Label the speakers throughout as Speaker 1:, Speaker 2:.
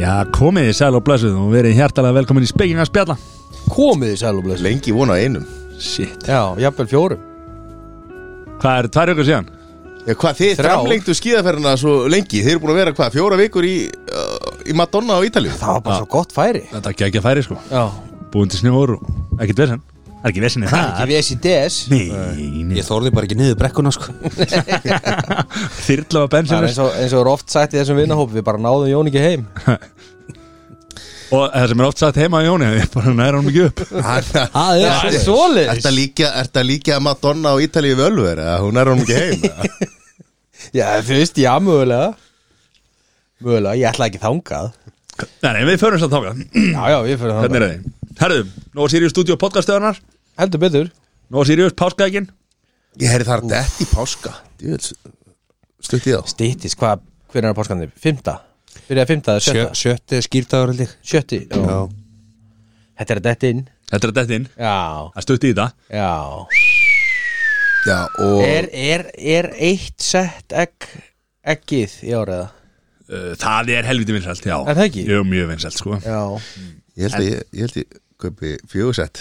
Speaker 1: Já, komið í sæl og blessuð og verið hjertalega velkomin í spekinga spjalla
Speaker 2: komið í sæl og blessu
Speaker 3: Lengi vona einum
Speaker 1: Shit
Speaker 2: Já, jafnvel fjórum
Speaker 1: Hvað er tvær ykkur síðan?
Speaker 3: Já, hvað þið
Speaker 2: Þrjár.
Speaker 3: framlengdu skíðaferðina svo lengi? Þeir eru búin að vera hvað, fjóra vikur í, uh, í Madonna á Ítalíu?
Speaker 2: Það var bara svo gott færi
Speaker 1: Þetta er ekki að færi sko
Speaker 2: Já
Speaker 1: Búin til snjóður og ekkert vesen Það er ekki vesen í það
Speaker 2: Ekki við SDS
Speaker 1: Nei, nei
Speaker 4: Ég þorði bara ekki niður brekkuna sko
Speaker 1: Þyrla var
Speaker 2: Það er
Speaker 1: bensinus
Speaker 2: eins og, eins og er oft sagt í þessum vinnahópi Við bara náðum Jón ekki heim
Speaker 1: Og það sem er oft sagt heima á Jóni Ég bara næra honum ekki upp
Speaker 2: Það er svo svolít
Speaker 3: Ertu að líka, ertu að líkja Madonna á Ítalíu við Ölver? eða? Hún er hún ekki heim eða?
Speaker 2: Já, þú veist, já, mögulega Mögulega, ég ætla ekki þangað
Speaker 4: sko.
Speaker 1: Nei, nei, við förum samt þáka
Speaker 2: Já, já, ég fyrir
Speaker 1: Hvernig
Speaker 2: þangað
Speaker 1: er þið? Herðu, Nóa Sirius Studio podcastöðunar
Speaker 2: Heldur betur
Speaker 1: Nóa Sirius páskaðegin
Speaker 3: Ég heyri þar dett í páska Djöfull, Stutt í þá
Speaker 2: Stýttis, hvað, hvernig er páskandi? Fymta Byrjaði fymta, það er sjötta
Speaker 4: Sjötti skýrtaður held ég
Speaker 2: Sjötti, já Þetta er að detta inn
Speaker 1: Þetta er dettin
Speaker 2: Já,
Speaker 1: Það stutti í það
Speaker 2: já
Speaker 3: Já, og
Speaker 2: Er, er, er eitt sett egg, eggið í áriða?
Speaker 1: Uh, Það er helviti vinsælt, já
Speaker 2: Er það ekki?
Speaker 1: Jú, mjög vinsælt sko
Speaker 2: Já
Speaker 3: ég held að ég, ég, held ég kaupi fjögursett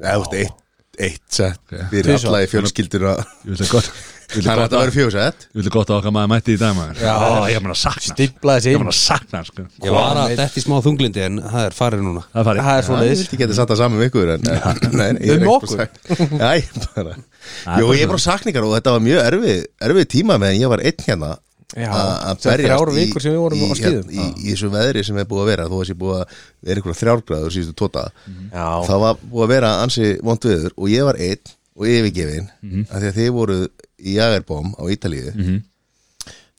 Speaker 3: Eða þú veist, eitt, eitt sett Fyrir
Speaker 2: Tvisvar.
Speaker 3: alla í fjölskylduna
Speaker 1: Ég vil það gott Ég vil
Speaker 3: Þannig að þetta verður fjögursett
Speaker 1: Ég vildi gott að okkar maður mætti í dag maður
Speaker 2: Já.
Speaker 1: Ó, Ég er maður að sakna hans.
Speaker 2: Stimplaði sig
Speaker 1: Ég er
Speaker 2: inn
Speaker 1: maður að sakna hans, sko.
Speaker 4: Ég var að detti smá þunglindi en það er farið núna
Speaker 1: Það er farið
Speaker 2: Það er
Speaker 3: Ég
Speaker 2: svoleiðis
Speaker 3: vildi geta satt það saman við ykkur en, en, nei, nei, ég er
Speaker 2: Um
Speaker 3: ekki
Speaker 2: okkur.
Speaker 3: bara sagt- Æ, bara. Jó,
Speaker 1: bara
Speaker 3: ég er bara sakningar og þetta var mjög erfið erfið tíma meðan ég var einn hérna
Speaker 2: Já,
Speaker 3: að- að
Speaker 2: sem
Speaker 3: berjast
Speaker 2: þrjár
Speaker 3: í-
Speaker 2: vikur sem við vorum
Speaker 3: í-
Speaker 2: á skíðum.
Speaker 3: í, í, í þessu veðri sem er búið að vera þó að sé búið að vera ykkur þrjárgráður síðustu tóta
Speaker 2: Já.
Speaker 3: það var búið að vera ansi vond viður og ég var einn og yfirgefin
Speaker 2: Mhm.
Speaker 3: af því að þið voruð í Jagerbóm á Ítalíu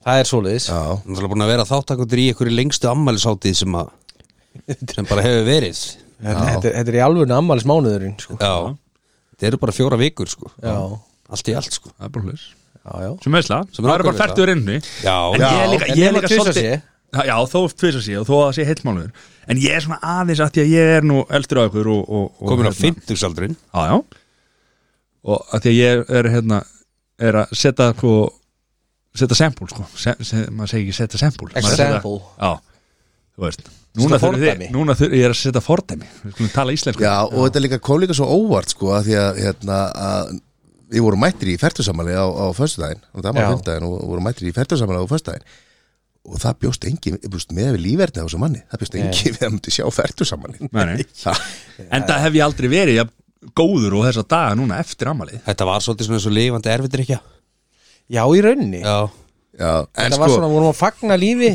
Speaker 2: Það er svoleiðis
Speaker 3: Já,
Speaker 4: Náttúrulega búin að vera þáttakundir í einhverju lengstu ammælisháttið sem að sem bara hefur verið
Speaker 2: Þetta þetta er, þetta er í alvöru ammælis mánuðurinn sko.
Speaker 4: Já Það eru bara fjóra vikur sko
Speaker 2: Já,
Speaker 4: Allt í allt sko
Speaker 1: Það er bara hlust
Speaker 2: já, já
Speaker 1: Sem veistla Það
Speaker 4: Sem
Speaker 1: eru bara
Speaker 4: ákveðveisla.
Speaker 1: færtur inni
Speaker 4: Já.
Speaker 1: En ég er
Speaker 2: Já.
Speaker 1: líka Ég
Speaker 2: En
Speaker 1: er
Speaker 2: nema
Speaker 1: líka
Speaker 2: tvisvar
Speaker 1: svolítið
Speaker 2: sé.
Speaker 1: Já, þó tvisar sé og þó að sé heilmálur En ég er svona aðeins að því að ég er nú eldur á ykkur og, og, og
Speaker 4: Komin á
Speaker 1: hérna-
Speaker 4: fimmtugsaldrin
Speaker 1: Já, já Og að því að ég er hérna Er að setja sko Setja sempúl sko se, se, Maður segir ekki setja sempúl Maður er að setja-
Speaker 2: Example.
Speaker 1: Já, þú veist Núna
Speaker 2: Setja
Speaker 1: þurfið þið
Speaker 2: fordæmi.
Speaker 1: Núna þurfið ég er að setja fordæmi Við skulum tala íslensku
Speaker 3: Já, og þetta líka kom líka svo óvart sko að því að, hérna, að við vorum mættir í færtursamali á, á föstudaginn og það var
Speaker 2: Já.
Speaker 3: fymtdaginn og vorum mættir í færtursamali á föstudaginn og það bjóst engin, bjóst með við lífverðni á þessu manni, það bjóst engin við að myndi sjá færtursamali
Speaker 1: Nei, nei.
Speaker 3: Það,
Speaker 1: En það hef ég aldrei verið ja, góður og þess að daga núna eftir ammalið
Speaker 4: Þetta var svolítið svona svo lifandi erfitt ekki
Speaker 2: Já, í rauninni
Speaker 4: Já
Speaker 3: já, en
Speaker 2: Þetta var
Speaker 3: sko
Speaker 2: svona, vorum að fagna lífi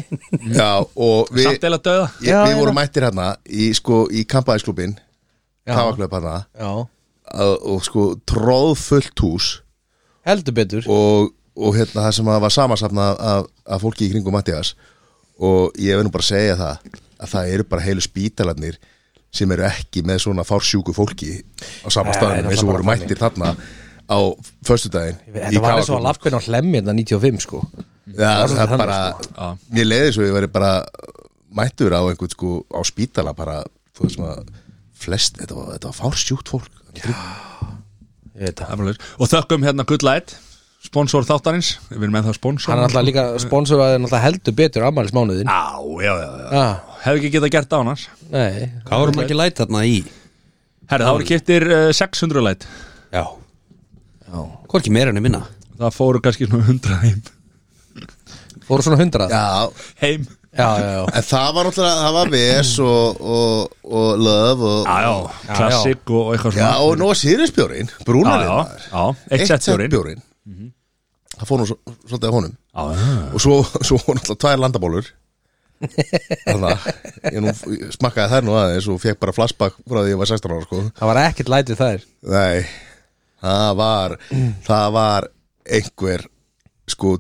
Speaker 3: já, og við,
Speaker 1: Samt eða döða
Speaker 3: ég,
Speaker 2: Já,
Speaker 3: við
Speaker 2: já.
Speaker 3: vorum mættir hérna í, sko, í kampaðisklubin
Speaker 2: Já.
Speaker 3: kafaklöp hérna
Speaker 2: Já,
Speaker 3: að- og sko tróðfullt hús
Speaker 2: heldur betur
Speaker 3: og, og hérna það sem að var samasafna af, af fólki í kringum Mattias og ég verður bara að segja það að það eru bara heilu spítalarnir sem eru ekki með svona fársjúku fólki á sama
Speaker 2: Nei,
Speaker 3: staðanum eins
Speaker 2: náttúrulega
Speaker 3: og voru
Speaker 2: bara
Speaker 3: mættir þarna á föstudaginn
Speaker 2: Þetta var eins og að lappin á hlemmi Þetta 95 sko
Speaker 3: ja, það er
Speaker 2: þannig, sko.
Speaker 3: bara,
Speaker 1: Já.
Speaker 3: mér leiði svo ég verið bara mættur á einhvern sko á spítala bara, þú veist maður flest, þetta var, þetta var fársjúkt fólk
Speaker 2: Ég veit það.
Speaker 1: Það er bara leys. Og þökkum hérna Good Light Sponsor þáttarins Við erum ennþá sponsor
Speaker 2: Hann er alltaf líka sponsoraði náttúrulega heldur betur ammælis mánuðin
Speaker 1: Á, já, já, já
Speaker 2: ah,
Speaker 1: Hefði ekki getað gert það annars
Speaker 2: Nei,
Speaker 4: Hvað vorum ekki læt þarna í
Speaker 1: Herri, það voru kiptir uh, 600 light
Speaker 4: Já Hvorki meira enn minna
Speaker 1: Það fóru kannski svona 100 heim
Speaker 2: fóru svona hundrað
Speaker 3: Já,
Speaker 1: Heim
Speaker 2: já, já, já.
Speaker 3: En það var náttúrulega, það var VS og, og, og Love og,
Speaker 1: Já, já,
Speaker 2: Já,
Speaker 1: klassik og og eitthvað
Speaker 3: já
Speaker 1: svona
Speaker 3: og nú var Siriusbjórin,
Speaker 1: Já,
Speaker 3: brúnarinn
Speaker 1: já,
Speaker 3: maður.
Speaker 1: já, eitt sett bjórinn.
Speaker 3: bjórinn. Það fór nú svo- svolítið af honum
Speaker 1: Já, já.
Speaker 3: Og svo, svo voru náttúrulega tvær landabólur Þannig að ég nú ég smakkaði þær nú aðeins og fekk bara flashback frá því ég var 16 ára sko
Speaker 2: Það var ekkert læt við þær
Speaker 3: Nei, það var, það var einhver sko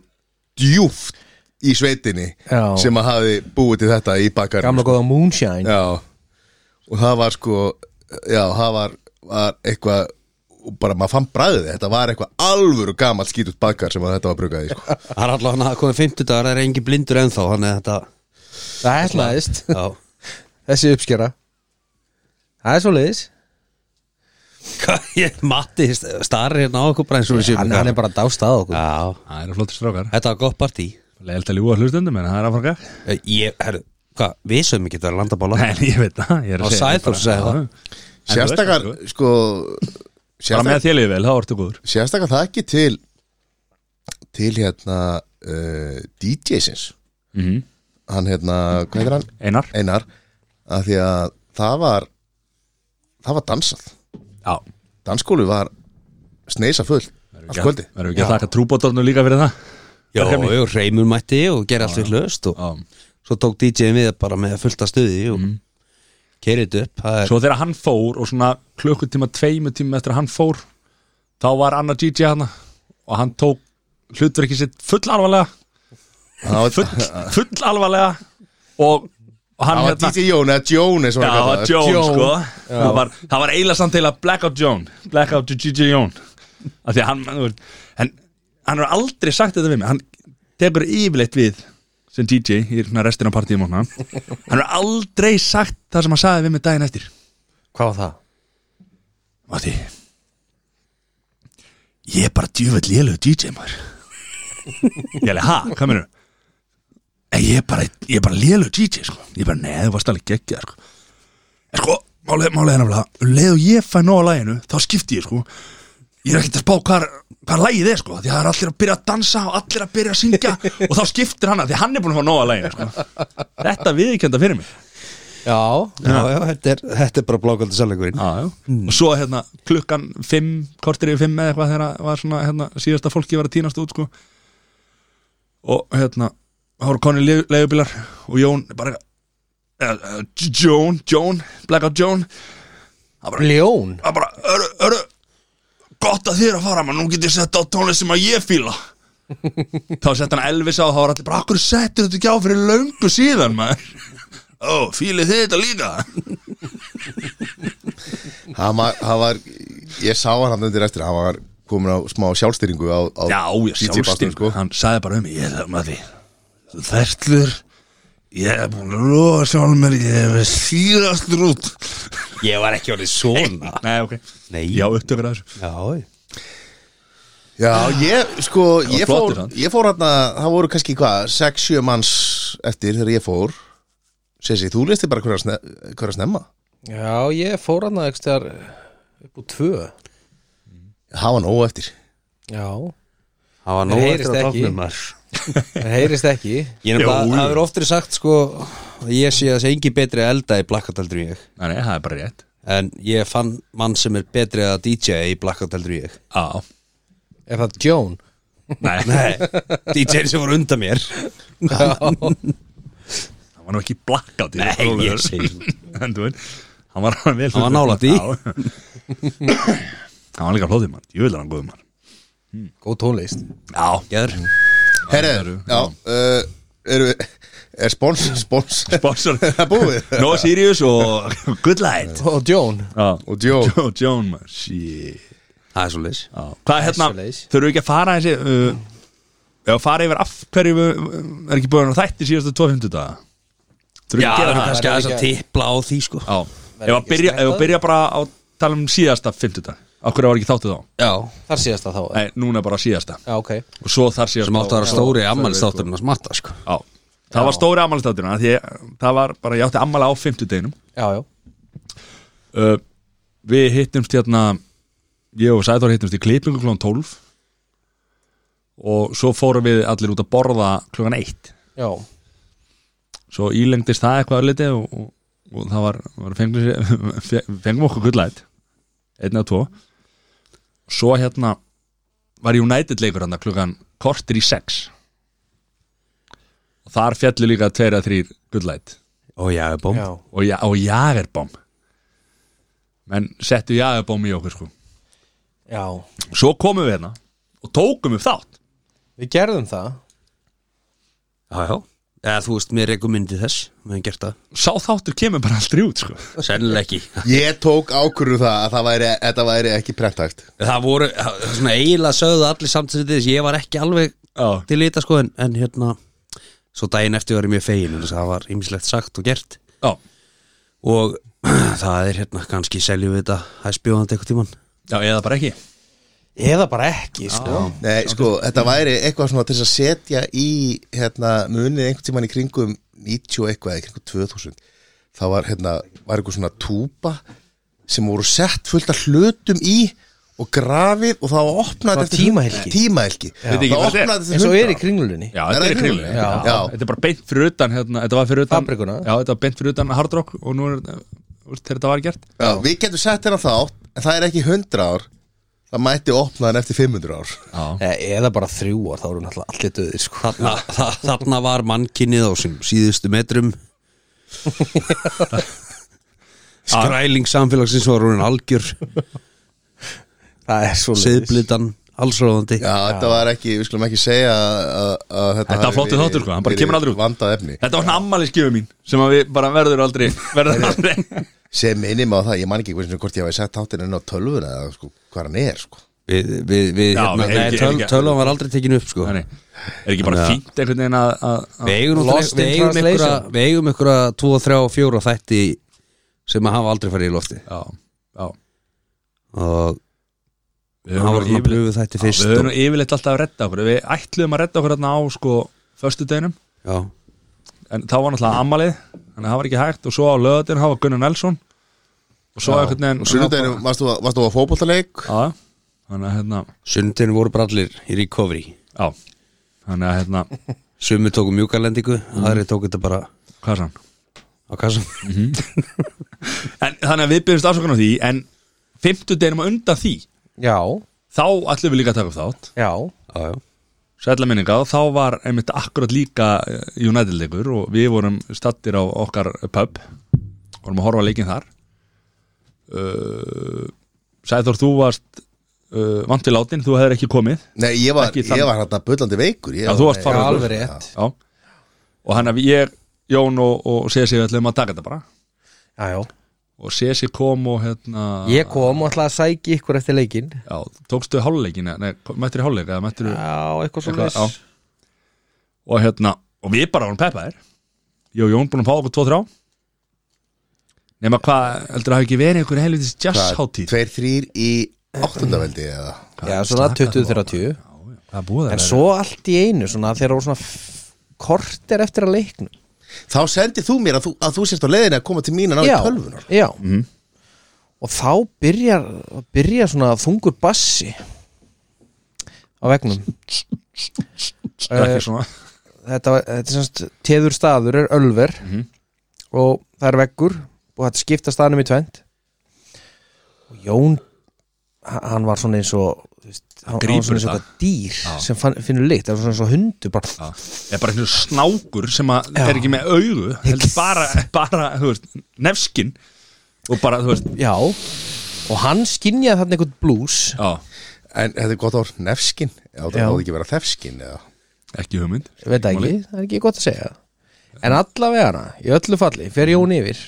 Speaker 3: djúft í sveitinni
Speaker 2: Já.
Speaker 3: sem að hafi búið til þetta í bakar
Speaker 2: Gamla góða Moonshine
Speaker 3: Já Og það var sko Já, það var, var eitthvað og bara maður fann bræðið þetta var eitthvað alvöru gamall skítut bakar sem að þetta var brugað í sko.
Speaker 4: Það er allavega hann að komið fimmtudagar Það er engin blindur ennþá Þannig að þetta
Speaker 2: Það hefnaðist
Speaker 4: Já
Speaker 2: Þessi uppskjara Það er svo leiðis
Speaker 4: Hvað, ég, Matti st- starir hérna á okkur bara eins og við séum
Speaker 2: hann, hann er bara dást að okkur
Speaker 4: Já,
Speaker 1: Það eru flottir strákar
Speaker 4: þetta var gott partí
Speaker 1: Leilt að ljúga hlustundum en það er að fara
Speaker 4: Eh, Ég, herru, hvað, við sögum ekki að vera landabála
Speaker 1: En ég veit það ég er að
Speaker 4: Og
Speaker 1: segja
Speaker 4: Sæþór
Speaker 1: bara-
Speaker 4: sagði
Speaker 1: Já.
Speaker 4: það.
Speaker 1: En þú veist það,
Speaker 3: Sérstakar,
Speaker 1: sko.
Speaker 3: sko
Speaker 1: Bara
Speaker 3: Sérstakar,
Speaker 1: með þélið vel, þá ertu góður
Speaker 3: sérstakar það ekki til Til hérna uh, DJ-sins
Speaker 1: Mhm.
Speaker 3: Hann hérna, hvað heitir hann?
Speaker 1: Einar
Speaker 3: Einar að Því að það var Það var dansað
Speaker 1: Já
Speaker 3: Danskólu var sneisa full Allt kvöldi
Speaker 1: Verðum við ekki að þakka trúbótornu líka fyrir það
Speaker 4: Jó, og reymur mætti og gera allt við hlust og
Speaker 1: Já.
Speaker 4: svo tók DJ-in við bara með fullta stuði og mm. kerið upp það er,
Speaker 1: Svo þegar hann fór og svona klukkutíma tveimu tíma eftir að hann fór þá var annar DJ hann og hann tók hlutverki sitt full alvarlega
Speaker 3: Það var,
Speaker 1: full, full alvarlega og, og hann hérna-
Speaker 3: það var DJ Jón eða Jón eins og
Speaker 1: Já,
Speaker 3: hann
Speaker 1: það var
Speaker 3: kallaður.
Speaker 1: Jón, sko það var, það var eiginlega samt til að Blackout Jón Blackout DJ Jón af því að hann, þú veist, en hann har aldrei sagt þetta við mig hann tekur yfirleitt við sem DJ í svona restina af partíum og svona hann har aldrei sagt það sem hann sagði við mig daginn eftir
Speaker 2: Hvað var það?
Speaker 1: Mati Ég er bara djúvöld lélög DJ maður Ég alveg, ha, hvað mennur? En ég er bara, ég er bara lélög DJ sko. Ég er bara, neðu, þú varst alveg geggja sko. En sko, málið, málið er náttúrulega um Leðu ég fæ nóg á læginu, þá skipti ég sko Ég er ekkert að spá hvað, hvað lægið er sko Því að það er allir að byrja að dansa og allir að byrja að syngja Og þá skiptir hann að því að hann er búin að fá nóg á læginu sko. Þetta viðkjönda fyrir mig
Speaker 2: Já,
Speaker 4: já, já, þetta, er, þetta er bara blákaldi sannleikurinn
Speaker 1: já, já. og svo hérna klukkan 5, kortir yfir 5 eða eitthvað þegar var svona hérna, síðasta fólki var að týnast út sko. og hérna þá voru konni leiðubilar og Jón bara eh, eh, Jón, Jón, Blackout Jón
Speaker 2: Ljón
Speaker 1: að bara, öru, öru gott að þér að fara, maður, nú get ég sett á tónlist sem að ég fíla þá sett hann Elvis á og þá var allir bara, akkur settir þetta ekki á fyrir löngu síðan, maður ó, fílið þið þetta líka
Speaker 3: hann var, hann var ég sá hann hann undir eftir hann var komin á smá sjálfstyringu á, á
Speaker 1: Já, ég
Speaker 3: DJ
Speaker 1: sjálfstinn
Speaker 3: basnum, sko.
Speaker 1: Hann sagði bara um mig, ég það maður því Þertlur Ég er búin að lofa sjálf mér Ég er síðastur út
Speaker 4: Ég var ekki orðið svona
Speaker 1: Nei, ok
Speaker 4: Nei.
Speaker 1: Já, upptökur að þessu
Speaker 4: Já,
Speaker 3: já, ég sko
Speaker 1: var
Speaker 3: ég
Speaker 1: flottur
Speaker 3: fór,
Speaker 1: hann.
Speaker 3: ég fór hann það voru kannski hvað, 6-7 manns eftir þegar ég fór Sessi, þú listi bara hverja sne, hverja snemma
Speaker 2: Já, ég fór hann að ekstar eh, upp úr tvö
Speaker 3: hafa nóg eftir
Speaker 2: Já,
Speaker 4: það var
Speaker 2: Það
Speaker 4: nóg
Speaker 2: heyrist
Speaker 4: eftir að
Speaker 2: ekki.
Speaker 4: tóknum maður
Speaker 2: það heyrist ekki
Speaker 4: Ég er bara, það er oftir sagt sko að ég sé að það sé engi betri að elda í blackout heldur en ég
Speaker 1: Nei, nei, það er bara rétt
Speaker 4: en ég fann mann sem er betri að DJ í blackout heldur en ég
Speaker 1: Já,
Speaker 2: Er það Jón?
Speaker 1: nei
Speaker 4: Nei, DJ sem voru undan mér
Speaker 1: Það var nú ekki blackout í þessu
Speaker 4: Nei, ég
Speaker 1: rólegur.
Speaker 4: segi svona.
Speaker 1: En þú veit Hann var hann vel
Speaker 4: Hann var nálægt í.
Speaker 1: Já. Hann var líka hlóðið mann Ég vil að hann góðið mann
Speaker 2: Góð tónlist
Speaker 1: Já
Speaker 4: Gjör
Speaker 3: herre, já, uh, eru er spons, spons
Speaker 1: Sponsor
Speaker 3: það búið
Speaker 1: No Sirius og Good Light
Speaker 2: Og Jón
Speaker 1: Já
Speaker 3: og Jó,
Speaker 1: Joe Joan, maður Shit
Speaker 4: Það er svo leys
Speaker 1: Já. Hvað er hérna,
Speaker 2: Svoleiðis.
Speaker 1: þurfum við ekki að fara þessi uh, eða fara yfir af hverju við um, er ekki búin að þætti síðastu 200 daga Þurfum við
Speaker 4: Já,
Speaker 1: ekki að
Speaker 4: það
Speaker 1: gera það
Speaker 4: er kannski
Speaker 2: verður
Speaker 4: aðeins
Speaker 2: ekki
Speaker 4: að
Speaker 2: að-
Speaker 4: tippla á því sko
Speaker 1: Já, ef
Speaker 2: Verður
Speaker 1: að
Speaker 2: ekki
Speaker 1: byrja,
Speaker 2: sleppt
Speaker 1: ef að
Speaker 2: það?
Speaker 1: byrja bara á tala um síðasta 50 dag Af hverju var ekki þáttu þá?
Speaker 4: Já,
Speaker 2: Þar síðast það þá
Speaker 1: Nei, núna bara síðasta
Speaker 2: Já, ok
Speaker 1: Og svo þar síðasta
Speaker 4: sem átti að vera
Speaker 1: Já.
Speaker 4: stóri ammælstátturinn að smatta sko
Speaker 1: Já, það var stóri ammælstáttina Því ég- það var bara, ég átti ammæla á 50 deginum
Speaker 2: Já, já
Speaker 1: uh, Við hittumst hérna Ég og Sæþór hittumst í klippingu klón 12 Og svo fórum við allir út að borða klukkan 1
Speaker 2: Já,
Speaker 1: svo ílengdist það eitthvað örliti og, og, og það var, var fengum, sér- fe- fengum okkur gullæt einn eða tvo svo hérna var United leikur hann klukkan kortir í sex og þar fjallu líka tveir að þrýr gullæt
Speaker 4: Ó, já, bóm
Speaker 2: já
Speaker 1: og, ja, og jagerbom menn settu jagerbom í okkur sko
Speaker 2: Já
Speaker 1: svo komum við hérna og tókum upp þátt
Speaker 2: Við gerðum það
Speaker 4: Já, já Eða þú veist, mér rekum myndið þess Við hefum gert það
Speaker 1: sá þáttur kemur bara aldrei út sko
Speaker 4: Sennilega ekki
Speaker 3: ég tók ákvörðu það að það væri, þetta væri ekki prentakt
Speaker 4: Það voru, það var svona eiginlega sögðu allir samtidig þess Ég var ekki alveg
Speaker 1: Já.
Speaker 4: til lita sko En, en hérna Svo daginn eftir var ég mjög fegin vegna þess að Það var ýmislegt sagt og gert
Speaker 1: já,
Speaker 4: Og það er hérna, kannski seljum við þetta hæstbjóðandi eitthvað tíman
Speaker 1: Já, eða bara ekki
Speaker 2: Eða bara ekki, sko
Speaker 3: Nei, sko, þetta væri eitthvað svona til þess að setja í hérna, munið einhvern tímann í kringum 90 og eitthvað, í kringum 2000 þá var, hérna, var eitthvað svona túpa sem voru sett fullt af hlutum í og grafið og það var opnað
Speaker 2: Svona
Speaker 3: eftir
Speaker 2: tímahelgi.
Speaker 3: tímahelgi.
Speaker 1: Veit ekki
Speaker 3: það
Speaker 1: hvað þetta er.
Speaker 3: opnaði eftir
Speaker 2: En svo er í
Speaker 3: hundra.
Speaker 2: kringlunni
Speaker 1: Já,
Speaker 3: Er
Speaker 1: þetta
Speaker 3: það
Speaker 1: er
Speaker 3: í
Speaker 1: kringlu
Speaker 3: Kringlunni?
Speaker 1: já.
Speaker 3: Já.
Speaker 1: Þetta er bara beint fyrir utan hérna, Þetta var fyrir utan
Speaker 2: Fabrikuna.
Speaker 1: Já, þetta var beint fyrir utan Hard Rock og nú er úst, þegar þetta var gert
Speaker 3: Já, við getum sett hérna þátt en það er ekki 100 ár það mætti opnaðan eftir 500 ár
Speaker 1: Já,
Speaker 2: Eh, Eða bara þrjú ár, þá eru náttúrulega allir döðir, sko
Speaker 4: þarna, þa- þarna var mannkinnið á sem síðustu metrum skræling samfélagsins var hún algjör
Speaker 2: Það er svo
Speaker 4: seðblitan, allsráðandi
Speaker 3: Já, þetta var ekki, við skulum ekki segja að, að þetta
Speaker 1: Þetta var
Speaker 3: hafi
Speaker 1: flottur
Speaker 3: verið-
Speaker 1: þáttur, sko, hann bara
Speaker 3: verið
Speaker 1: kemur aldrei út.
Speaker 3: Vandað efni
Speaker 1: Þetta var svona ammælisgjöfu mín sem að við bara verður aldrei verður aldrei
Speaker 3: sem minnum á það, ég man ekki hversu hvort ég hafi sett þáttinn inn á tölvuna eða sko, hvað hann er sko.
Speaker 4: við, við, við
Speaker 1: Já,
Speaker 4: hérna,
Speaker 1: við- er
Speaker 4: nei,
Speaker 1: ekki- er
Speaker 4: töl,
Speaker 1: ekki-
Speaker 4: tölvan var aldrei tekinu upp sko.
Speaker 1: Þannig, er ekki bara fínt einhvern veginn að, að, að
Speaker 4: við eigum
Speaker 2: Lost in
Speaker 4: einhverja
Speaker 2: translation.
Speaker 4: við eigum einhverja 2, 3 og 4 þætti sem að hafa aldrei farið í lofti
Speaker 1: Já, já
Speaker 4: og
Speaker 1: Við
Speaker 4: það
Speaker 1: höfum
Speaker 4: var
Speaker 1: nú
Speaker 4: svona
Speaker 1: yfirleitt-
Speaker 4: blöfu þætti
Speaker 1: Já,
Speaker 4: fyrst
Speaker 1: Við höfum
Speaker 4: og,
Speaker 1: nú yfirleitt alltaf að redda okkur Við ætluðum að redda okkur hérna á sko Föstudeginum
Speaker 4: já,
Speaker 1: en þá var náttúrulega ammalið þannig að það var ekki hægt og svo á löðin hafa Gunnar Nelson og svo einhvern veginn
Speaker 3: og sunnudeginu varst þú, varst þú á fótboltaleik
Speaker 1: Já, já. þannig að hérna
Speaker 4: sundin voru bara allir í recovery
Speaker 1: já, þannig að hérna hvað
Speaker 4: sumi tóku mjúkalendingu, aðri tóku þetta bara
Speaker 1: er hann
Speaker 4: á kassan
Speaker 1: en, þannig að við byrjumst afsökan á því en fimmtudeginum að undan því
Speaker 2: Já,
Speaker 1: þá ætlum við líka að taka upp þátt
Speaker 2: já
Speaker 4: já, já.
Speaker 1: sætla minninga og þá var einmitt akkurat líka eh, United-leikur og við vorum stattir á okkar pub vorum að horfa á leikinn þar uh, Sæður þú varst uh, vant við látin, þú hefðir ekki komið
Speaker 3: Nei, ég var,
Speaker 1: Ekki þann-
Speaker 3: ég var hérna bullandi veikur ég
Speaker 1: Já,
Speaker 3: var-
Speaker 1: þú varst
Speaker 3: ég-
Speaker 1: farinn.
Speaker 2: Alveg rétt
Speaker 1: Já. og hann að ég, Jón og, og Sesi ætlum að taka þetta bara
Speaker 2: Já, já
Speaker 1: og Sesi kom og hérna
Speaker 2: Ég kom og ætlaði að sæki ykkur eftir leikinn
Speaker 1: já, tókstu hálfleikin, nei, mættir í hálfleik eða mættir
Speaker 2: Já, eitthvað svo
Speaker 1: eitthvað, já og hérna, og við bara vorum peppaðir ég og Jón búin að fá okkur 2-3 nema hvað, heldur það hafi ekki verið einhver helvitis
Speaker 3: hvað,
Speaker 1: jazzháttíð
Speaker 3: Tveir, þrýr í áttundaveldi eða
Speaker 2: Já, svona 20-30
Speaker 1: Já, já, það er búið
Speaker 2: En
Speaker 1: að
Speaker 2: svo allt í einu, svona þegar voru svona f- korter eftir að leiknum
Speaker 3: Þá sendið þú mér að þú, að þú sérst á leiðinu að koma til mín að ná í
Speaker 2: Já, Mhm.
Speaker 3: tölvunar
Speaker 2: já Og þá byrjar, byrjar svona þungur bassi á Eh, vegnum
Speaker 1: vera ekki svona
Speaker 2: þetta, var- þetta er semst teður staður er ölver
Speaker 1: Mhm.
Speaker 2: og það er veggur og þetta skipta staðnum í tvend og Jón h- hann var svona eins og þú veist, hann, hann var
Speaker 1: grípur
Speaker 2: svona eins og
Speaker 1: þetta.
Speaker 2: eitthvað dýr sem fann, finnur lykt, það var svona eins og hundu bara,
Speaker 1: Já. Það er bara einhver snákur sem að er ekki með augu heldur bara, bara þú veist, nefskin og bara, þú veist,
Speaker 2: já og hann skinjaði þarna einhvern blús
Speaker 1: já,
Speaker 3: En þetta er gott ár, nefskin Já, það
Speaker 2: Já.
Speaker 3: áði ekki að vera þefskin eða
Speaker 1: ekki hugmynd
Speaker 2: Ég veit það ekki, það er ekki gott að segja en allavega hana, í öllu falli fer Jón yfir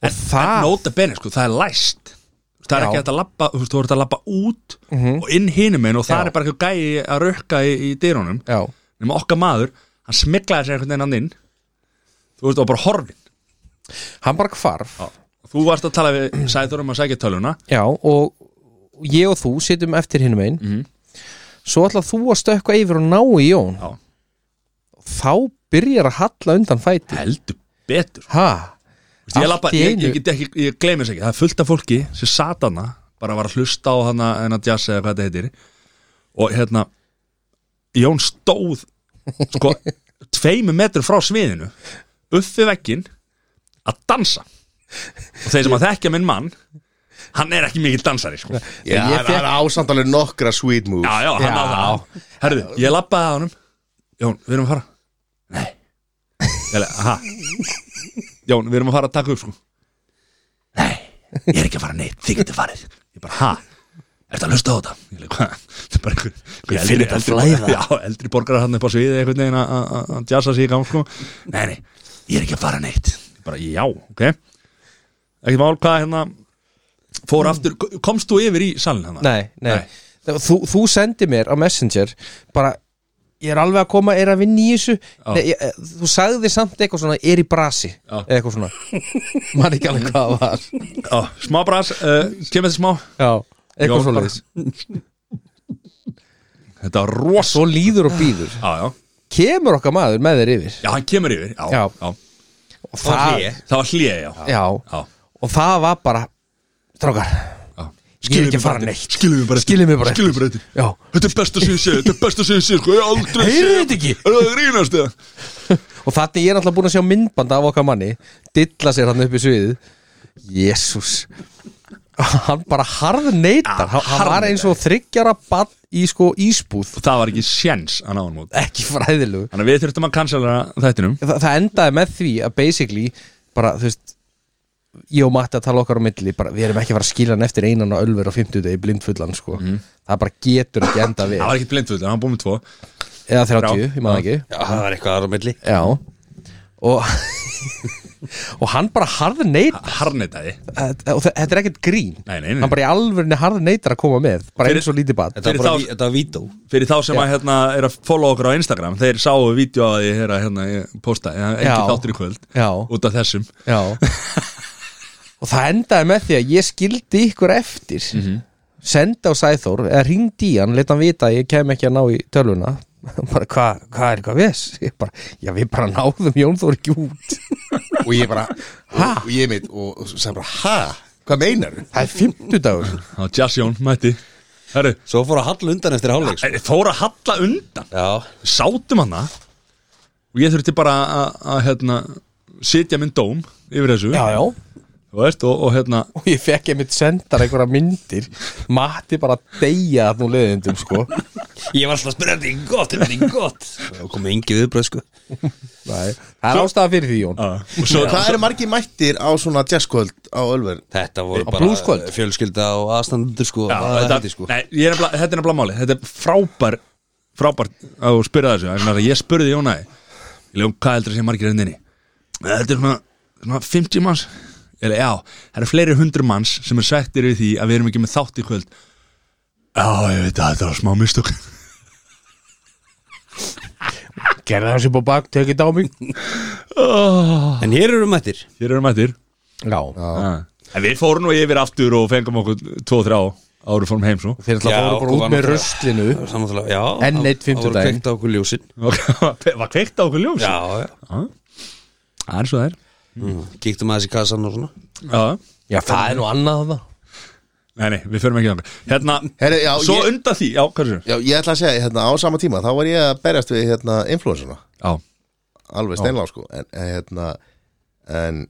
Speaker 1: En,
Speaker 2: það-
Speaker 1: en nota bene, sko, það er læst Það er
Speaker 2: Ah. Já. Mhm.
Speaker 1: ekki hægt að labba, þú veist, þú voru að labba út og inn hinum einn og það
Speaker 2: Já.
Speaker 1: er bara eitthvað gæi að rökka í, í dyrunum
Speaker 2: já,
Speaker 1: nema okkar maður, hann smiklaði sér einhvern veginn hann inn þú veist, og bara horfin
Speaker 2: hann bara hvarf
Speaker 1: Þú varst að tala við Sæður um að sækja töluna
Speaker 2: Já, og ég og þú sitjum eftir hinum einn Mhm. Svo ætla þú að stökkva yfir og ná í Jón
Speaker 1: Já.
Speaker 2: Þá byrjar að halla undan fæti
Speaker 1: heldur betur
Speaker 2: Ha?
Speaker 1: Vist, ég,
Speaker 2: Allt
Speaker 1: labba,
Speaker 2: í
Speaker 1: ég,
Speaker 2: einu.
Speaker 1: ég, get ekki, ég gleymi þess ekki, það er fullt af fólki sem satana, bara var að hlusta á hana en að jazz eða hvað þetta heitir og hérna Jón stóð sko, tveimu metru frá sviðinu upp við veggin að dansa og þeir sem að þekkja minn mann hann er ekki mikið dansari sko. já,
Speaker 3: Já,
Speaker 2: ég
Speaker 3: það
Speaker 2: fékk-
Speaker 3: er ásamtalið nokkra sweet moves
Speaker 1: já, hann á það herðu, ég labbaði að honum Jón, við erum að fara nei Jæle, aha. Jón, við erum að fara að taka upp sko Nei, ég er ekki að fara neitt, þið getur farið Ég bara, ha, ertu að hlusta á þetta? Ég leik, hvað, þetta er bara einhver, einhver Ég finn þetta flæða Já, eldri borgarar hann upp á sviði einhvern veginn að- að að- að jazza sig í gang sko Nei, nei, ég er ekki að fara neitt Ég bara, já, ok Ekki mál, hvað hérna Fór aftur, komst þú yfir í salin hann?
Speaker 2: Nei, nei,
Speaker 1: Nei.
Speaker 2: Þú, þú sendi mér á Messenger bara ég er alveg að koma, er að vinna í þessu Nei, ég, eh, þú sagði samt eitthvað svona er í brasi,
Speaker 1: Já.
Speaker 2: eða eitthvað svona maður ekki alveg hvað það var
Speaker 1: Já, smá bras, uh, kemur þetta smá
Speaker 2: já, eitthvað
Speaker 1: Já,
Speaker 2: svona
Speaker 1: Þetta var ros
Speaker 2: svo líður og býður
Speaker 1: Já, já,
Speaker 2: kemur okkar maður með þér yfir
Speaker 1: já, hann kemur yfir Já,
Speaker 2: Já. og það,
Speaker 4: hlé.
Speaker 1: Það var hlýja, já
Speaker 2: já,
Speaker 1: Já,
Speaker 2: og það var bara strákar,
Speaker 1: já
Speaker 2: ég er ekki að fara neitt
Speaker 1: Skilum við bara eftir.
Speaker 2: Skilið mér bara eftir.
Speaker 1: Skilið mér bara eftir.
Speaker 2: já,
Speaker 1: Þetta er besta sem ég sé Þetta er besta sem ég sé Sko, ég hef aldrei
Speaker 2: Heyrið
Speaker 1: séð-
Speaker 2: þetta ekki?
Speaker 1: Er það að grínast eða?
Speaker 2: og þannig ég er alltaf búin að sjá myndbanda af okkar manni dilla sér hann upp í sviðið jésús hann bara harð neytar
Speaker 1: Ja,
Speaker 2: hann var eins og þryggjara bann í sko ísbúð
Speaker 1: Og það var ekki sjens að ná hann út
Speaker 2: ekki fræðilegu
Speaker 1: Þannig að við þurftum að cancela þættinum
Speaker 2: Þa, það endaði með því að basically bara þú veist ég og Matti að tala okkar á milli bara, við erum ekki að fara að skila hann eftir einan og ölver og 50 degi blindfullan sko það bara getur ekki enda við
Speaker 1: Mhm. Það var ekki blindfull, hann var búið með tvo
Speaker 2: eða 30, ég maður ekki
Speaker 4: Já, það var eitthvað aðra milli
Speaker 2: já og og hann bara harð neyt
Speaker 1: Harnitaði
Speaker 2: og þe- þetta er ekkert grín
Speaker 1: Nei, nei, nei.
Speaker 2: hann bara í alvörinni harð neytar að koma með bara eins og lítið bad
Speaker 4: Þetta
Speaker 1: Fyrir
Speaker 4: var bara
Speaker 1: þá-
Speaker 4: ví- þetta var vító
Speaker 1: Fyrir þá sem að hérna er að follow okkur á Instagram Þeir sáu vídeo að ég er að hérna ég posta Ég
Speaker 2: Já.
Speaker 1: ekki þáttur í kvöld
Speaker 2: Já.
Speaker 1: Út af þessum
Speaker 2: já og það endaði með því að ég skildi ykkur eftir
Speaker 1: Mhm.
Speaker 2: senda á Sæþór eða ringdi í hann, leta hann vita að ég kem ekki að ná í tölvuna bara hvað hva er eitthvað viss ég bara, já við bara náðum Jón Þór ekki út
Speaker 3: og ég bara
Speaker 2: Ha?
Speaker 3: og ég mitt og, og sagði bara ha, hvað meinar
Speaker 2: það er 50 dagur
Speaker 1: Það var Jassjón, mætti Herru,
Speaker 4: Svo fór að halla undan eftir hálfleik sko.
Speaker 1: Þeir fóru að halla undan
Speaker 4: Já,
Speaker 1: Sátum hana Og ég þurfti bara að- að hérna Sitja minn dóm yfir þessu
Speaker 2: já já
Speaker 1: Þú veist, og, og hérna
Speaker 2: og ég fekk einmitt sendar einhverja myndir Matti bara deyja að nú leðindum sko
Speaker 4: ég var alltaf að spyrja þetta er ekki gott, er þetta ekki gott Það komið engi viðbröð sko
Speaker 2: Nei, það er ástæða fyrir því Jón
Speaker 1: Og svo,
Speaker 3: hvað eru margir mættir á svona jazzkvöld á Ölver
Speaker 4: Þetta voru
Speaker 2: Á
Speaker 4: bara
Speaker 2: Blueskvöld?
Speaker 4: fjölskylda og aðstandur sko
Speaker 1: já,
Speaker 4: Það
Speaker 1: þetta,
Speaker 4: hætti, sko.
Speaker 1: nei, ég er nefnilega- þetta er nefnilega máli Þetta er frábær Frábær að þú spyrja þessu vegna þess að Ég spurði Jónæði Ég lefum hvað heldur að sé margir henninni Þetta er svona, svona 50 manns Eða já, það eru fleiri hundru manns Sem er sættir við því að við erum ekki með þátt í kvöld Já, ég veit að þetta var smá mistök
Speaker 2: gerða þessi búið bak, tekið þetta á mig
Speaker 4: En hér eru mættir
Speaker 1: Hér erum mættir
Speaker 2: já,
Speaker 1: Ah. En við fórum nú yfir aftur og fengum okkur 2-3 ári fórum heim sko. svo
Speaker 2: þeir ætla
Speaker 4: Já,
Speaker 2: að fóru bara
Speaker 4: og var
Speaker 2: út með
Speaker 4: náttúrulega-
Speaker 2: ruslinu
Speaker 4: Það var sammáttúrulega- Já,
Speaker 2: Enn
Speaker 4: það-
Speaker 2: einn
Speaker 4: Það voru
Speaker 2: fimmtudaginn.
Speaker 4: kveikt á okkur ljósin
Speaker 1: og var kveikt á okkur ljós
Speaker 4: Já, já
Speaker 1: Það er svo það er
Speaker 4: Mm. Kíktum aðeins í kassan og svona
Speaker 1: Já.
Speaker 2: já, það er nú annað það
Speaker 1: Nei, nei, við förum ekki þannig Hérna,
Speaker 3: Herri, já,
Speaker 1: svo
Speaker 3: ég-
Speaker 1: undan því, já, hvað er
Speaker 3: já, ég ætla að segja, hérna, á sama tíma þá var ég að berjast við hérna influensuna
Speaker 1: Já,
Speaker 3: alveg steinlá sko en, en, hérna, en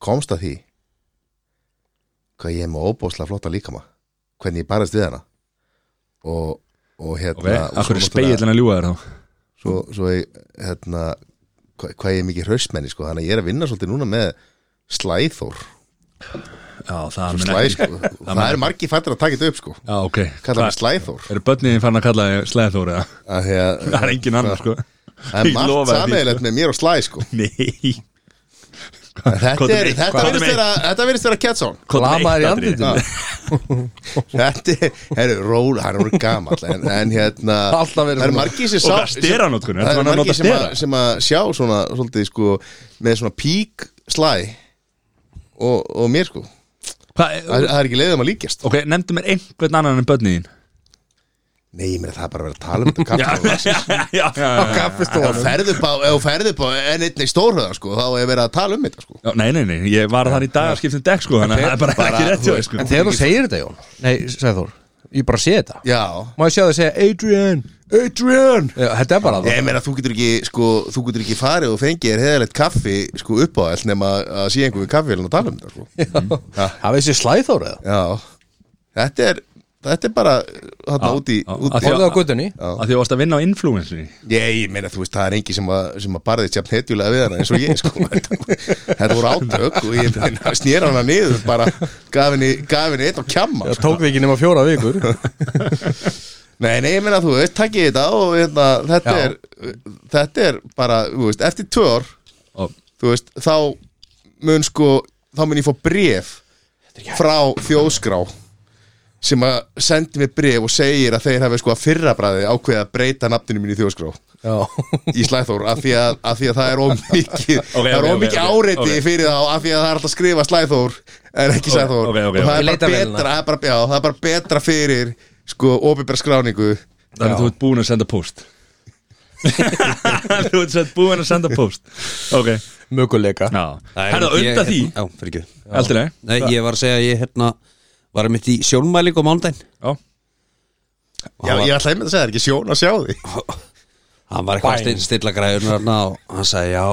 Speaker 3: komst að því hvað ég er með óbóðslega flotta líkama hvernig ég barist við hana og, og
Speaker 1: ok,
Speaker 3: hérna og
Speaker 1: akkur er
Speaker 3: svo náttúrulega-
Speaker 1: speillin að ljúga þér þá
Speaker 3: svo, svo ég, hérna hvað, hvað ég er mikið hraustmenni sko þannig að ég er að vinna svolítið núna með slæþór
Speaker 1: Já, það er
Speaker 3: slæ, sko. það er margi fættir að taka þetta upp sko
Speaker 1: Já, ok,
Speaker 3: kalla hann slæþór
Speaker 1: eru börniðin fann að kalla þig slæðþóri eða?
Speaker 3: Af því að-
Speaker 1: Það er engin annar, sko
Speaker 3: það er
Speaker 1: Ég lofa því,
Speaker 3: margt
Speaker 1: sko.
Speaker 3: sameigilegt með mér og slæ sko
Speaker 1: Nei,
Speaker 3: þetta,
Speaker 1: Hvað er
Speaker 3: er,
Speaker 1: meitt?
Speaker 3: þetta,
Speaker 1: Hvað er
Speaker 3: virðist
Speaker 1: meitt?
Speaker 3: vera, þetta virðist vera catch on
Speaker 1: hvað er
Speaker 2: Lamaður í
Speaker 1: eitt
Speaker 2: andlitinu.
Speaker 1: atriði?
Speaker 3: Þetta er, herru, ról, hann er orðið gamall en, en hérna,
Speaker 2: Alltaf verið
Speaker 3: það er
Speaker 2: svona.
Speaker 3: margir sem
Speaker 1: Og hvað, steranótkun,
Speaker 3: það
Speaker 1: ertu
Speaker 3: er
Speaker 1: hann að
Speaker 3: margir
Speaker 1: nota
Speaker 3: sem, að,
Speaker 1: stera?
Speaker 3: sem að sjá svona, svolítið sko með svona pík slæ og, og mér sko það,
Speaker 1: Hvað,
Speaker 3: er- það er ekki leiðum að líkjast
Speaker 1: ok, nefndu mér einhvern annan en börniðin
Speaker 3: Nei, mér það er bara að vera að tala um þetta
Speaker 1: Já,
Speaker 3: kaffi
Speaker 1: já, já, já
Speaker 3: Ef þú ferðu upp á, ef þú ferðu upp á enn einni stórhöða sko, þá er verið að tala um þetta sko
Speaker 1: Já, nei, nei, nei, ég var þar í dag að skipta um dekk sko, þannig að það er bara, ekki rétt hjá þér, sko.
Speaker 2: en þegar þú segir þetta Jón nei, Sæþór, ég bara sé þetta
Speaker 3: Já,
Speaker 2: má ég sjá það að segja Adrian
Speaker 1: Adrian
Speaker 2: já, þetta er bara það
Speaker 3: Ég meina þú getur ekki, sko, þú getur ekki farið og fengið þér heðalegt kaffi, sko, upp á all nema að sé einhver við kaffihélun og tala um þetta, sko.
Speaker 2: það veist ég slæþór eða
Speaker 3: Já, þetta er, þetta er bara, þarna út í,
Speaker 1: já,
Speaker 3: út
Speaker 1: að
Speaker 3: í.
Speaker 2: borðið á guttunni
Speaker 1: að því þú varst að vinna á influensinni
Speaker 3: Ég, ég meina, þú veist, það er engi sem að, sem að barðið sér hetjulega við hana eins og ég, sko. Þetta, þetta voru átök og ég meina, snýra hana niður, bara gaf henni, gaf henni eitt á kjamma. sko.
Speaker 2: það tók þig ekki nema fjóra vikur
Speaker 3: Nei, nei, ég meina, þú veist, takkið þetta og hérna, þetta
Speaker 2: Já.
Speaker 3: er, þetta er bara, þú veist, eftir tvö ár,
Speaker 1: og
Speaker 3: þú veist, þá mun sko, þá mun ég fá bref frá þjóðskrá sem að sendi mér bref og segir að þeir hafi sko að fyrra bræði ákveðið að breyta nafninu mínu í þjóðskrá
Speaker 2: Já,
Speaker 3: í Slæþór af því að, af því að það er ómikið
Speaker 1: ok,
Speaker 3: það er
Speaker 1: ok,
Speaker 3: ómikið
Speaker 1: ok,
Speaker 3: áreiti
Speaker 1: ok.
Speaker 3: fyrir þá af því að það er alltaf að skrifa Slæþór en ekki
Speaker 1: Ok,
Speaker 3: Sæþór
Speaker 1: ok, ok,
Speaker 3: og það er
Speaker 2: ok. Ég leita
Speaker 3: bara
Speaker 2: vélina.
Speaker 3: betra það er bara, já, það er bara betra fyrir sko opinbæra skráningu
Speaker 1: Þannig að þú ert búin að senda post Þú ert sett búin að senda post Ok,
Speaker 2: möguleika
Speaker 1: já
Speaker 4: Það er
Speaker 1: Herða,
Speaker 4: ég-
Speaker 1: undan því
Speaker 4: Já, fyrir ekki
Speaker 1: Aldrei
Speaker 4: Nei, ég var að segja að ég hérna var mitt í sjónmæling á mándaginn
Speaker 1: Já,
Speaker 3: já, ég ætla einmitt að segja það er ekki sjón að sjá því
Speaker 4: Hann var eitthvað að stil- stilla græðunar hérna og hann sagði já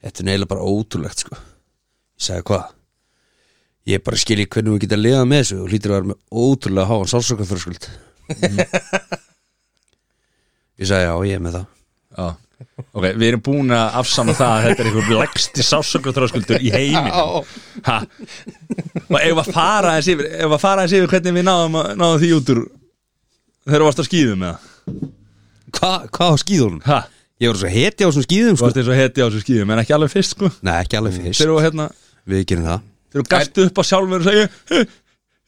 Speaker 4: Þetta er neila bara ótrúlegt sko Ég sagði hvað Ég bara skilji hvernig við geta að liða með þessu og hlýtur að vera með ótrúlega háan sálsöka fyrir skuld Ég sagði já, ég er með það
Speaker 1: já Ok, við erum búin að afsama það að þetta er einhver legsti sásökuþróskuldur í heimin Ha Og ef að fara þess yfir Ef að fara þess yfir hvernig við náðum, að- náðum því út úr Þegar þú varst að skýðum með það
Speaker 4: Hva- Hvað á skýðunum?
Speaker 1: Ha,
Speaker 4: Ég var svo heti á þessum skýðum
Speaker 1: þú
Speaker 4: sko
Speaker 1: varst eins og heti á þessu skýðum En ekki alveg fyrst sko
Speaker 4: Nei, ekki alveg fyrst
Speaker 1: Þegar þú hérna
Speaker 4: Við gerum það
Speaker 1: Þegar þú gastu upp á sjálfur og segja "Ég-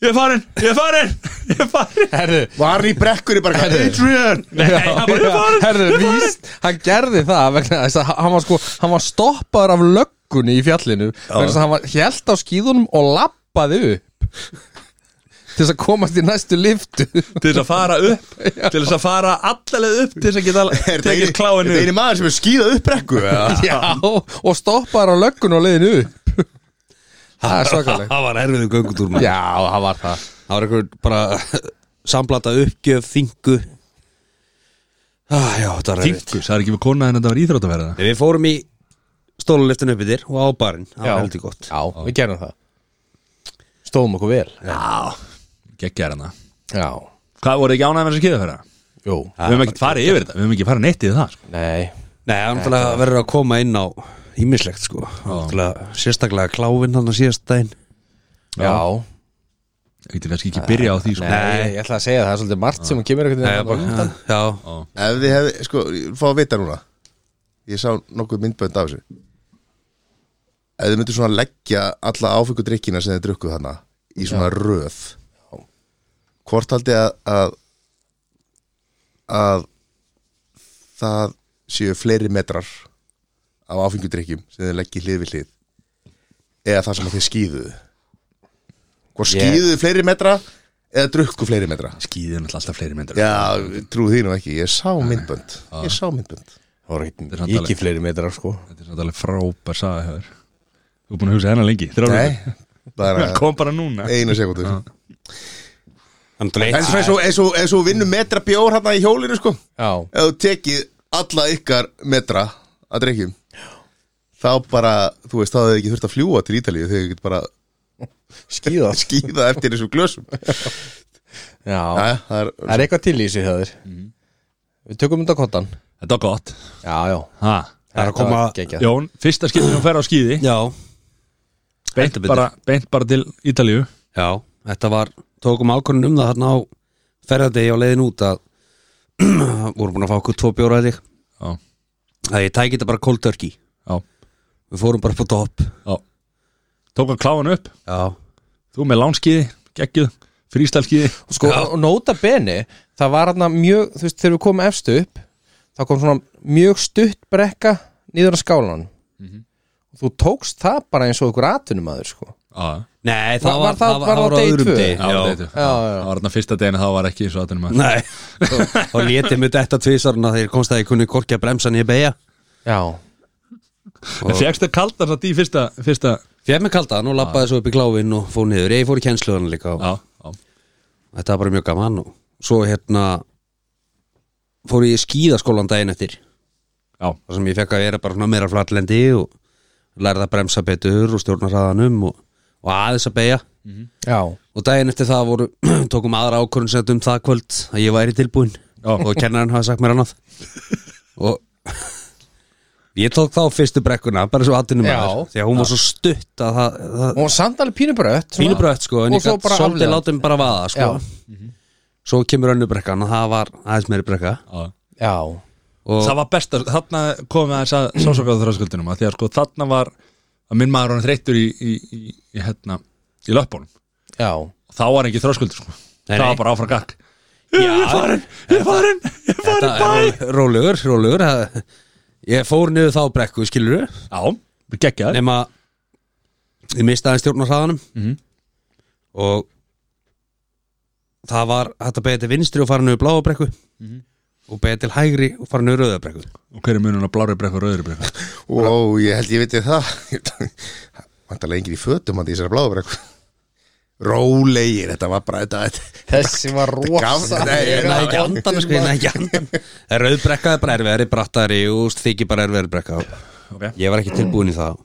Speaker 1: Ég er farin, ég er farin Ég er farin
Speaker 2: Herðu,
Speaker 3: var hann í brekkunni bara Adrian
Speaker 1: Nei, hann bara, ég er farin
Speaker 2: herðu, víst Hann gerði það vegna þess að hann var sko Hann var stoppaður af löggunni í fjallinu vegna þess að hann var hjælt á skíðunum og lappaði upp til þess að komast í næstu liftu
Speaker 1: til þess að fara upp til þess að fara allaleg upp til þess að geta
Speaker 3: er
Speaker 1: tekið kláinu
Speaker 3: eini maður sem er skýðað upp brekku eða?
Speaker 2: Já, og stoppaður af löggunni og leiðinu upp Það er svakalegt
Speaker 4: Það var erfiðu göngutúr maður.
Speaker 2: Já, það var það
Speaker 4: Það var einhver bara samblata uppgjöf, þingu ah, Já, þetta var erfitt
Speaker 1: það er ekki við konaðin að það var íþrótaverða
Speaker 4: Við fórum í stóluliftinu uppi þér og á barinn, það var heldur gott
Speaker 2: Já, við gerum það Stóðum okkur vel
Speaker 1: geggjær hana
Speaker 2: Já,
Speaker 1: hvað voru ekki ánægð með þess að skýða fyrir
Speaker 2: jú,
Speaker 1: við höfum ekki farið yfir þetta við höfum ekki farið neitt í það sko.
Speaker 2: nei
Speaker 4: Nei, það er náttúrulega verður að koma inn á ímislegt sko Náttúrulega sérstaklega kláfinn hann að síðast daginn
Speaker 2: Já,
Speaker 1: ég getur kannski ekki byrja á því sko.
Speaker 2: Nei, ég ætla að segja það, það er svolítið margt sem kemur einhvern
Speaker 4: Já,
Speaker 2: veginn
Speaker 4: bara-
Speaker 2: þarna á undan.
Speaker 4: Já,
Speaker 3: ef þið hefði sko ég fá að vita núna ég sá nokkuð myndbönd af þessu ef þið myndir svona leggja alla áfengu drikkina sem þið drukkuð þarna í svona röð hvort haldið að, að að það séu fleiri metrar af áfengu drikkjum sem þið leggji hlið við hlið eða það sem að þið skýðuðu hvort
Speaker 2: Ég-
Speaker 3: skýðuðu fleiri metra eða drukku fleiri metra
Speaker 1: skýðið er náttúrulega alltaf fleiri myndir
Speaker 3: Já, trú því nú ekki, ég sá myndbönd Ég sá myndbönd
Speaker 2: Það voru
Speaker 1: er samt
Speaker 2: ekki
Speaker 1: alveg-
Speaker 2: ekki fleiri metrar sko
Speaker 1: þetta er samt alveg frábær saga hefur þú er búin að hugsa hennar lengi þrjá
Speaker 3: Nei, bara
Speaker 1: vikur. kom bara núna
Speaker 3: einu sekundu En
Speaker 4: þannig að
Speaker 3: svo eins og- eins og- eins og vinnum metra bjór hérna í hjólinu sko
Speaker 2: Já,
Speaker 3: Ef þú tekið alla ykkar metra að drengjum Þá bara, þú veist, þá hefði ekki þurft að fljúa til Ítalíu Þegar þið getur bara
Speaker 2: skýða
Speaker 3: skýða eftir þessum glösum
Speaker 2: Já,
Speaker 3: Jæja, það er
Speaker 2: það er eitthvað til í sig það er Við tökum þetta kottan
Speaker 1: þetta var gott
Speaker 2: Já, já,
Speaker 1: ha.
Speaker 4: Það er að koma
Speaker 2: geggjað.
Speaker 1: Jón, fyrsta skiptum að færa á skýði
Speaker 4: Já,
Speaker 1: beint
Speaker 4: heldur betur.
Speaker 1: bara, beint bara til Ítalíu
Speaker 4: já, þetta var Tókum ákvörðun um það þarna á ferðardegi á leiðin út að vorum búin að fá okkur tvo bjóra að þig
Speaker 1: já,
Speaker 4: að ég tæki þetta bara cold turkey
Speaker 1: já,
Speaker 4: Við fórum bara upp á topp
Speaker 1: já tók hann kláan upp
Speaker 4: Já,
Speaker 1: Þú með lánskiði, geggjuð, frístælskiði
Speaker 2: Sko, og nota beni, það var hérna mjög Þú veist, þegar við komum efst upp Það kom svona mjög stutt brekka Nýður að skálan Þú tókst það bara eins og ykkur atvinnumadur sko
Speaker 1: Já,
Speaker 4: Nei,
Speaker 2: Var-
Speaker 4: það var,
Speaker 2: var það- var það
Speaker 4: á
Speaker 2: day
Speaker 4: öðrum
Speaker 2: tvö?
Speaker 4: degi.
Speaker 1: já, já, já. Það var þarna fyrsta deginu þá var ekki svo aðtunum að
Speaker 4: Nei, og létið mér þetta tvisarna þegar ég komst um að ég kunni korki að bremsa nýja beigja
Speaker 2: Já,
Speaker 1: En fegstu kaldan satt í fyrsta, fyrsta
Speaker 4: Fjæð mér kaldan og lappaði svo upp í kláfinn og fór niður, ég fór í kennsluðan líka og
Speaker 1: Já, já,
Speaker 4: þetta var bara mjög gaman og svo hérna fór ég í skíðaskólan daginn eftir
Speaker 1: já,
Speaker 4: þar sem ég fekk að vera bara svona meira flatlendi og lærði að bremsa betur og stjórna hraðanum og, og aðeins að beigja
Speaker 2: já,
Speaker 4: og daginn eftir það voru, tókum aðra ákvörðun sem þetta um það kvöld að ég væri tilbúinn
Speaker 1: Já.
Speaker 4: og kennarinn hafa sagt mér annað og ég tók þá fyrstu brekkuna bara svo aðtunum
Speaker 2: Já.
Speaker 4: maður því að hún var svo stutt að það, það
Speaker 2: og samt alveg pínubrött
Speaker 4: fínu brött sko
Speaker 2: Og
Speaker 4: en ég
Speaker 2: svo
Speaker 4: gætt
Speaker 2: bara
Speaker 4: svolítið
Speaker 2: afleiðan.
Speaker 4: látum bara vaða sko
Speaker 2: Já.
Speaker 4: svo kemur önnu brekkan og það var aðeins meiri brekka
Speaker 1: já.
Speaker 2: Já,
Speaker 4: og
Speaker 1: Það var best að, þarna komum við aðeins að sásakaðu þröskuldinum að því að sko þarna var að minn maður hann þreyttur í, í, í, í hérna, í löpunum
Speaker 2: já,
Speaker 1: þá var ekki þröskuldur sko.
Speaker 4: Nei,
Speaker 1: það
Speaker 4: nei.
Speaker 1: var bara áfram gakk
Speaker 4: Já.
Speaker 1: ég er farin, ég er farin, ég er farin
Speaker 4: Þetta
Speaker 1: bæ
Speaker 4: er rólegur, rólegur það- Ég fór niður þá brekku, skilur við
Speaker 1: já, við geggjaði
Speaker 4: Nefn að Ég mistaði stjórn á hraðanum
Speaker 1: Mhm.
Speaker 4: Og Það var hægt að beða til vinstri og fara niður bláa brekku Og beða til hægri og fara niður rauða brekku
Speaker 1: og hver er munun á blári brekku og rauðri brekku
Speaker 3: Ó, ég held ég veit það Vantarlega engin í fötum hann í þessari bláðabrekku Rólegir, þetta var bara þetta, þetta
Speaker 2: Þessi var rosa
Speaker 3: Nei,
Speaker 4: Ég
Speaker 3: nei,
Speaker 4: næði ekki andan, sko, ég næði ekki andan Rauð brekka er bara erfiðari, brattari og þykir bara erfiðari brekka
Speaker 1: ok,
Speaker 4: Ég var ekki tilbúin í það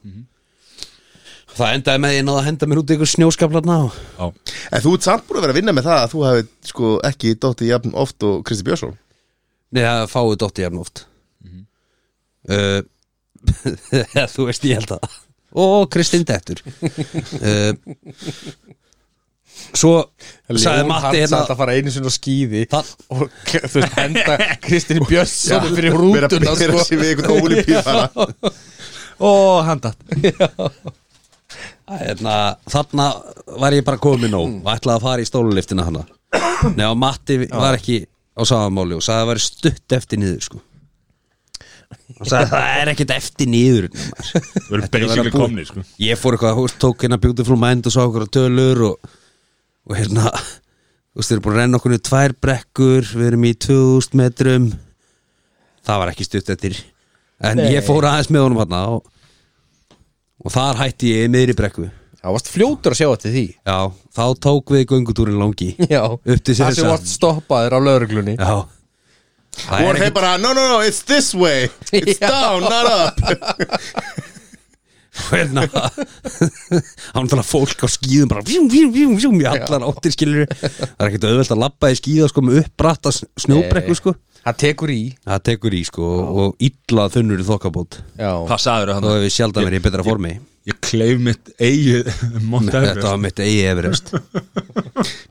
Speaker 4: Það endaði með að ég náði að henda mér út í ykkur snjóskaplarna og
Speaker 1: já
Speaker 3: En þú ert samt búin að vera að vinna með það að þú hefði sko ekki dottið jafn oft og Kristi Björnsson
Speaker 4: Nei, það er fáið dotti jafn oft Mhm. uh, Þú veist, ég held það Ó, Kristinn Dettur uh, Svo sagði Matti hérna
Speaker 2: að fara einu sinni á skýði
Speaker 4: Það-
Speaker 2: og þú veist henda Kristinn Björnsson
Speaker 3: Verið
Speaker 2: fyrir sko.
Speaker 3: að
Speaker 2: rútuna
Speaker 1: sko.
Speaker 3: bera sig við einhvern ólipífara
Speaker 1: og hann datt
Speaker 4: hérna, Þarna var ég bara komin nóg og ætlaði að fara í stóluliftina hana Nei, og Matti var ekki á samamáli og sagði að það væri stutt eftir niður sko. og sagði það er ekkert eftir niður maður."
Speaker 1: við erum
Speaker 4: Þetta er að vera
Speaker 1: basically
Speaker 4: búið.
Speaker 1: komni sko.
Speaker 4: ég fór eitthvað, húst, tók hérna Beautiful Mind og svo okkur á tölur og, og hérna, þú veist, þeir eru búin að renna okkur niður tvær brekkur, við erum í 2000 metrum það var ekki stutt eftir en ég fór aðeins með honum hérna og, og þar hætti ég meðri brekku
Speaker 2: Það varst fljótur að sjá þetta því
Speaker 4: já, þá tók við göngutúrin langi
Speaker 2: Já,
Speaker 4: Upp til
Speaker 2: það sem
Speaker 4: Seyðisfjarðar.
Speaker 2: varst stoppaður á lauruglunni
Speaker 4: já Það er
Speaker 3: Og
Speaker 4: ekki-
Speaker 3: þeir bara, no, no, no, it's this way It's down, not up
Speaker 4: hérna hann þarf fólk á skýðum bara vjum, vjum, vjum, vjum, í allar áttir skilur það er ekkert auðvelt að labba í skýða sko með uppbratta s- snjóbrekku sko
Speaker 2: Það tekur í
Speaker 4: það tekur í sko og illa þunnur í þokkabót
Speaker 2: Já,
Speaker 1: hvað sagður
Speaker 4: þá
Speaker 1: hann
Speaker 4: hefur sjaldan verið í betra formi
Speaker 1: ég kleif mitt eigi Mount
Speaker 4: þetta
Speaker 1: Everest
Speaker 4: var mitt eigi Everest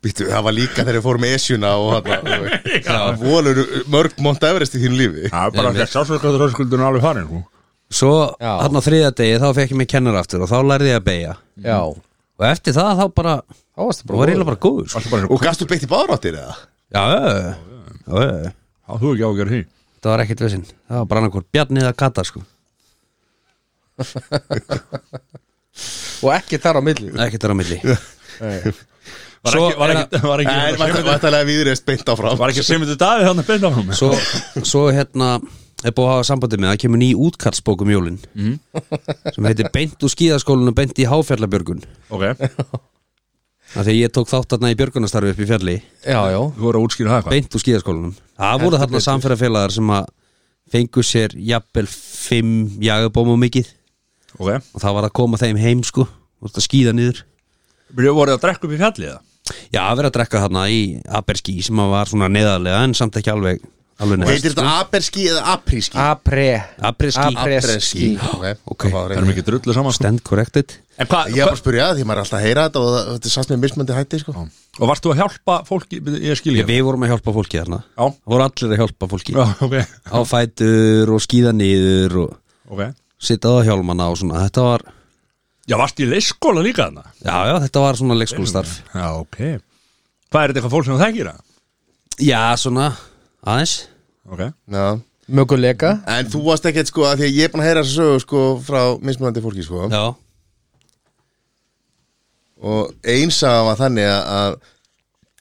Speaker 3: Býttu, það var líka þegar við fórum með Esjuna og hann Volur mörg Mont Everest í þínu lífi
Speaker 1: það er bara ekki að sjálfsvöldkvæður rauðskuldun er alveg farin sko.
Speaker 4: svo
Speaker 2: Já.
Speaker 4: hann á þriða degi þá fekk ég mig kennar aftur og þá lærði ég að beigja
Speaker 2: já
Speaker 4: og eftir það þá bara
Speaker 2: Þá varst það
Speaker 4: það var
Speaker 2: bara
Speaker 4: eiginlega bara góður sko.
Speaker 1: Varstu bara eins
Speaker 3: Og
Speaker 1: og-
Speaker 3: gastu beitt í báráttir eða?
Speaker 4: já, já, já, já, já.
Speaker 1: Á, þú ekki ágjör því
Speaker 4: það var ekkert vesinn það var bara annarkvort bjarni eða kata sko
Speaker 2: Og ekki þar á milli
Speaker 4: ekkert þar á milli
Speaker 1: var
Speaker 4: Svo
Speaker 1: ekki, var
Speaker 4: er
Speaker 1: ekki, var ekki,
Speaker 3: En
Speaker 1: var ekki,
Speaker 3: vantarlega viðreist beint áfram
Speaker 1: var ekki semundu daði þannig að beina á hann
Speaker 4: svo, svo hérna er búið að hafa sambandi með það kemur ný útkallsbók um jólin sem heitir Beint úr skíðaskólinu Beint í háfjallabjörgun
Speaker 1: ok,
Speaker 4: af því að ég tók þátt þarna í björgunastarfi upp í fjalli
Speaker 2: Já, já
Speaker 1: þú voru að útskýra það eitthvað
Speaker 4: Beint úr skíðaskólinum það voru þarna samferðarfélagar sem að fengu sér jafnvel fimm jagabóma mikið
Speaker 1: ok,
Speaker 4: og það var að koma þeim heim sko og þetta skíða niður
Speaker 1: Byrju, voru að drekka upp í fjallið það?
Speaker 4: já, að vera að drekka þarna í Aberski sem að var svona neðarlega en samt ekki alveg alveg neðar
Speaker 3: Heitir þetta aberski eða apríski?
Speaker 2: Apre
Speaker 4: Apreski,
Speaker 2: Apreski
Speaker 4: Ok.
Speaker 1: Það er mikið drullu saman sko.
Speaker 4: stand corrected
Speaker 1: En hvað,
Speaker 3: Ég er bara að spyrja að því maður er alltaf að heyra þetta og það- þetta er satt með mismöndi hætti sko
Speaker 1: og varst þú að hjálpa fólki, ég skil
Speaker 4: Ég,
Speaker 1: ég
Speaker 4: við vorum að hjálpa fólki þarna
Speaker 1: Já.
Speaker 4: Það voru allir að hjálpa fólki
Speaker 1: Já, ok,
Speaker 4: Á fætur og skíða niður og
Speaker 1: ok
Speaker 4: sitta á hjálmana og svona Þetta var,
Speaker 1: Já, varst í leikskóla líka þarna?
Speaker 4: já, já, þetta var svona leikskólastarf
Speaker 1: Já, ok Hvað er þetta eitthvað fólk sem þú þekkir það?
Speaker 4: Já, svona, aðeins
Speaker 1: Ok,
Speaker 3: Já.
Speaker 2: Möguleika
Speaker 3: En þú varst ekkert sko að því að ég er búin að heyra þessa sögu sko frá mismöndi fólki sko
Speaker 4: Já,
Speaker 3: og einsaga var þannig að, að,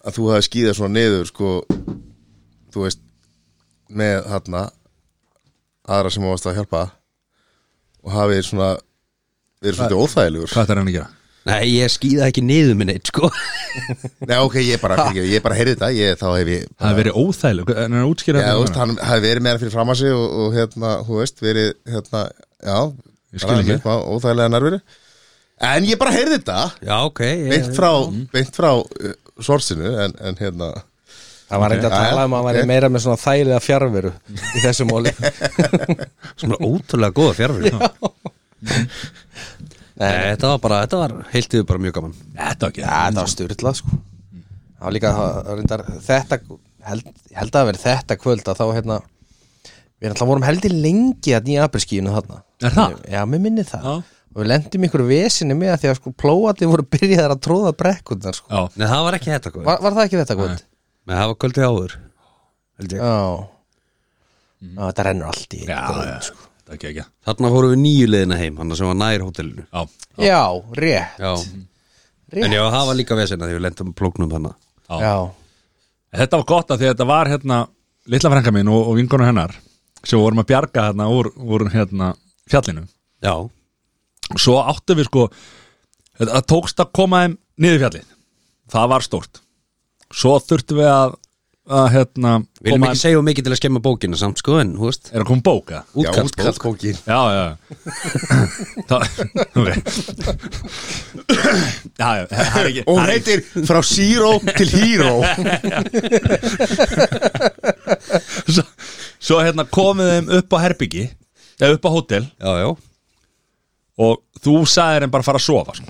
Speaker 3: að þú hafði skýðað svona niður sko, þú veist með þarna aðra sem þú varst að hjálpa og hafið svona verið svolítið óþægilegur
Speaker 1: hvað þetta er hann að gera?
Speaker 4: nei, ég skíða ekki niður minn eitt, sko
Speaker 3: Nei, ok, ég bara, fyrir, ég bara heyrði þetta ég, þá hef ég
Speaker 1: Það hefur verið óþægileg, en hann er útskýra
Speaker 3: Já, þú veist, hann hafi verið meira fyrir fram að sig og, og hérna, þú veist, verið hérna, já,
Speaker 1: Ég skil ekki.
Speaker 3: bara óþægilega nærveri en ég bara heyrði þetta,
Speaker 4: Já, ok ég,
Speaker 3: beint frá beint frá uh, sorsinu, en, en hérna
Speaker 2: Það var reyndi að
Speaker 3: Já, já,
Speaker 2: tala um að hann væri
Speaker 3: ok.
Speaker 2: meira með svona þægilega fjarveru í þessu móli
Speaker 4: Svona ótrúlega góða fjárfyrir Nei, þetta var bara, þetta var heilt yfir bara mjög gaman
Speaker 1: Þetta ekki
Speaker 2: Það var styrlað sko Það var líka það var reyndar þetta held, ég held að það veri þetta kvöld að þá hérna Við erum alltaf vorum heldur lengi að nýja apelskíinu þarna
Speaker 1: Er það?
Speaker 2: Já, mér minni það
Speaker 1: Já.
Speaker 2: og við lendum í ykkur vesinni með að því að sko plóati voru byrjaðar að tróða brekkundar sko.
Speaker 1: Já,
Speaker 4: Nei, það var ekki þetta kvöld
Speaker 2: var, var það ekki þetta gott?
Speaker 4: Nei, það var kvöldið áður held ég.
Speaker 2: Já Já, þetta rennur allt í
Speaker 1: já,
Speaker 2: já,
Speaker 1: já, það er ekki ekki
Speaker 4: Þarna fórum við nýju leiðina heim Þannig sem var nær hótelinu
Speaker 1: Já,
Speaker 2: rétt,
Speaker 4: Já.
Speaker 2: rétt.
Speaker 4: En já, það var líka vesina því við lendum plóknum þannig
Speaker 1: já.
Speaker 2: já,
Speaker 1: Þetta var gott að því að þetta var hérna litla frænka mín og, og vinkonu hennar sem vorum að bjarga hérna úr, úr hérna fjallinu
Speaker 4: Já,
Speaker 1: og svo áttum við sko þetta- það tókst að koma þeim niður fjallið það var stórt svo þurftum við að, að hérna,
Speaker 4: við erum
Speaker 1: koma
Speaker 4: ekki segja of mikið til að skemma bókina samt sko En, hú veist,
Speaker 1: er að koma bóka
Speaker 3: sko.
Speaker 4: útkallsbók
Speaker 3: útkallsbókin
Speaker 1: já, já það, okay. já, já, það er ekki
Speaker 3: Og
Speaker 1: það
Speaker 3: hún
Speaker 1: er ekki-
Speaker 3: heitir frá Zero til Hero
Speaker 1: svo, svo hérna komið þeim upp á herbyggi eða upp á hótel
Speaker 4: Já, já,
Speaker 1: og þú sagðir þeim bara að fara að sofa sko.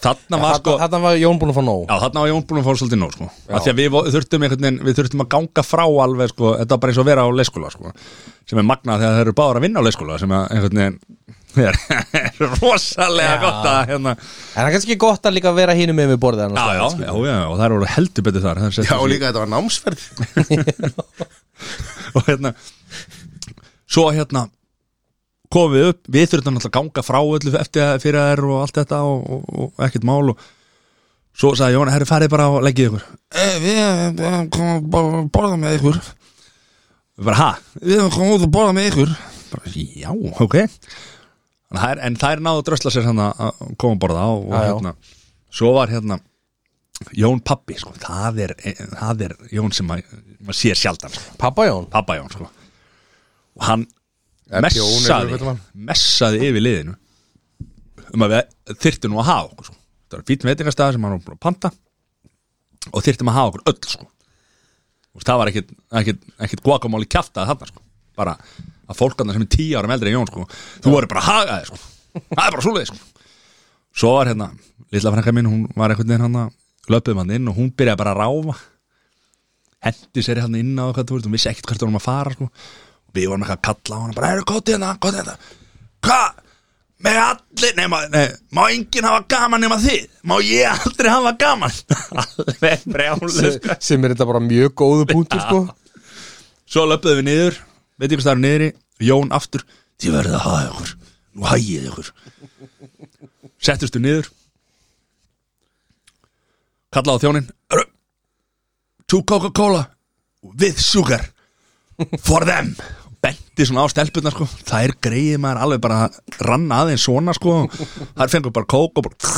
Speaker 1: þarna var sko
Speaker 2: þarna, þarna var Jón búin að fá nóg
Speaker 1: Já, þarna var Jón búin að fóra svolítið nóg, sko Af því að við vo- þurftum einhvern veginn, við þurftum að ganga frá alveg, sko Þetta var bara eins og að vera á leyskóla, sko Sem er magnað þegar þeir eru báður að vinna á leyskóla Sem að einhvern veginn er, er rosalega gott að hérna
Speaker 2: En það er kannski gott að líka vera hínum með við borðið annars
Speaker 1: Já, já,
Speaker 2: staðar,
Speaker 1: já, já, og þær voru heldur betur þar þær settu
Speaker 3: Já, og
Speaker 1: sig-
Speaker 3: líka þetta var námsferð
Speaker 1: Og hérna Svo hérna komum við upp, við þurftum náttúrulega að ganga frá öllu eftir að fyrir þær og allt þetta og, og, og ekkert mál og svo sagði Jón, herri farið bara og leggið ykkur
Speaker 5: Eh, Við erum komið að bor- borða með ykkur
Speaker 1: Við bara, ha,
Speaker 5: Við erum komið út að borða með ykkur
Speaker 1: bara, já, ok en þær, en þær náðu að drösla sér hann að koma að borða á og
Speaker 2: Já, já.
Speaker 1: hérna, svo var hérna Jón Pappi, sko, það er það er Jón sem að- maður sér sjaldan sko.
Speaker 2: Pappa Jón
Speaker 1: Pappa Jón, sko og hann
Speaker 3: Er Jón
Speaker 1: messaði
Speaker 3: eitthvað hvernig hann?
Speaker 1: messaði yfir liðinu um að við þyrftum nú að hafa okkur, sko það var fýtt veitingastæða sem hann var búin að panta og þyrftum að hafa okkur öll, sko og það var ekkit, ekkit, ekkit guacamóli kjaftaði þarna sko. bara að fólkarna sem er tíu árum eldri en Jón sko. þú voru bara að haga þig sko. það er bara svoleiði sko. svo var hérna, litla frænka mín hún var einhvern veginn hann að löpuðum hann inn og hún byrjaði bara að ráfa hendi sér hann inn á hvað þú veist hún vissi ekkert hvert hún var að fara sko. við vorum eitthvað að kalla á hann bara, eru kótið hérna, kótið hérna hvað, með allir nema, nei, má enginn hafa gaman nema þið má ég aldrei hafa gaman alveg brjálu sko.
Speaker 2: Sem er þetta bara mjög góðu punktur sko
Speaker 1: Svo löpðum við niður, veit ykkur staður niðri Jón aftur, þið verðið að hafa ykkur Nú hægið ykkur Settust við niður Kallaði á þjónin "Eru, Two Coca-Cola With sugar For them Benti svona á stelpurnar sko Þær greiði maður alveg bara Ranna aðeins svona sko Þær fengur bara kók og bara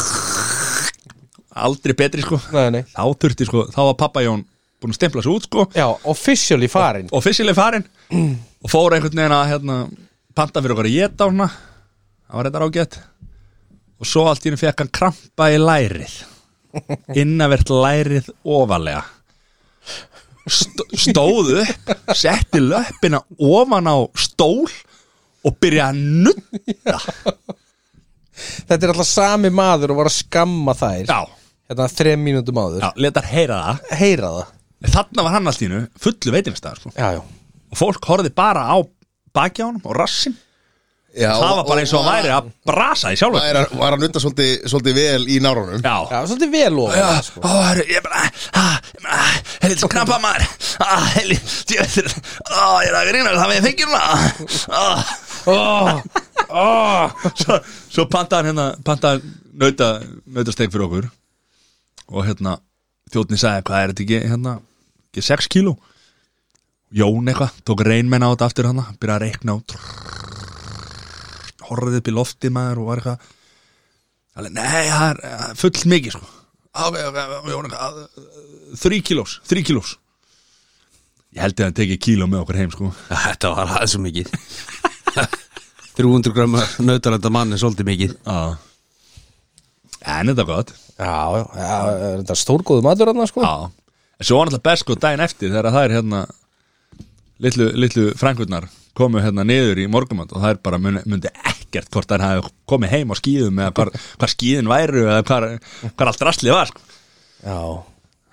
Speaker 1: Aldrei betri sko
Speaker 2: Nei, nei
Speaker 1: Þá þurfti sko, þá var pappa Jón Búin að stempla sig út sko
Speaker 2: Já, officially farin
Speaker 1: officially farin og fór einhvern veginn að hérna, panta fyrir okkar að geta hana það var þetta rágett og svo allt í henni fekk hann krampa í lærið innavert lærið ofalega St stóð upp setti löppina ofan á stól og byrjaði að nutta
Speaker 2: Þetta er alltaf sami maður og var að skamma þær
Speaker 1: já,
Speaker 2: Þetta er þrem mínútum áður
Speaker 1: já, letar heyra það
Speaker 2: Heyra það
Speaker 1: en þarna var hann allt í hennu fullu veitingastæðar sko.
Speaker 2: Já, já
Speaker 1: og fólk horfði bara á baki á honum og rassin
Speaker 3: Já,
Speaker 1: það var bara eins og hann væri að brasa í sjálfur
Speaker 3: væri að- Var að nutta svolítið, svolítið vel í nárunum
Speaker 1: já,
Speaker 2: Já, svolítið vel ofan
Speaker 1: Já,
Speaker 2: það, sko.
Speaker 1: ó, herru, ég bara Helvita knappa maður Helvita, ég veit Ó, ég er að grýna, það með ég fengjum það Ó, ó Svo, svo pantaðan hérna Pantaðan nauta, nautasteg fyrir okkur Og hérna Þjóttni sagði, hvað er þetta ekki hérna Ekki 6 kíló Jón eitthvað, tók reynmenn á þetta aftur hana Byrja að reikna á Horfði upp í lofti maður og var eitthvað Alveg, nei, það er eh, full mikið sko Ok, ok, ok, Jón, eitthvað, eh, Þrí kílós, þrí kílós Ég held að hann tekið kíló með okkur heim sko
Speaker 4: þetta var aðeins og mikið 300 gram nautalenda mann er svolítið mikið
Speaker 1: Já En þetta er gott
Speaker 2: Já, já, já, þetta er stórgóðu matur hann sko.
Speaker 1: Já En svo var náttúrulega best sko daginn eftir þegar það er hérna Litlu, litlu frangurnar komu hérna niður í morgumat og það er bara muni, myndi ekkert hvort þær hafi komið heim á skíðum eða hvar, hvar skíðin væru eða hvar, hvar allt rastlið var sko.
Speaker 2: Já,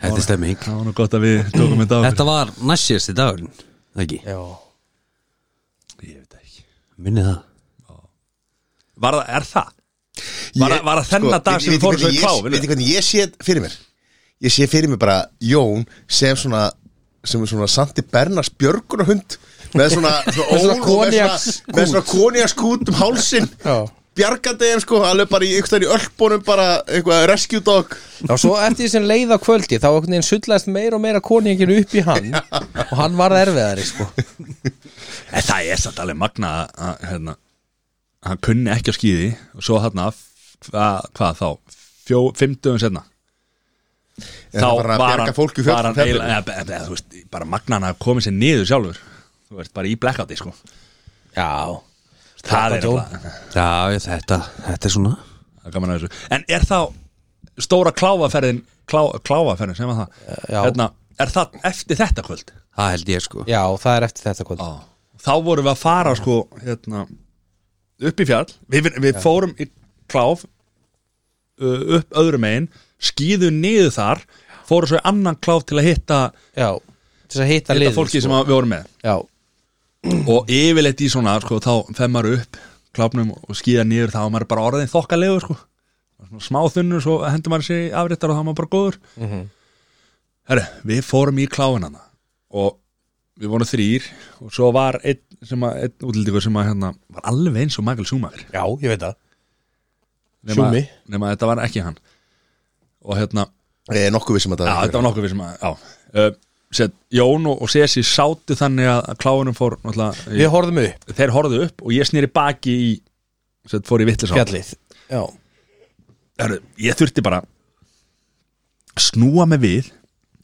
Speaker 4: Þetta er stemming
Speaker 1: Það var nú gott að við tókum þetta á okkur.
Speaker 4: Þetta var næstjæsti dagurinn það ekki,
Speaker 2: já
Speaker 1: Ég veit það ekki
Speaker 4: minni það
Speaker 1: Var það, er það? Var,
Speaker 3: Ég-
Speaker 1: ég, var það þennan
Speaker 3: sko,
Speaker 1: dag sem
Speaker 3: veit-
Speaker 1: við fórum
Speaker 3: veit-
Speaker 1: svo í
Speaker 3: ég-
Speaker 1: plá
Speaker 3: veit ég hvernig ég sé fyrir mér ég sé fyrir mér bara Jón sem svona sem er svona Santi Bernars björgunahund með svona, svona,
Speaker 2: Með svona
Speaker 3: ól og með
Speaker 2: koníakskút.
Speaker 3: svona, með svona koniaskút um hálsin
Speaker 2: Já.
Speaker 3: bjargandi þeim sko alveg bara í einhvern veginn í ölpunum bara eitthvað rescue dog
Speaker 2: Já, svo eftir því sem leið á kvöldi þá einhvern veginn sullaðist meira og meira koningin upp í hann og hann var erfiðari sko.
Speaker 1: En það er samt alveg magna að- að hérna, hann kunni ekki að skýði og svo hann að hvað þá, fjó, fimmtugum setna
Speaker 3: En hann var að bjarga fólki úr fjöllum,
Speaker 1: var hann
Speaker 3: fjallinu.
Speaker 1: eiginlega- eða- eða, þú veist, bara magna hann að koma sér niður sjálfur þú veist, bara í blackouti sko
Speaker 2: Já
Speaker 1: það er
Speaker 2: Jón.
Speaker 1: eitthvað,
Speaker 4: Já, ég- þetta, þetta er svona
Speaker 1: það er gaman að þessu en er þá stóra kláfaferðin klá, kláfaferðin sem var það
Speaker 2: Já.
Speaker 1: hérna, er það eftir þetta kvöld
Speaker 4: Það held ég sko
Speaker 2: Já, það er eftir þetta kvöld
Speaker 1: Já. Þá vorum við að fara sko hérna, upp í fjall Við, við fórum í kláf uh, upp öðrum megin skýðum niður þar fórum svo í annan kláf til að hitta,
Speaker 2: Já, til þess að hitta
Speaker 1: hitta
Speaker 2: liðið sko.
Speaker 1: fólki sem að við vorum með
Speaker 2: Já,
Speaker 1: og yfirleitt í svona sko, þá fer maður upp kláfnum og skýða niður þá er maður bara orðin þokkalegu sko. Svona smá þunnur svo hendur maður sér í afréttar og þá er maður bara góður Herru, við fórum í kláfinana og við vorum þrýr og svo var einn, sem að- einn útlýtingur sem að hérna var alveg eins og Michael Schumacher
Speaker 2: já ég veit það
Speaker 1: nema,
Speaker 2: Schumi.
Speaker 1: nema þetta var ekki hann og hérna,
Speaker 3: ég er Eh, nokkuð vissum að
Speaker 1: já,
Speaker 3: það
Speaker 1: þetta var nokkuð við sem að já, uh, set, Jón og, og Sessi sátu þannig að kláfinum fór náttúrulega í-
Speaker 2: Við horfðum upp
Speaker 1: þeir horfðu upp og ég snýri baki í set, fór í vittlisá
Speaker 2: fjallið Já,
Speaker 1: Herru, ég þurfti bara snúa mig við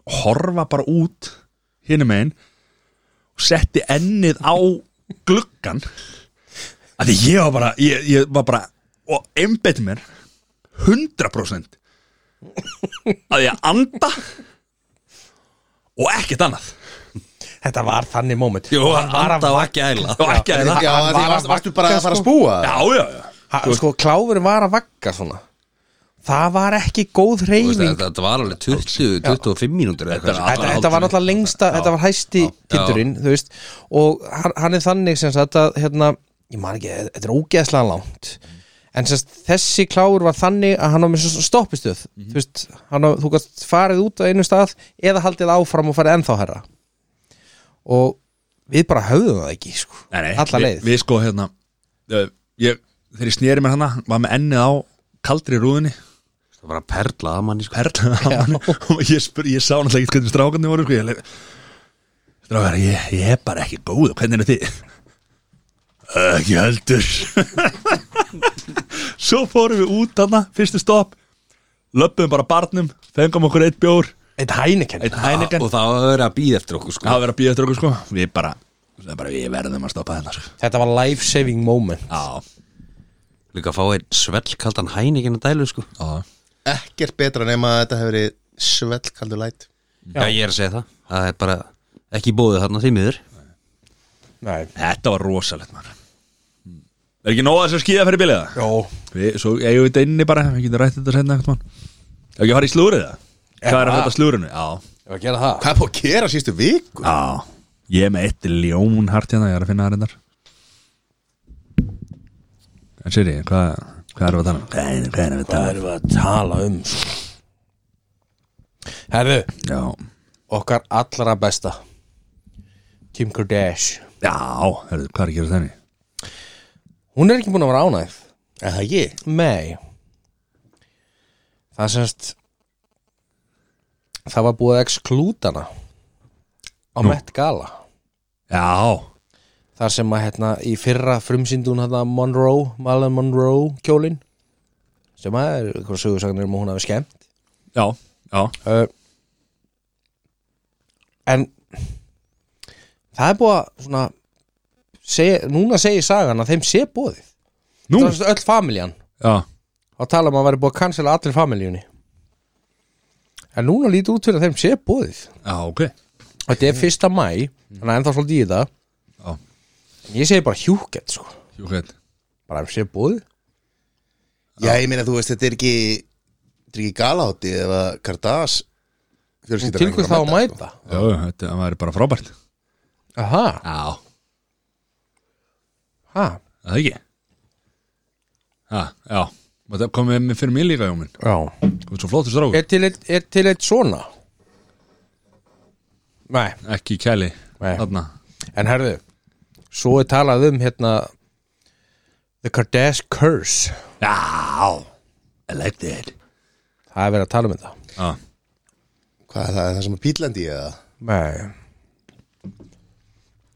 Speaker 1: horfa bara út hinum einn og setti ennið á gluggan að því ég var bara ég, ég var bara og einbeitt mér 100% að ég anda og ekkert annað
Speaker 2: þetta var þannig moment
Speaker 1: Jú,
Speaker 2: Hann var að
Speaker 4: anda og
Speaker 2: vagga-
Speaker 4: ekki æla.
Speaker 1: og ekki
Speaker 3: já,
Speaker 1: annað já,
Speaker 3: því
Speaker 2: hann var
Speaker 3: varst-
Speaker 2: að
Speaker 3: varstu bara
Speaker 2: vagga,
Speaker 3: að fara að
Speaker 2: sko.
Speaker 3: spúa
Speaker 1: já, já
Speaker 2: Ha, Sko, kláfurinn var að vagga svona Það var ekki góð
Speaker 4: Þú veist,
Speaker 2: reyfing
Speaker 4: Þetta þetta var alveg 20, 25 mínútur eða
Speaker 1: Þetta
Speaker 4: eitthvað
Speaker 1: er
Speaker 4: sem-
Speaker 1: allt-
Speaker 2: Þetta, þetta var
Speaker 4: Alla hálftíma.
Speaker 2: náttúrulega lengsta, þetta var hæsti tindurinn, þú veist, og hann, hann er þannig sem sagt að, hérna, ég man ekki, þetta er ógeðslega langt, en sem sagt, þessi kláur var þannig að hann á með svo svona stoppistöð, þú veist, hann á, þú gætt farið út á einu stað eða haldið áfram og farið ennþá herra og við bara höfðum það ekki, sko,
Speaker 1: Nei, nei,
Speaker 2: alla
Speaker 1: við-
Speaker 2: leið,
Speaker 1: Við sko hérna uh, ég, Þegar ég sneri mér hana Var með ennið á kaldri rúðinni
Speaker 4: Það var að perla að manni sko
Speaker 1: Perla á manni Og ég, spur, ég sá náttúrulega ekki hvernig strákandi voru sko, ég, leik, Strákar, ég, ég er bara ekki góð Hvernig eru þið? "Eh, Ekki heldur Svo fórum við út hana Fyrstu stopp Löppum bara barnum Fengum okkur eitt bjór
Speaker 2: eitt hænikenn,
Speaker 1: Eitt hænikan
Speaker 4: Og það var að vera að býða eftir okkur sko
Speaker 1: Það var verið að býja eftir okkur sko Við bara, það er bara Við verðum að stoppa þetta sko
Speaker 2: þetta var life saving moment,
Speaker 1: Já,
Speaker 4: Líka að fá einn svellkaldan hæningin að dælu sko
Speaker 1: já
Speaker 3: ekkert betra nema að þetta hefur verið svellkaldur læt
Speaker 4: Já, ég er að segja það Það er bara ekki bóðið þarna því miður
Speaker 2: nei,
Speaker 1: Þetta var rosalegt maður Er ekki nóg að þessu skíða fyrir biliða?
Speaker 2: jó,
Speaker 1: Við, svo eigum við þetta inni bara, við getum rætt þetta senna ekkert mann Ef ekki að fara í slúrið það? Hvað er að fara í slúrinu? Já,
Speaker 2: ég var að gera það,
Speaker 3: hvað er búið að gera sístu viku?
Speaker 1: já Ég er með eitt ljón hart hérna, ég er að finna það reyndar En Siri, hvað, hvað erum við að tala um? Hvað er- Hvað erum við að
Speaker 2: það
Speaker 1: tala um?
Speaker 2: erum við að tala um, sko. Herðu,
Speaker 1: Já,
Speaker 2: okkar allra besta Kim Kardashian
Speaker 1: já, hörðu, hvað er að gera þenni?
Speaker 2: hún er ekki búin að vera ánægð
Speaker 3: Er það ekki?
Speaker 2: nei það semst það var búið að exklúta hana á Met Gala
Speaker 1: Já,
Speaker 2: þar sem að hérna í fyrra frumsýndun hérna Monroe, Malin Monroe kjólin sem að er eitthvað sögursagnir um að hún hafi skemmt
Speaker 1: já, já
Speaker 2: uh, en það er búið að svona segja, núna segir sagan að þeim sé búið
Speaker 1: Nú,
Speaker 2: það er öll familjan
Speaker 1: já,
Speaker 2: þá tala um að væri búið að cancela allir familjunni en núna lítur út fyrir að þeim sé búið
Speaker 1: já, ok
Speaker 2: þetta er fyrsta mæ þannig að ennþá svolítið í það
Speaker 1: Já,
Speaker 2: ég segi bara hjúkett sko
Speaker 1: jú, hvað
Speaker 2: bara að þeim sé búið
Speaker 3: Já, ég meina þú veist, þetta er ekki þetta er ekki galahátti eða Kardas fjölskyldan
Speaker 2: til hvað þá að
Speaker 3: sko.
Speaker 2: mæta
Speaker 1: Já, þetta væri bara frábært
Speaker 2: aha,
Speaker 1: Já,
Speaker 2: ha
Speaker 1: það ekki ha, já, Og það komið með fyrir mig líka Jómin,
Speaker 2: Já
Speaker 1: þú ert svo flottur strákur
Speaker 2: Er til eitt, er til eitt svona? Nei,
Speaker 1: ekki í kæli,
Speaker 2: Nei.
Speaker 1: þarna
Speaker 2: en herðu Svo er talað um hérna The Kardash Curse
Speaker 1: já, I like that
Speaker 2: Það er verið að tala um þetta
Speaker 1: já,
Speaker 3: Hvað er það, er það sem er pítlandi eða?
Speaker 2: Nei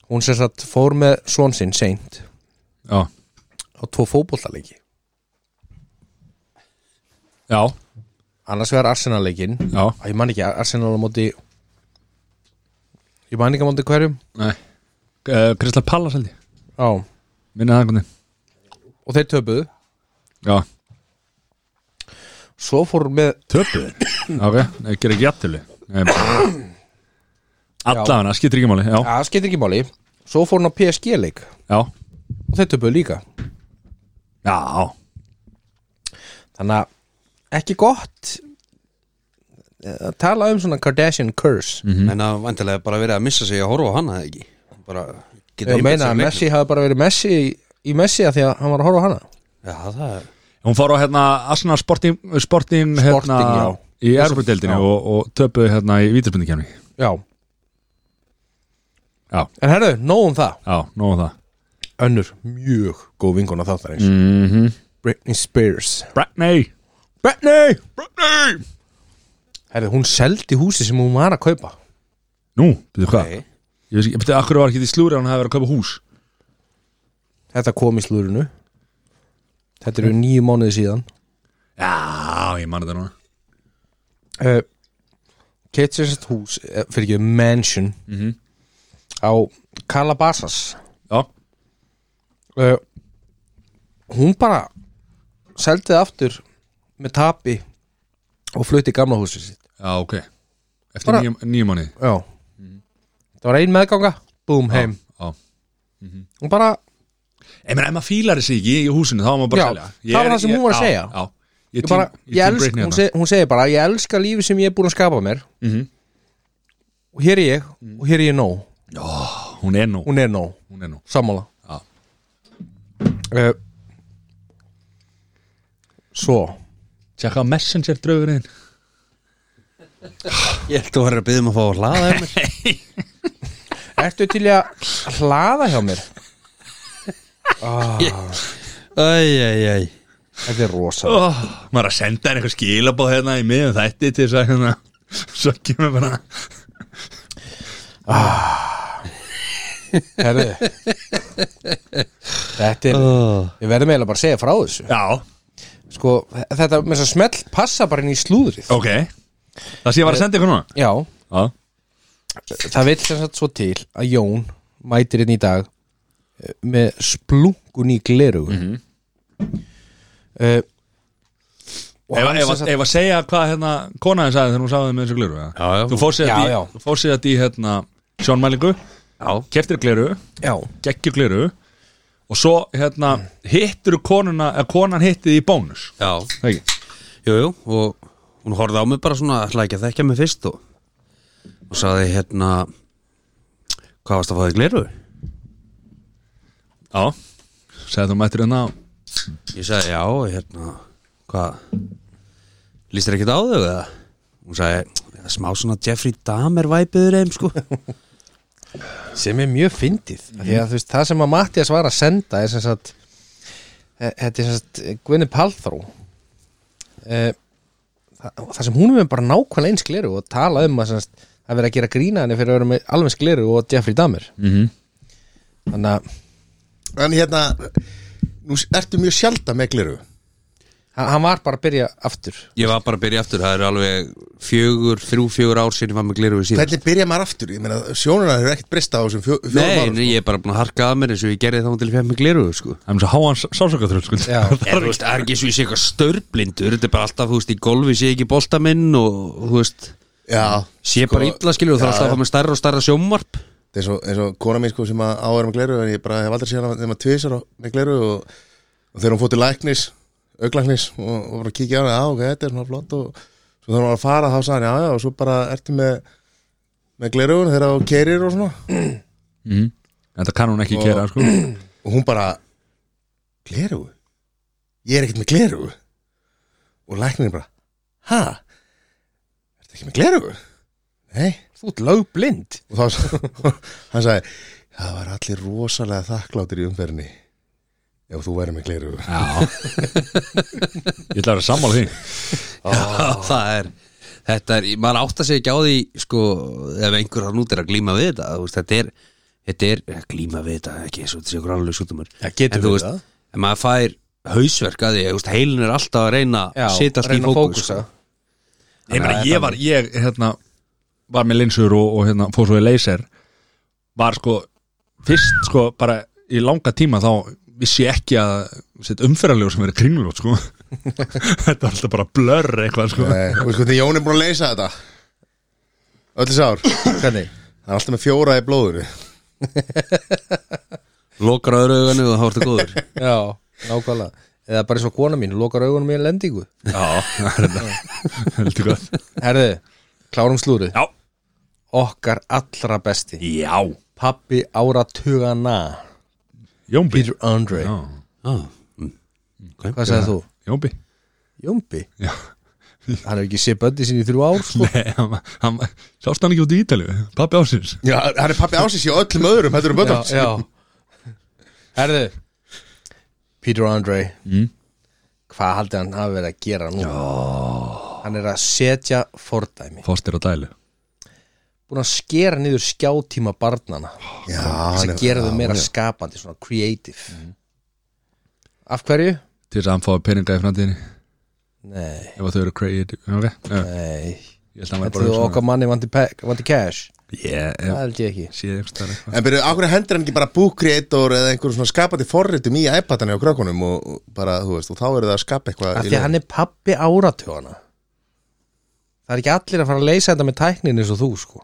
Speaker 2: Hún sem sagt fór með svon sinn seint
Speaker 1: já,
Speaker 2: á tvo fótbollaleiki
Speaker 1: já,
Speaker 2: annars vegar Arsenal-leikin
Speaker 1: já
Speaker 2: Æ, ég man ekki Arsenal á móti ég man ekki á móti hverjum
Speaker 1: nei uh, Kristall Pallas held ég,
Speaker 2: á.
Speaker 1: minna það einhvern
Speaker 2: og þeir töpuðu
Speaker 1: veginn já,
Speaker 2: svo fór hún með
Speaker 1: töpuður ok, nei, gera ekki jættölu allafana, skiptir ekki máli já,
Speaker 2: að skiptir ekki máli svo fór hún á PSG-leik
Speaker 1: já,
Speaker 2: og þeir töpuðu líka
Speaker 1: já
Speaker 2: þannig að ekki gott að tala um svona Kardashian curse
Speaker 4: en það vantilega bara verið að missa sig að horfa á hana eða ekki bara geta
Speaker 2: ég
Speaker 4: einbeitt
Speaker 2: meina
Speaker 4: sér
Speaker 2: að
Speaker 4: að
Speaker 2: Messi hafi bara verið Messi í, í Messi að því að hann var að horfa á hana
Speaker 4: leiknum. já það er
Speaker 1: Hún fór á hérna Arsenal Sporting, Sporting, hérna,
Speaker 2: já.
Speaker 1: í Erfudeldinu
Speaker 2: Já.
Speaker 1: og, og töpuðu hérna í Vítarspundikjæmi
Speaker 2: já
Speaker 1: Já.
Speaker 2: en herðu, nóg um það
Speaker 1: Já, nóg um það
Speaker 2: önnur mjög góð vinkona þáttarins
Speaker 1: mm -hmm.
Speaker 2: Britney Spears
Speaker 1: Bratney
Speaker 2: Britney! Britney! Herði, hún seldi húsi sem hún var að kaupa
Speaker 1: Nú, betur hvað?
Speaker 4: Nei.
Speaker 1: Ég veist ekki, betur akkur var ekki því slúri að hún hefði verið að kaupa hús
Speaker 2: Þetta kom í slúrinu Þetta eru nýju mánuði síðan
Speaker 1: Já, ég man þetta núna
Speaker 2: uh, Keitt sér sett hús eh, fyrir ekki, mansion
Speaker 1: Mhm.
Speaker 2: á Calabasas
Speaker 1: Já,
Speaker 2: uh, Hún bara seldi það aftur með tapi og flutti í gamla húsið sitt
Speaker 1: já, ok Eftir
Speaker 2: Bara-
Speaker 1: Bara... nýjum mánuði
Speaker 2: Já Það var ein meðganga, búm, heim
Speaker 1: Mhm. Já, já.
Speaker 2: Hún bara,
Speaker 1: Ég meina, ef maður fílar þessi ekki í húsinu, þá var maður bara
Speaker 2: Já,
Speaker 1: að selja
Speaker 2: það
Speaker 1: Ég
Speaker 2: var
Speaker 1: er-
Speaker 2: það sem
Speaker 1: ég-
Speaker 2: hún var að
Speaker 1: já,
Speaker 2: segja.
Speaker 1: Já,
Speaker 2: ég, bara,
Speaker 1: team-
Speaker 2: ég
Speaker 1: team
Speaker 2: elsk,
Speaker 1: Britney
Speaker 2: hún,
Speaker 1: þarna.
Speaker 2: seg, hún segir bara ég elska lífi sem ég er búin að skapa mér
Speaker 1: Mhm.
Speaker 2: og hér er ég og hér er ég nóg,
Speaker 1: Hún er nú,
Speaker 2: hún er nóg
Speaker 1: hún er nú
Speaker 2: sammála
Speaker 1: Já.
Speaker 2: uh, svo
Speaker 1: Tjekka á messenger draugurinn
Speaker 4: ég ætti að vera að byggja um að fá að hlaða hjá mér.
Speaker 2: ertu til í að hlaða hjá mér
Speaker 4: æj, æj, æj
Speaker 2: þetta er rosa
Speaker 1: oh, maður er að senda henni eitthvað skilabóð hérna í miðum þætti til þess að hérna, svo kemur bara
Speaker 2: Herðu. þetta er við verðum eiginlega bara að segja frá þessu
Speaker 1: já,
Speaker 2: sko, þetta með þess að smell passa bara inn í slúðrið
Speaker 1: ok það sé ég var að senda ykkur núna
Speaker 2: já,
Speaker 1: já,
Speaker 2: það vill sem sagt svo til að Jón mætir inn í dag eh, með splungun í gleru mm -hmm. uh, og
Speaker 1: Mhm. ef,
Speaker 2: hann
Speaker 1: ef, ef,
Speaker 2: sem sagt-
Speaker 1: að segja hvað hérna konaðin sagði þegar hún sagði með þessu gleru já,
Speaker 4: já.
Speaker 1: þú fór sér
Speaker 2: Já,
Speaker 1: að
Speaker 2: já.
Speaker 1: í- þú fór sér að í hérna sjónmælingu,
Speaker 4: já
Speaker 1: keftir gleru
Speaker 2: já,
Speaker 1: geggjur gleru og svo hérna hittur konuna, eða konan hittið í bónus
Speaker 4: já
Speaker 1: það ekki,
Speaker 4: Jú, jú, og hún horfði á mig bara svona ætlaði ekki að þekkja mig fyrst og, og sagði hérna hvað varst að fá þig gleru?
Speaker 1: já sagði þú mættir hérna á
Speaker 4: Ég sagði já, hérna hvað, líst þér ekkert á þau eða? Hún sagði, "Ja, smá svona Jeffrey Dahmer væpiður eim sko
Speaker 2: sem er mjög fyndið mm því að þú veist, það sem að Mattias var að senda er sem sagt eh, þetta er sem sagt Gvinni Palþró uh, það, það sem hún er með bara nákvæmlega eins gleru og tala um að sem sagt, að vera að gera grína henni fyrir að vera með alveg eins gleru og Jeffrey Dahmer
Speaker 1: mm
Speaker 3: Mhm.
Speaker 1: -hmm.
Speaker 2: þannig að
Speaker 3: En hérna, nú ertu mjög sjaldan með gleru
Speaker 2: hann, hann var bara að byrja aftur
Speaker 4: Ég var bara að byrja aftur, það eru alveg fjögur, þrjú, fjögur ár sinni var með gleru við síðan
Speaker 3: Hvernig byrja maður aftur? Ég meina, sjónuna er ekkert breysta á þessum fjó,
Speaker 4: Nei,
Speaker 3: fjórum árum
Speaker 4: nei, ég er bara búin að harka að mér eins og ég gerði þá til fjæm með gleru sko
Speaker 1: það er svo háan sásökaþröld sko.
Speaker 2: Já.
Speaker 4: Ég, þú veist, það er ekki eins og ég sé eitthvað störblindur Þetta er bara alltaf, þú veist, í golfi sé ég ekki boltaminn og, þú veist,
Speaker 3: Já,
Speaker 4: sé
Speaker 3: Sko,
Speaker 4: bara illa skilur og það er alltaf að fá með stærra og stærra sjómvarp
Speaker 3: það er svo, eins og kona mín sko sem að áverða með gleru en ég bara hef aldrei séð hana þegar maður tvisar með gleru og, og þegar hún fótt til læknis auglæknis og, og bara kíkja á hana já ok, þetta er svona flott og svo þegar hún var að fara þá sagði hann já já og svo bara ertu með með glerugun þegar hún kerir og svona
Speaker 1: en það kann hún ekki
Speaker 3: Og-
Speaker 1: gera sko.
Speaker 3: og hún bara gleru? ég er ekkert með gleru og læknirinn bara ha, ertu ekki með gleru? nei
Speaker 2: Þú ert lögblind
Speaker 3: og þá hann sagði það var allir rosalega þakklátir í umferðinni ef þú væri með gleru
Speaker 1: Já Ég ætla að vera sammála því
Speaker 4: það er þetta er, maður átt að segja ekki á því sko, ef einhver hann út er að glíma við þetta þú veist, þetta er, þetta er eh, glíma við þetta ekki eins og þetta sé okkur alveg sjúkdumur
Speaker 1: Já, getur
Speaker 4: en þú
Speaker 1: við
Speaker 4: veist,
Speaker 1: það?
Speaker 4: en maður fær hausverk að því, þú veist, heilin er alltaf að reyna að setjast í
Speaker 2: reyna að
Speaker 4: fókus
Speaker 2: fókusa.
Speaker 4: sko.
Speaker 1: Ég meina, ég var, ég, hérna var með linsur og, og hérna, fór svo í laser var sko fyrst sko bara í langa tíma þá vissi ég ekki að set, umferðarlegu sem verið kringljót sko Þetta var alltaf bara blörr eitthvað sko
Speaker 3: Nei, og sko því Jón er búin að leysa þetta öll þessi ár
Speaker 2: Hvernig?
Speaker 3: hann er alltaf með fjóra í blóður
Speaker 4: lokar öðru auganu og þá ertu góður
Speaker 2: Já, nákvæmlega Eða bara eins og kona mín, lokar augunum í en lendingu
Speaker 1: Já, það er þetta Heldur gott
Speaker 2: Herðu, klárum slúrið
Speaker 1: Já,
Speaker 2: Okkar allra besti
Speaker 1: já
Speaker 2: Pappi áratugana
Speaker 1: Jómbi
Speaker 2: Peter Andre
Speaker 1: Já,
Speaker 4: ah,
Speaker 2: mm. Hvað sagði þú?
Speaker 1: Jómbi
Speaker 2: Jómbi?
Speaker 1: Já.
Speaker 2: Hann hefur ekki sé böndi sín í þrjú ár sko.
Speaker 1: Nei, hann, hann, sást hann ekki út í Ítalju Pappi ásins
Speaker 3: já, hann er pappi ásins í öllum öðrum þetta eru
Speaker 2: Já,
Speaker 3: bötans
Speaker 2: já Herðu Peter Andre
Speaker 1: Mm.
Speaker 2: Hvað haldið hann hafi verið að gera nú? Já. Hann er að setja fordæmi
Speaker 1: Fostir á dælu
Speaker 2: Búin að skera niður skjátíma barnana
Speaker 3: já,
Speaker 2: Þess
Speaker 3: hann
Speaker 2: að
Speaker 3: er-
Speaker 2: gera þau meira
Speaker 3: já.
Speaker 2: skapandi Svona creative Af hverju?
Speaker 1: Til þess að hann fái peninga í framtíðinni
Speaker 2: Nei,
Speaker 1: Ef að þau eru creative okay. Nei,
Speaker 2: nei
Speaker 1: Ég held að hann væri
Speaker 2: Þetta
Speaker 1: bara
Speaker 2: er okkar manni vanti, pe- vanti cash
Speaker 1: Ég
Speaker 2: Það
Speaker 1: yeah,
Speaker 2: held ég ekki
Speaker 1: sé einhvers þar eitthvað
Speaker 3: en byrju, akkur hendur hann ekki bara book creator eða einhverjum svona skapandi forritum í iPadana hjá krakunum og og bara, þú veist, og þá eru það að skapa eitthvað
Speaker 2: Af
Speaker 3: í
Speaker 2: því að hann er pappi áratugana Það er ekki allir að fara að leysa þetta með tæknin eins og þú sko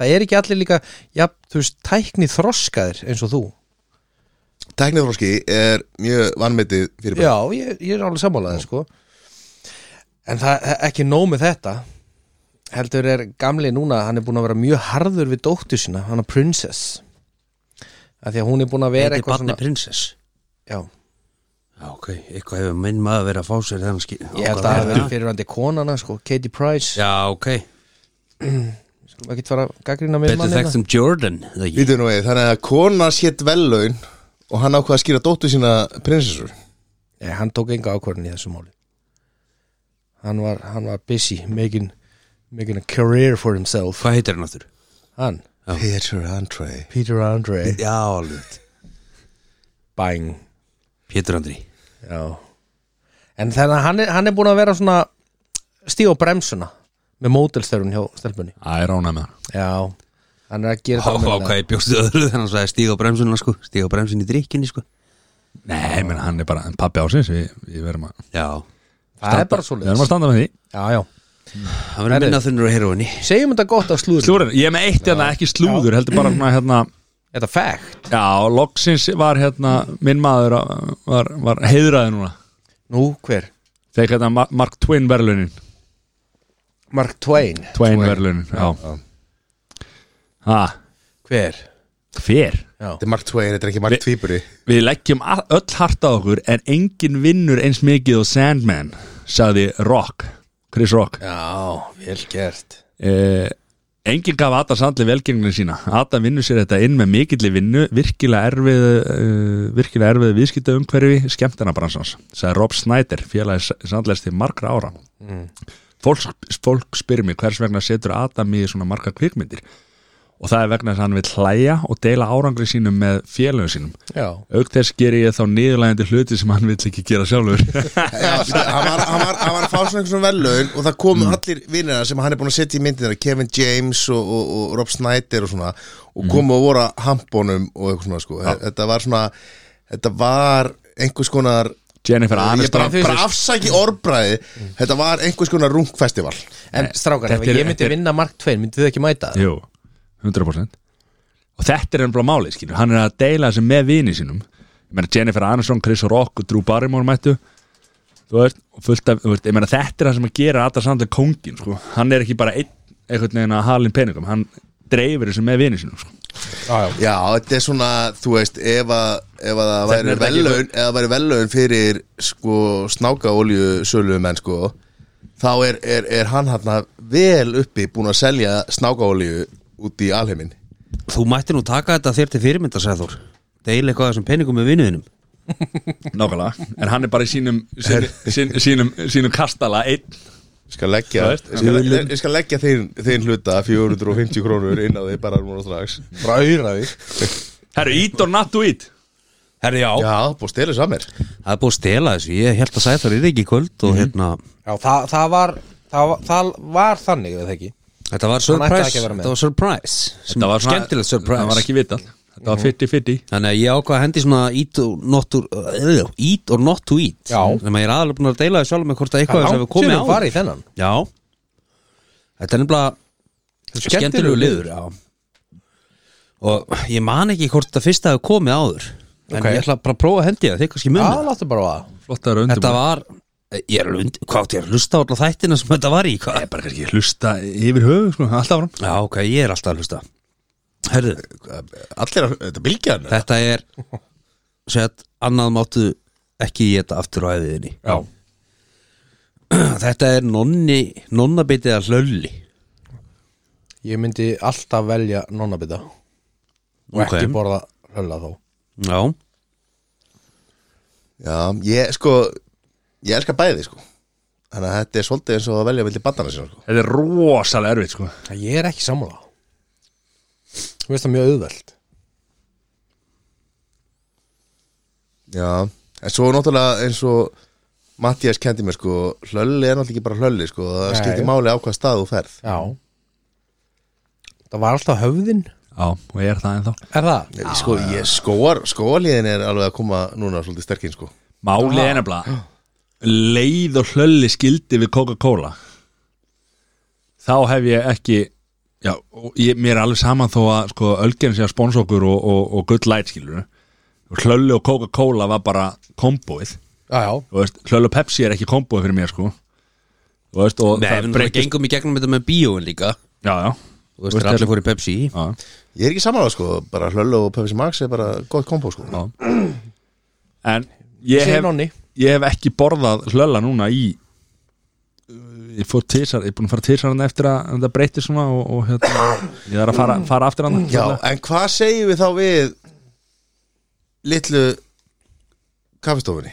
Speaker 2: Það er ekki allir líka, já, þú veist, tækni þroskaðir eins og þú
Speaker 3: leiðinni. tæknifróski er mjög vannmetið fyrir
Speaker 2: Já, ég, ég er alveg sammálaðið sko En það er ekki nóg með þetta Heldur er gamli núna, hann er búin að vera mjög harður við dóttur sína, hann er princess Af því að hún er búin að vera
Speaker 4: þetta er
Speaker 2: eitthvað
Speaker 4: barni
Speaker 2: svona
Speaker 4: prinsess
Speaker 2: Já,
Speaker 4: Já, ok, eitthvað hefur minn maður verið að fá sér þennan skil
Speaker 2: ég held að það hafi verið fyrirvændi konana sko, Katie Price,
Speaker 4: Já, ok,
Speaker 2: maður getur fara að gaggrina með
Speaker 4: betur þekkt um Jordan eða ekki?
Speaker 3: Vítum nú við, þannig að kona sétt vellaun og hann ákvað að skýra dóttu sína prinsessur
Speaker 2: Nei, hann tók enga ákvörðin í þessu máli Hann var, hann var busy making, making a career for himself
Speaker 4: Hvað heitir hann aftur?
Speaker 2: Hann,
Speaker 3: Peter Andre
Speaker 2: Peter Andre
Speaker 4: Já, alveg
Speaker 2: Bang
Speaker 4: Pétur Andri
Speaker 2: Já En þannig að hann er, hann er búin að vera svona stíð á bremsuna með mótelstörun hjá stelpunni
Speaker 1: Það er ánæg með hann
Speaker 2: Já, hann er að gera
Speaker 4: Há,
Speaker 2: það
Speaker 4: há, hvað ég bjóstu öðru þannig að sagði stíg á bremsunna sko Stíg á bremsunni í drikkinni sko
Speaker 1: Nei, ég meina hann er bara en pappi ásins Við, við verum að
Speaker 4: Já
Speaker 2: Það er bara svo
Speaker 1: Við verum að standa með því
Speaker 2: Já, já
Speaker 4: Það verður minna þunnur á heroinni
Speaker 2: Segjum þetta gott af slúður
Speaker 1: Slúrin, ég er með eitt hérna ekki slúður Heldur bara svona hérna
Speaker 2: Þetta er fact
Speaker 1: Já, loksins var hérna Minn maður að- var, var heiðraði núna
Speaker 2: Nú, hver?
Speaker 1: Þegar hérna Ma- Mark Twain verðlunin
Speaker 2: Mark Twain
Speaker 1: Twain, verðlunin, já Ha,
Speaker 2: Hver?
Speaker 1: hver?
Speaker 2: Já,
Speaker 3: Þetta er Mark Twain, þetta er ekki Mark
Speaker 1: Vi-
Speaker 3: Tvíburi
Speaker 1: Við leggjum a- öll hart á okkur en engin vinnur eins mikið og Sandman sagði Rock, Chris Rock
Speaker 2: já vel gert
Speaker 1: eh, Engin gaf Adam Sandler velgengni sína Adam vinnur sér þetta inn með mikilli vinnu virkilega erfið uh, virkilega erfið viðskipta umhverfi skemmtanabransans, sagði Rob Snyder félagi Sandlers til margra ára
Speaker 3: Mm.
Speaker 1: fólk, fólk spyrir mig hvers vegna setur Adam í svona marga kvikmyndir og það er vegna þess að hann vil hlæja og deila árangri sínum með félögum sínum
Speaker 2: Já
Speaker 1: auk þess gerir ég þá niðurlægandi hluti sem hann vill ekki gera sjálfur
Speaker 3: Já, hann var, hann, var, hann var að fá svona einhversum vellaun og það komu allir vinnina sem hann er búin að setja í myndina Kevin James og, og, og Rob Snyder og svona og komu að voru að hampónum og eitthvað svona sko Þetta var svona, þetta var einhvers konar
Speaker 1: Jennifer
Speaker 3: Ég bara,
Speaker 1: Aniston
Speaker 3: bara afsæki orðbræði Þetta var einhvers konar rungfestival
Speaker 2: En strákar, ef
Speaker 1: þetta er-
Speaker 2: ég myndi
Speaker 1: þetta er-
Speaker 2: vinna Mark Twain, myndi þið ekki mæta það?
Speaker 1: Jú, 100% Og þetta er ennbla máli, skilur Hann er að deila þessu með vini sínum Ég meina Jennifer Aniston, Chris Rock og Drew Barrymore mættu Þú veist, og fullt af, þú veist Ég meina þetta er það sem að gera Adam Sandler kóngin, sko Hann er ekki bara einn, einhvern veginn að halin peningum Hann dreifir þessu með vini sínum, sko
Speaker 6: já,
Speaker 3: Já, þetta er svona, þú veist, ef að, ef að það væri
Speaker 1: er þetta ekki-
Speaker 3: vellaun, eða væri vellaun fyrir sko snáka olju menn sko, þá er, er, er hann hann vel uppi búin að selja snáka olju út í alheimin.
Speaker 4: Þú mætti nú taka þetta þér til fyrirmynda, sagði Þór Deil eitthvað af þessum peningum með vinnuðinum
Speaker 1: Nákvæmlega, en hann er bara í sínum sín, sín, sínum, sínum kastala einn
Speaker 3: Ég skal leggja,
Speaker 1: Þú
Speaker 3: ég
Speaker 1: veist,
Speaker 3: skal, ég skal leggja þeir, þeir hluta 450 krónur inn á því bara núna strax.
Speaker 6: ræra þig
Speaker 1: Herru, ít og natt og ít
Speaker 4: Herri, já,
Speaker 3: Já, búið stelið samir.
Speaker 4: það er búið að stela þessu Ég held að Sæþór er ekki í kvöld og hérna
Speaker 2: Já, það, það, var, það, var- það var þannig, eða ekki
Speaker 4: Þetta
Speaker 2: Hann
Speaker 4: var
Speaker 2: ætti
Speaker 4: surprise,
Speaker 2: ekki að vera með.
Speaker 4: þetta var surprise Sem
Speaker 1: var svona-
Speaker 4: skemmtilegt
Speaker 1: Það var
Speaker 4: surprise
Speaker 1: ekki vitað, þetta var 50-50
Speaker 4: Þannig að ég ákvað að hendi svona eat or not to, uh, eat, or not to eat
Speaker 2: Já.
Speaker 4: Þannig að ég er aðalega búin að deila því sjálf með hvort að eitthvað
Speaker 2: Það
Speaker 4: þess að við komið á
Speaker 2: farið í þennan
Speaker 4: Já Þetta er nefnilega skemmtilegu liður já. Og ég man ekki hvort að fyrsta hafi komið áður En
Speaker 2: Ok.
Speaker 4: ég ætla bara að prófa að hendi það, þið kannski
Speaker 2: Já,
Speaker 4: munið það.
Speaker 2: láttu bara á það
Speaker 1: Flottaður undur
Speaker 4: Þetta var, eh, ég er alveg undir, hvað átti ég er að hlusta á alla þættina sem þetta var í hvað?
Speaker 1: bara kannski hlusta yfir höfu, sko, alltaf áram
Speaker 4: Já, ok, ég er alltaf að hlusta Herðu,
Speaker 3: Allir, að- þetta bylgja hann.
Speaker 4: þetta er Sett, annað máttu ekki geta aftur á æðiðinni
Speaker 6: já,
Speaker 4: Þetta er nonni, nonnabitið að hlölli
Speaker 2: Ég myndi alltaf velja nonnabita Og
Speaker 4: Ok.
Speaker 2: ekki borða hölla þó
Speaker 4: Já,
Speaker 3: Já, ég sko, ég elska bæði sko. Þannig að þetta er svolítið eins og að velja vildi bandana sinna sko.
Speaker 1: Þetta er rosalega erfitt, sko
Speaker 2: Ég er ekki sammála Þú veist það mjög auðveld
Speaker 3: Já, en svo náttúrulega eins og Mattias kendi mér sko Hlölli er náttúrulega ekki bara hlölli sko Það
Speaker 2: Nei.
Speaker 3: skiptir máli á hvað stað þú ferð
Speaker 2: Já Það var alltaf höfðin
Speaker 1: Já, og ég er það ennþá
Speaker 2: Er það?
Speaker 3: Sko, ég skóar, skóarliðin er alveg að koma núna svolítið sterkinn sko
Speaker 1: Málið er nefnilega Leið og hlölli skildi við Coca-Cola Þá hef ég ekki Já, og ég, mér er alveg saman þó að sko, Ölgerinn sé að sponsa okkur og, og, og Good Light skilur Hlölli og Coca-Cola var bara komboið
Speaker 2: Já, já
Speaker 1: Þú veist, Hlölli og Pepsi er ekki komboið fyrir mér, sko Þú veist, og
Speaker 4: Nei,
Speaker 1: það
Speaker 4: við náttúrulega
Speaker 1: breytist
Speaker 4: gengum í gegnum þetta með bíóin líka
Speaker 1: Já, já
Speaker 4: Þú veist, þegar allir fóru í Pepsi
Speaker 1: Já,
Speaker 3: Ég er ekki samanlega sko, bara hlölli og Pepsi Max er bara gott kombo sko
Speaker 1: Já. En ég
Speaker 2: Segir
Speaker 1: hef,
Speaker 2: Nonni.
Speaker 1: ég hef ekki borðað hlölla núna í ég fór tísar, ég er búin að fara tísar hann eftir að þetta breytir svona og, og hérna, ég þarf að fara, fara aftur hann
Speaker 3: Já, en hvað segjum við þá við litlu kaffestofunni?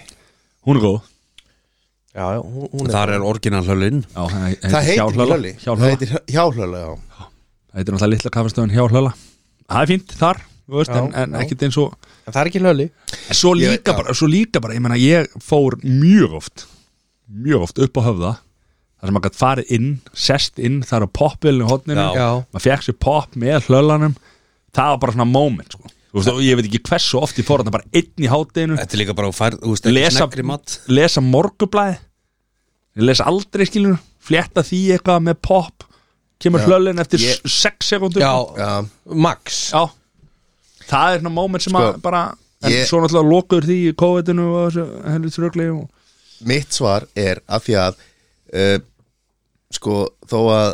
Speaker 1: hún er góð
Speaker 2: Já, já, hún, hún er
Speaker 4: Þar er orginal hlöllin
Speaker 1: já, það heitir
Speaker 3: Það heitir
Speaker 1: Hjá
Speaker 3: ekki hlölli
Speaker 1: hjá
Speaker 3: Það
Speaker 1: hlölla,
Speaker 3: heitir hjá hlölli, já
Speaker 1: það heitir náttúrulega litla kaffastöðun hjá hlölla það er fínt þar, þú veist,
Speaker 2: Já,
Speaker 1: en, en
Speaker 2: já.
Speaker 1: ekkert eins og
Speaker 2: En það er ekki hlölli
Speaker 1: en svo
Speaker 3: Ég-
Speaker 1: líka,
Speaker 3: já.
Speaker 1: bara, svo líka bara, ég meina ég fór mjög oft mjög oft upp á höfða þar sem maður gætt farið inn, sest inn þar á poppilinu hodninu
Speaker 4: Já.
Speaker 1: maður fekk sér pop með hlölanum það var bara svona moment sko. Þú veist, og ég veit ekki hversu oft ég fór þarna bara einn í hátdeinu
Speaker 4: Þetta er líka bara að færa, þú veist, ekki
Speaker 1: lesa,
Speaker 4: snakri mat
Speaker 1: lesa morgublaði ég les aldrei skilur flétta því eitthvað með pop kemur hlölin eftir
Speaker 3: Ég-
Speaker 1: yeah. 6 sekundur
Speaker 2: Já,
Speaker 3: Já.
Speaker 2: Max
Speaker 1: Já. það er svona moment sem
Speaker 3: Sko,
Speaker 1: að bara en
Speaker 3: ég-
Speaker 1: svo náttúrulega lokuður því í COVID-inu og þessu helvits rögli og...
Speaker 3: mitt svar er af því að uh, sko þó að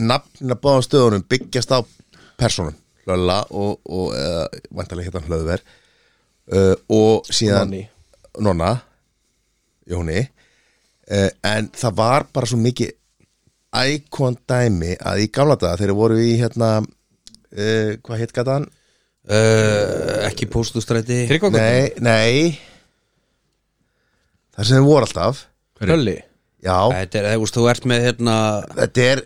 Speaker 3: nafnina báðan stöðunum byggjast á personum Lalla og, og uh, vantarlega hérna Hlöðver uh, og síðan
Speaker 2: Nonni.
Speaker 3: Nonna Jóni uh, en það var bara svo mikið ækon dæmi að í gamla daga þegar voru í hérna uh, hvað hétt gata hann?
Speaker 4: uh, Ekki póstustræti
Speaker 2: Tryggvagötu
Speaker 3: Nei, nei þar sem þeir voru alltaf
Speaker 2: Hlölli
Speaker 3: Já,
Speaker 4: Þetta er, eh, þú veist, þú ert með hérna
Speaker 3: þetta er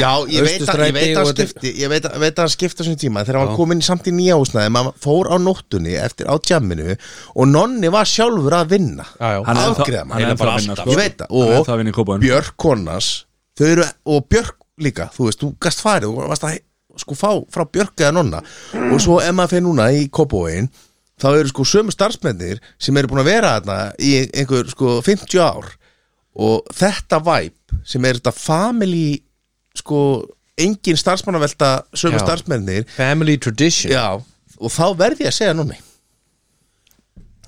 Speaker 3: Já, ég veit að ég
Speaker 4: Austurstræti
Speaker 3: veit að hann
Speaker 4: og þetta-
Speaker 3: skipti ég veit, að- veit að hann skipti á sinni tíma þegar hann var komin samt í nýja húsnaði maður fór á nóttunni eftir á tjamminu og nonni var sjálfur að vinna
Speaker 2: Já, já.
Speaker 1: Hann er ennþá-
Speaker 3: afgriða
Speaker 1: hann er
Speaker 3: maður
Speaker 1: ennþá að vinna, sko.
Speaker 3: ég veit
Speaker 1: Hann er ennþá að vinna í
Speaker 3: það og
Speaker 1: Kópavoginum.
Speaker 3: Björk konas þau eru og Björk líka þú veist, þú gast farið og varst að sko fá frá Björk eða nonna og svo ef maður fyrir núna í Kópóin þá eru sko sömu starfsmennir sem eru búin að vera þarna í einhver sko 50 ár og þetta væp sem er þetta family sko engin starfsmannavelta sömu
Speaker 2: Já.
Speaker 3: starfsmennir
Speaker 2: Family tradition
Speaker 3: já, og þá verð ég að segja nonni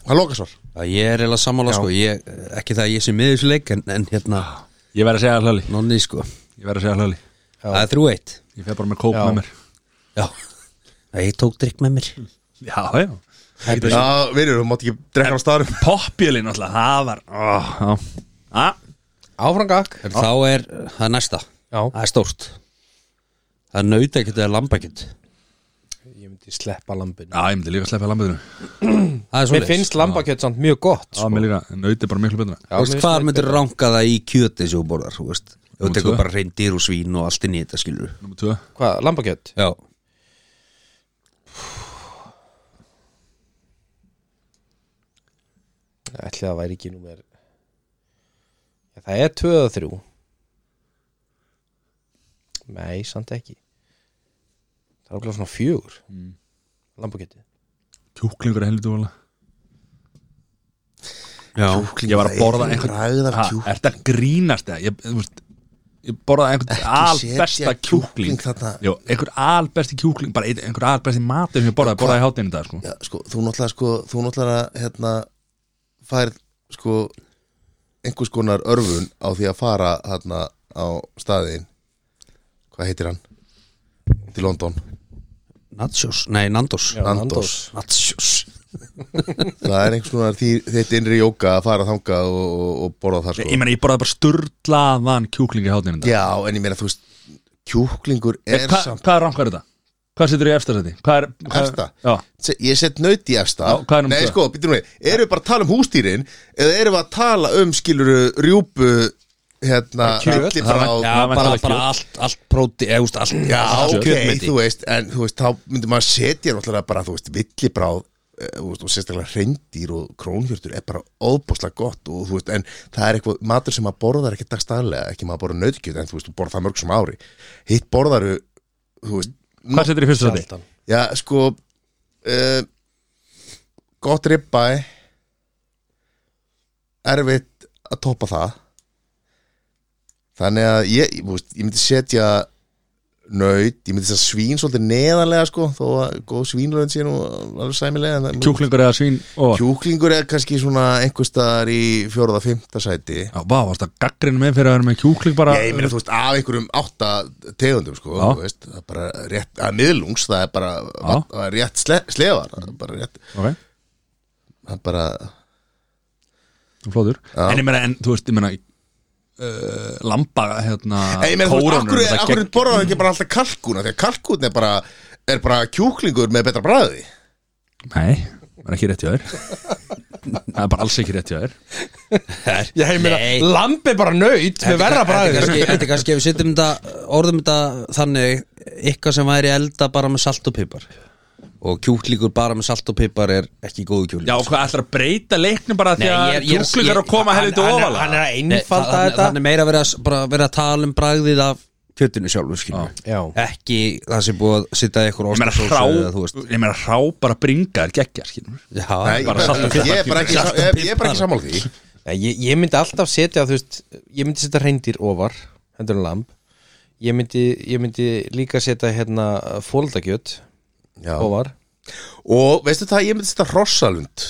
Speaker 3: hann loka svar
Speaker 4: að Ég er eiginlega sammála, sko ég, Ekki það að ég sé miður þessu leik En, en hérna,
Speaker 1: ég verð að segja hlöli
Speaker 4: nonni, sko
Speaker 1: ég verð að segja hlöli
Speaker 4: Það er þrjú eitt
Speaker 1: ég fer bara með kóp
Speaker 2: Já.
Speaker 1: með mér
Speaker 4: Já Nei, ég tók drikk með mér
Speaker 1: Já, já
Speaker 4: Hæpið
Speaker 3: Já, verður, þú mátt ekki drekka á staðarum
Speaker 1: Poppjölin alltaf, það var oh, Já, ah,
Speaker 2: Áfrangak
Speaker 4: Þá er, það er næsta
Speaker 2: Já.
Speaker 4: Það er stórt Það er nautakjöt eða lambakjöt
Speaker 2: Ég myndi sleppa lambinu
Speaker 1: já ég myndi líka að sleppa lambiðinu Já,
Speaker 4: Það er
Speaker 2: Mér
Speaker 4: svoleiðis.
Speaker 2: finnst lambakjöt samt mjög gott sko.
Speaker 1: mér líka, nauti bara miklu betra
Speaker 4: Þú veist, hvað myndir ranka það í kjöti sem þú borðar, þú veist Þú
Speaker 1: Númer
Speaker 4: tekur
Speaker 1: tvö.
Speaker 4: bara reyndir og svín og allt inn í þetta skilur
Speaker 1: Númer tvö
Speaker 2: Hvað, lambakjöt?
Speaker 4: Já
Speaker 2: Ætli það væri ekki númer Já, Það er tvö og þrjú Nei, samt ekki Það er okkur svona fjögur mm. Lambakjöti
Speaker 1: Kjúklingur er helviti vola
Speaker 4: Já,
Speaker 1: Ég var að borða einhvern
Speaker 3: Ræðar
Speaker 1: Ha,
Speaker 3: kjúkling
Speaker 1: Ertu að grínast eða? Ég, þú veist, ég borðaði einhvern albesta
Speaker 3: setja
Speaker 1: kjúkling,
Speaker 3: kjúkling þarna.
Speaker 1: Jó, einhvern albesti kjúkling bara einn- einhvern albesti matur sem ég borðaði borðaði hátinn í dag sko.
Speaker 3: Já, sko, þú náttúrulega, sko, þú náttúrulega, hérna færð, sko einhvers konar örfun á því að fara hérna á staðin Hvað heitir hann? Til London
Speaker 4: Natsjós, nei, Nandos
Speaker 2: Já,
Speaker 3: Nandos.
Speaker 4: Natsjós
Speaker 3: Það er einhvers konar því, þitt innri jóka að fara þangað og, og, og borða það,
Speaker 1: Ég,
Speaker 3: sko
Speaker 1: ég meina, ég borðaði bara sturlaðan kjúkling í hátinn í dag
Speaker 3: Já, en ég meina, þú veist kjúklingur er
Speaker 1: Eh, hva,
Speaker 3: samt
Speaker 1: Hvað rankar þetta? Hvað setur í efsta seti? Hvað er, hvað,
Speaker 3: Efsta?
Speaker 1: Já,
Speaker 3: Se- Ég set nöyt í efsta
Speaker 1: Já, hvað er númer
Speaker 3: Nei,
Speaker 1: tvö?
Speaker 3: sko, býtum við Erum við bara að tala um hústýrin Eða erum við að tala um, skiluru, rjúpu Hérna,
Speaker 2: kjöt.
Speaker 3: allir
Speaker 1: Það
Speaker 3: frá
Speaker 1: var-
Speaker 4: Já,
Speaker 1: var
Speaker 4: bara,
Speaker 1: alveg
Speaker 4: bara allt, allt próti eða, úst, allt,
Speaker 3: Já,
Speaker 4: allt
Speaker 3: ok,
Speaker 4: kjötmeti.
Speaker 3: þú veist En, þú veist, þá myndum maður setja náttúrulega bara, þú veist, villibráð eh, þú veist, og sérstaklega hreindýr og krónhjörtur er bara óbúslega gott og þú veist, en það er eitthvað matur sem maður borðar ekki dagstæðlega, ekki maður borðar nautkjöt en þú veist, þú borðar það mörg sem ári hitt borðaru, þú veist
Speaker 1: Hvað setur í fyrsta seti?
Speaker 2: Sjaldan
Speaker 3: Já, sko uh, Gott ribbæ Erfitt að toppa það Þannig að ég, ég, þú veist, ég myndi setja Naut, ég myndi setja svín svolítið neðanlega sko Þó að góð svínlöðin sé nú alveg sæmilega en það-
Speaker 1: Kjúklingur eða svín og
Speaker 3: Kjúklingur er kannski svona einhver staðar í fjóraða, fimmta sæti
Speaker 1: Já, vá, varst það gaggrinn með fyrir að vera með kjúkling bara
Speaker 3: Ég meina, þú veist, af einhverjum átta tegundum, sko,
Speaker 1: Já.
Speaker 3: þú veist, það er bara rétt, að miðlungs, það er bara
Speaker 1: Já.
Speaker 3: það er rétt sle, slefar, það er bara rétt,
Speaker 1: Ok,
Speaker 3: það er bara,
Speaker 1: þú er flóður
Speaker 3: Já.
Speaker 1: En ég meina, en þú veist, ég meina uh, Lamba, hérna
Speaker 3: Nei, ég meina, þú veist,
Speaker 1: kórónur,
Speaker 3: akkur,
Speaker 1: það
Speaker 3: akkur
Speaker 1: gegn-
Speaker 3: borðaðu ekki bara alltaf kalkuna, því að kalkun er bara, er bara kjúklingur með betra bræði.
Speaker 1: Nei, það er ekki rétt hjá þér Það er bara alls ekki rétt hjá þér
Speaker 2: Já, ég meina,
Speaker 4: Nei.
Speaker 2: lamb er bara nöyt með verra
Speaker 4: Þetta er
Speaker 2: bræði
Speaker 4: kannski- Þetta er kannski ef við setjum þetta orðum þetta þannig eitthvað sem væri elda bara með salt og pipar og kjúklíkur bara með salt og pipar er ekki góðu kjúklíkur
Speaker 1: Já, hvað ætlar að breyta leiknum bara því
Speaker 4: Nei,
Speaker 1: að
Speaker 4: ég er- ég er-
Speaker 1: kjúklingar
Speaker 4: ég-
Speaker 1: að koma
Speaker 2: hann-
Speaker 1: helviti
Speaker 2: hann-
Speaker 1: ofala
Speaker 2: hann er að
Speaker 4: Nei,
Speaker 2: einfalda
Speaker 4: það-
Speaker 2: þetta.
Speaker 4: Þannig meira verið að, bara verið að tala um bragðið af kjötinu sjálfu skilur
Speaker 2: Já.
Speaker 4: Ekki það sem búið að sitta eitthvað
Speaker 1: Ég meina
Speaker 4: ostasósu eða þú veist
Speaker 1: hrá Ég meina hrá bara bringa er geggjar, skilur
Speaker 4: Já,
Speaker 3: Nei, ég
Speaker 1: bara
Speaker 3: bara-
Speaker 1: salt og pipar,
Speaker 3: ég er bara ekki,
Speaker 4: salt og
Speaker 3: ég ég er bara
Speaker 4: pipar.
Speaker 3: ekki sammála því.
Speaker 2: Nei, ég, ég myndi alltaf setja þú veist, ég myndi setja reyndir ofar hendur en lamb ég myndi, ég myndi líka setja hérna fóldakjöt
Speaker 3: Já.
Speaker 2: ofar
Speaker 3: Og veistu það, ég myndi setja hrossalund,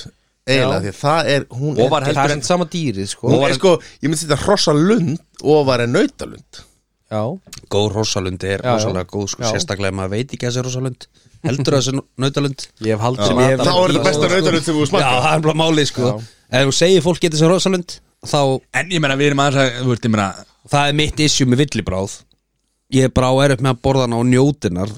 Speaker 3: eiginlega,
Speaker 2: Já.
Speaker 3: því að það er, hún er,
Speaker 1: Ofar
Speaker 2: það
Speaker 1: heldur
Speaker 2: er
Speaker 1: en
Speaker 2: samt sama dýrið sko
Speaker 3: hún er, sko, ég myndi setja hrossalund ofar en nautalund.
Speaker 2: já,
Speaker 4: Góð rosalund
Speaker 2: Já,
Speaker 4: er
Speaker 2: já.
Speaker 4: rosalega góð sko,
Speaker 2: Já.
Speaker 4: Sérstaklega ef maður veit ekki að þessi rosalund Heldur þessi nautalund
Speaker 2: ég hef haldið
Speaker 4: Sem
Speaker 2: mig
Speaker 4: ég-
Speaker 2: að-
Speaker 3: Þá er þetta besta nautalund sem þú
Speaker 4: Já,
Speaker 3: smakka.
Speaker 4: það er bara málið sko Ef þú segir fólk getur sem rosalund Þá,
Speaker 1: En ég meina, við erum aðeins að, þú veist, ég meina
Speaker 4: það er mitt issue með villibráð Ég er bara á erf með að borða hana og njótinar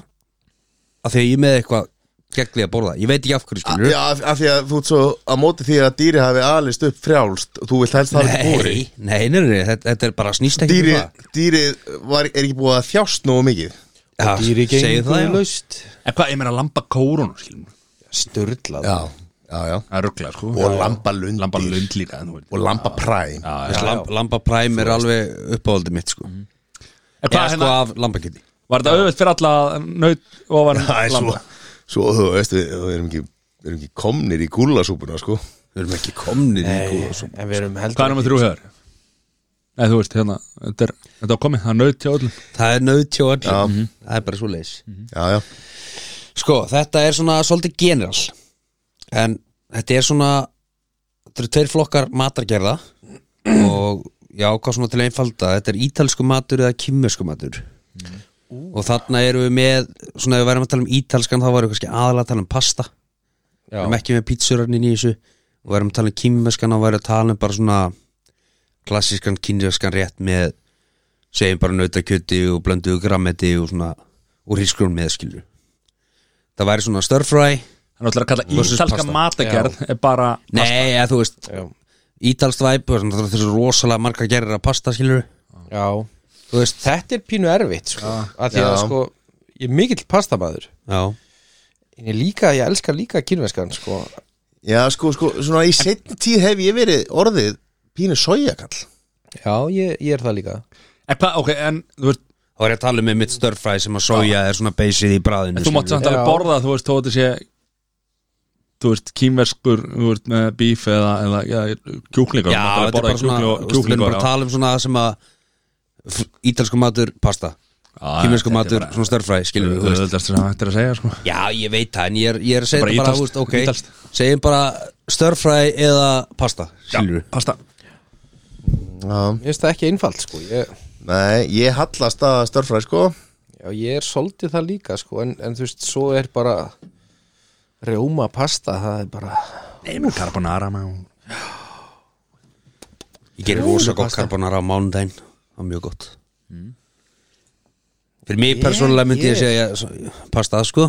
Speaker 4: Af því að ég er með eitthvað gegnlega að borða Ég veit ekki af hverju skilur
Speaker 3: Já, af, af því að þú ert svo að móti því að dýri hafi alist upp frjálst og þú vilt helst það ekki búri
Speaker 4: Nei, nei, nei, nei, þetta, þetta er bara snýst ekki
Speaker 3: Dýri,
Speaker 4: um það.
Speaker 3: dýri var, er ekki búið að þjást nógu mikið
Speaker 4: Já,
Speaker 2: dýrið
Speaker 4: segðu
Speaker 2: gengur
Speaker 4: það, já.
Speaker 2: laust
Speaker 1: En hvað, ég meina lamba kórun, skilur
Speaker 2: störlað
Speaker 3: Já, já, já
Speaker 1: Það er rugglega, sko
Speaker 3: Og lambalundir.
Speaker 1: Lamba lund líka, þú veist
Speaker 3: Og lamba præm
Speaker 1: Já, já.
Speaker 4: Þú veist, lamb, Lamba Prime er alveg uppáhaldi mitt sko. mm.
Speaker 1: En
Speaker 4: Eða
Speaker 1: hvað,
Speaker 4: sko
Speaker 1: hérna,
Speaker 4: af lambakiti
Speaker 1: var þetta auðvelt fyrir alla naut ofan
Speaker 3: Það er svo,
Speaker 1: lamba?
Speaker 3: svo þú veist við, við erum ekki, við erum ekki komnir í kúlasúpuna sko
Speaker 4: Við erum ekki komnir í góða svo
Speaker 2: en við erum heldur
Speaker 1: Hvað er nummer þrjú hefur? Nei, þú veist, hérna, þetta er, þetta er komið, það er naut hjá öllum
Speaker 4: Það er nöðtjó öll Mhm. Það er bara svo leis
Speaker 3: Já, já,
Speaker 4: Sko, þetta er svona svolítið general En þetta er svona Þetta eru tveir flokkar matargerða Og já, hvað svona til að einfalda Þetta er ítalsku matur eða kýmversku matur og þarna erum við með svona ef við værum að tala um ítalskan þá varum við kannski aðalega að tala um pasta við erum ekki með pítsurarnin í þessu og við erum að tala um kýmveskan og við erum að tala um bara svona klassískan kynveskan rétt með segjum bara nautakjöti og blönduðu grammeti og svona úr hískrún með skilur það væri svona stir fry
Speaker 1: Hann ætlar að kalla
Speaker 4: Versus
Speaker 1: ítalska
Speaker 4: pasta.
Speaker 1: matagerð er bara
Speaker 4: nei, eða þú veist
Speaker 2: Já.
Speaker 4: ítalskt væp og svona þessu rosalega marga gerir að pasta skilur
Speaker 2: Já Þú veist, þetta er pínu erfitt sko. að því að
Speaker 3: Já.
Speaker 2: sko ég er mikill pastamæður
Speaker 4: já,
Speaker 2: en ég líka, ég elska líka kynveskan sko.
Speaker 3: Já, sko, sko, svona í setni tíð hef ég verið orðið pínu sójakall
Speaker 2: já, ég, ég er það líka
Speaker 1: En hvað, ok, en þú veist
Speaker 4: þá er ég að tala um með mitt stir fry sem að soja er svona beysið í bræðinu
Speaker 1: Þú mátt samt alveg
Speaker 2: Já.
Speaker 1: borða, þú veist, þó að þetta sé Þú veist, kýmverskur, þú veist, með bíf eða, eða ja, kjúklingar
Speaker 4: Já,
Speaker 1: þú mátt alveg
Speaker 4: þetta er bara
Speaker 1: borða kjúkling og-
Speaker 4: svona þú veist, Við erum bara
Speaker 1: Kjúklingar
Speaker 4: að tala um svona sem að f- Ítalsku matur, pasta Kímersku matur, svona störfræ, skilur við þú veist.
Speaker 1: Öðvöldast sem hægt er að segja, sko
Speaker 4: Já, ég veit það, en ég er, ég er að segja
Speaker 1: Bara
Speaker 4: þetta bara,
Speaker 1: ítalskt,
Speaker 4: þú veist, ok
Speaker 1: ítalskt.
Speaker 4: Segjum bara störfræ eða pasta, skilur við
Speaker 1: Pasta
Speaker 3: Já,
Speaker 2: Mér finnst það ekki einfalt sko. ég,
Speaker 3: nei, ég hallast að störfræði, sko
Speaker 2: já, ég er soldið það líka sko. en, en þú veist, svo er bara rjóma pasta það er bara
Speaker 1: Nei, með carbonara maður.
Speaker 4: Ég gerir rosa gott karbonara á mánudaginn Það er mjög gott
Speaker 2: Mm.
Speaker 4: Fyrir mig persónulega myndi ég segja s- pasta, sko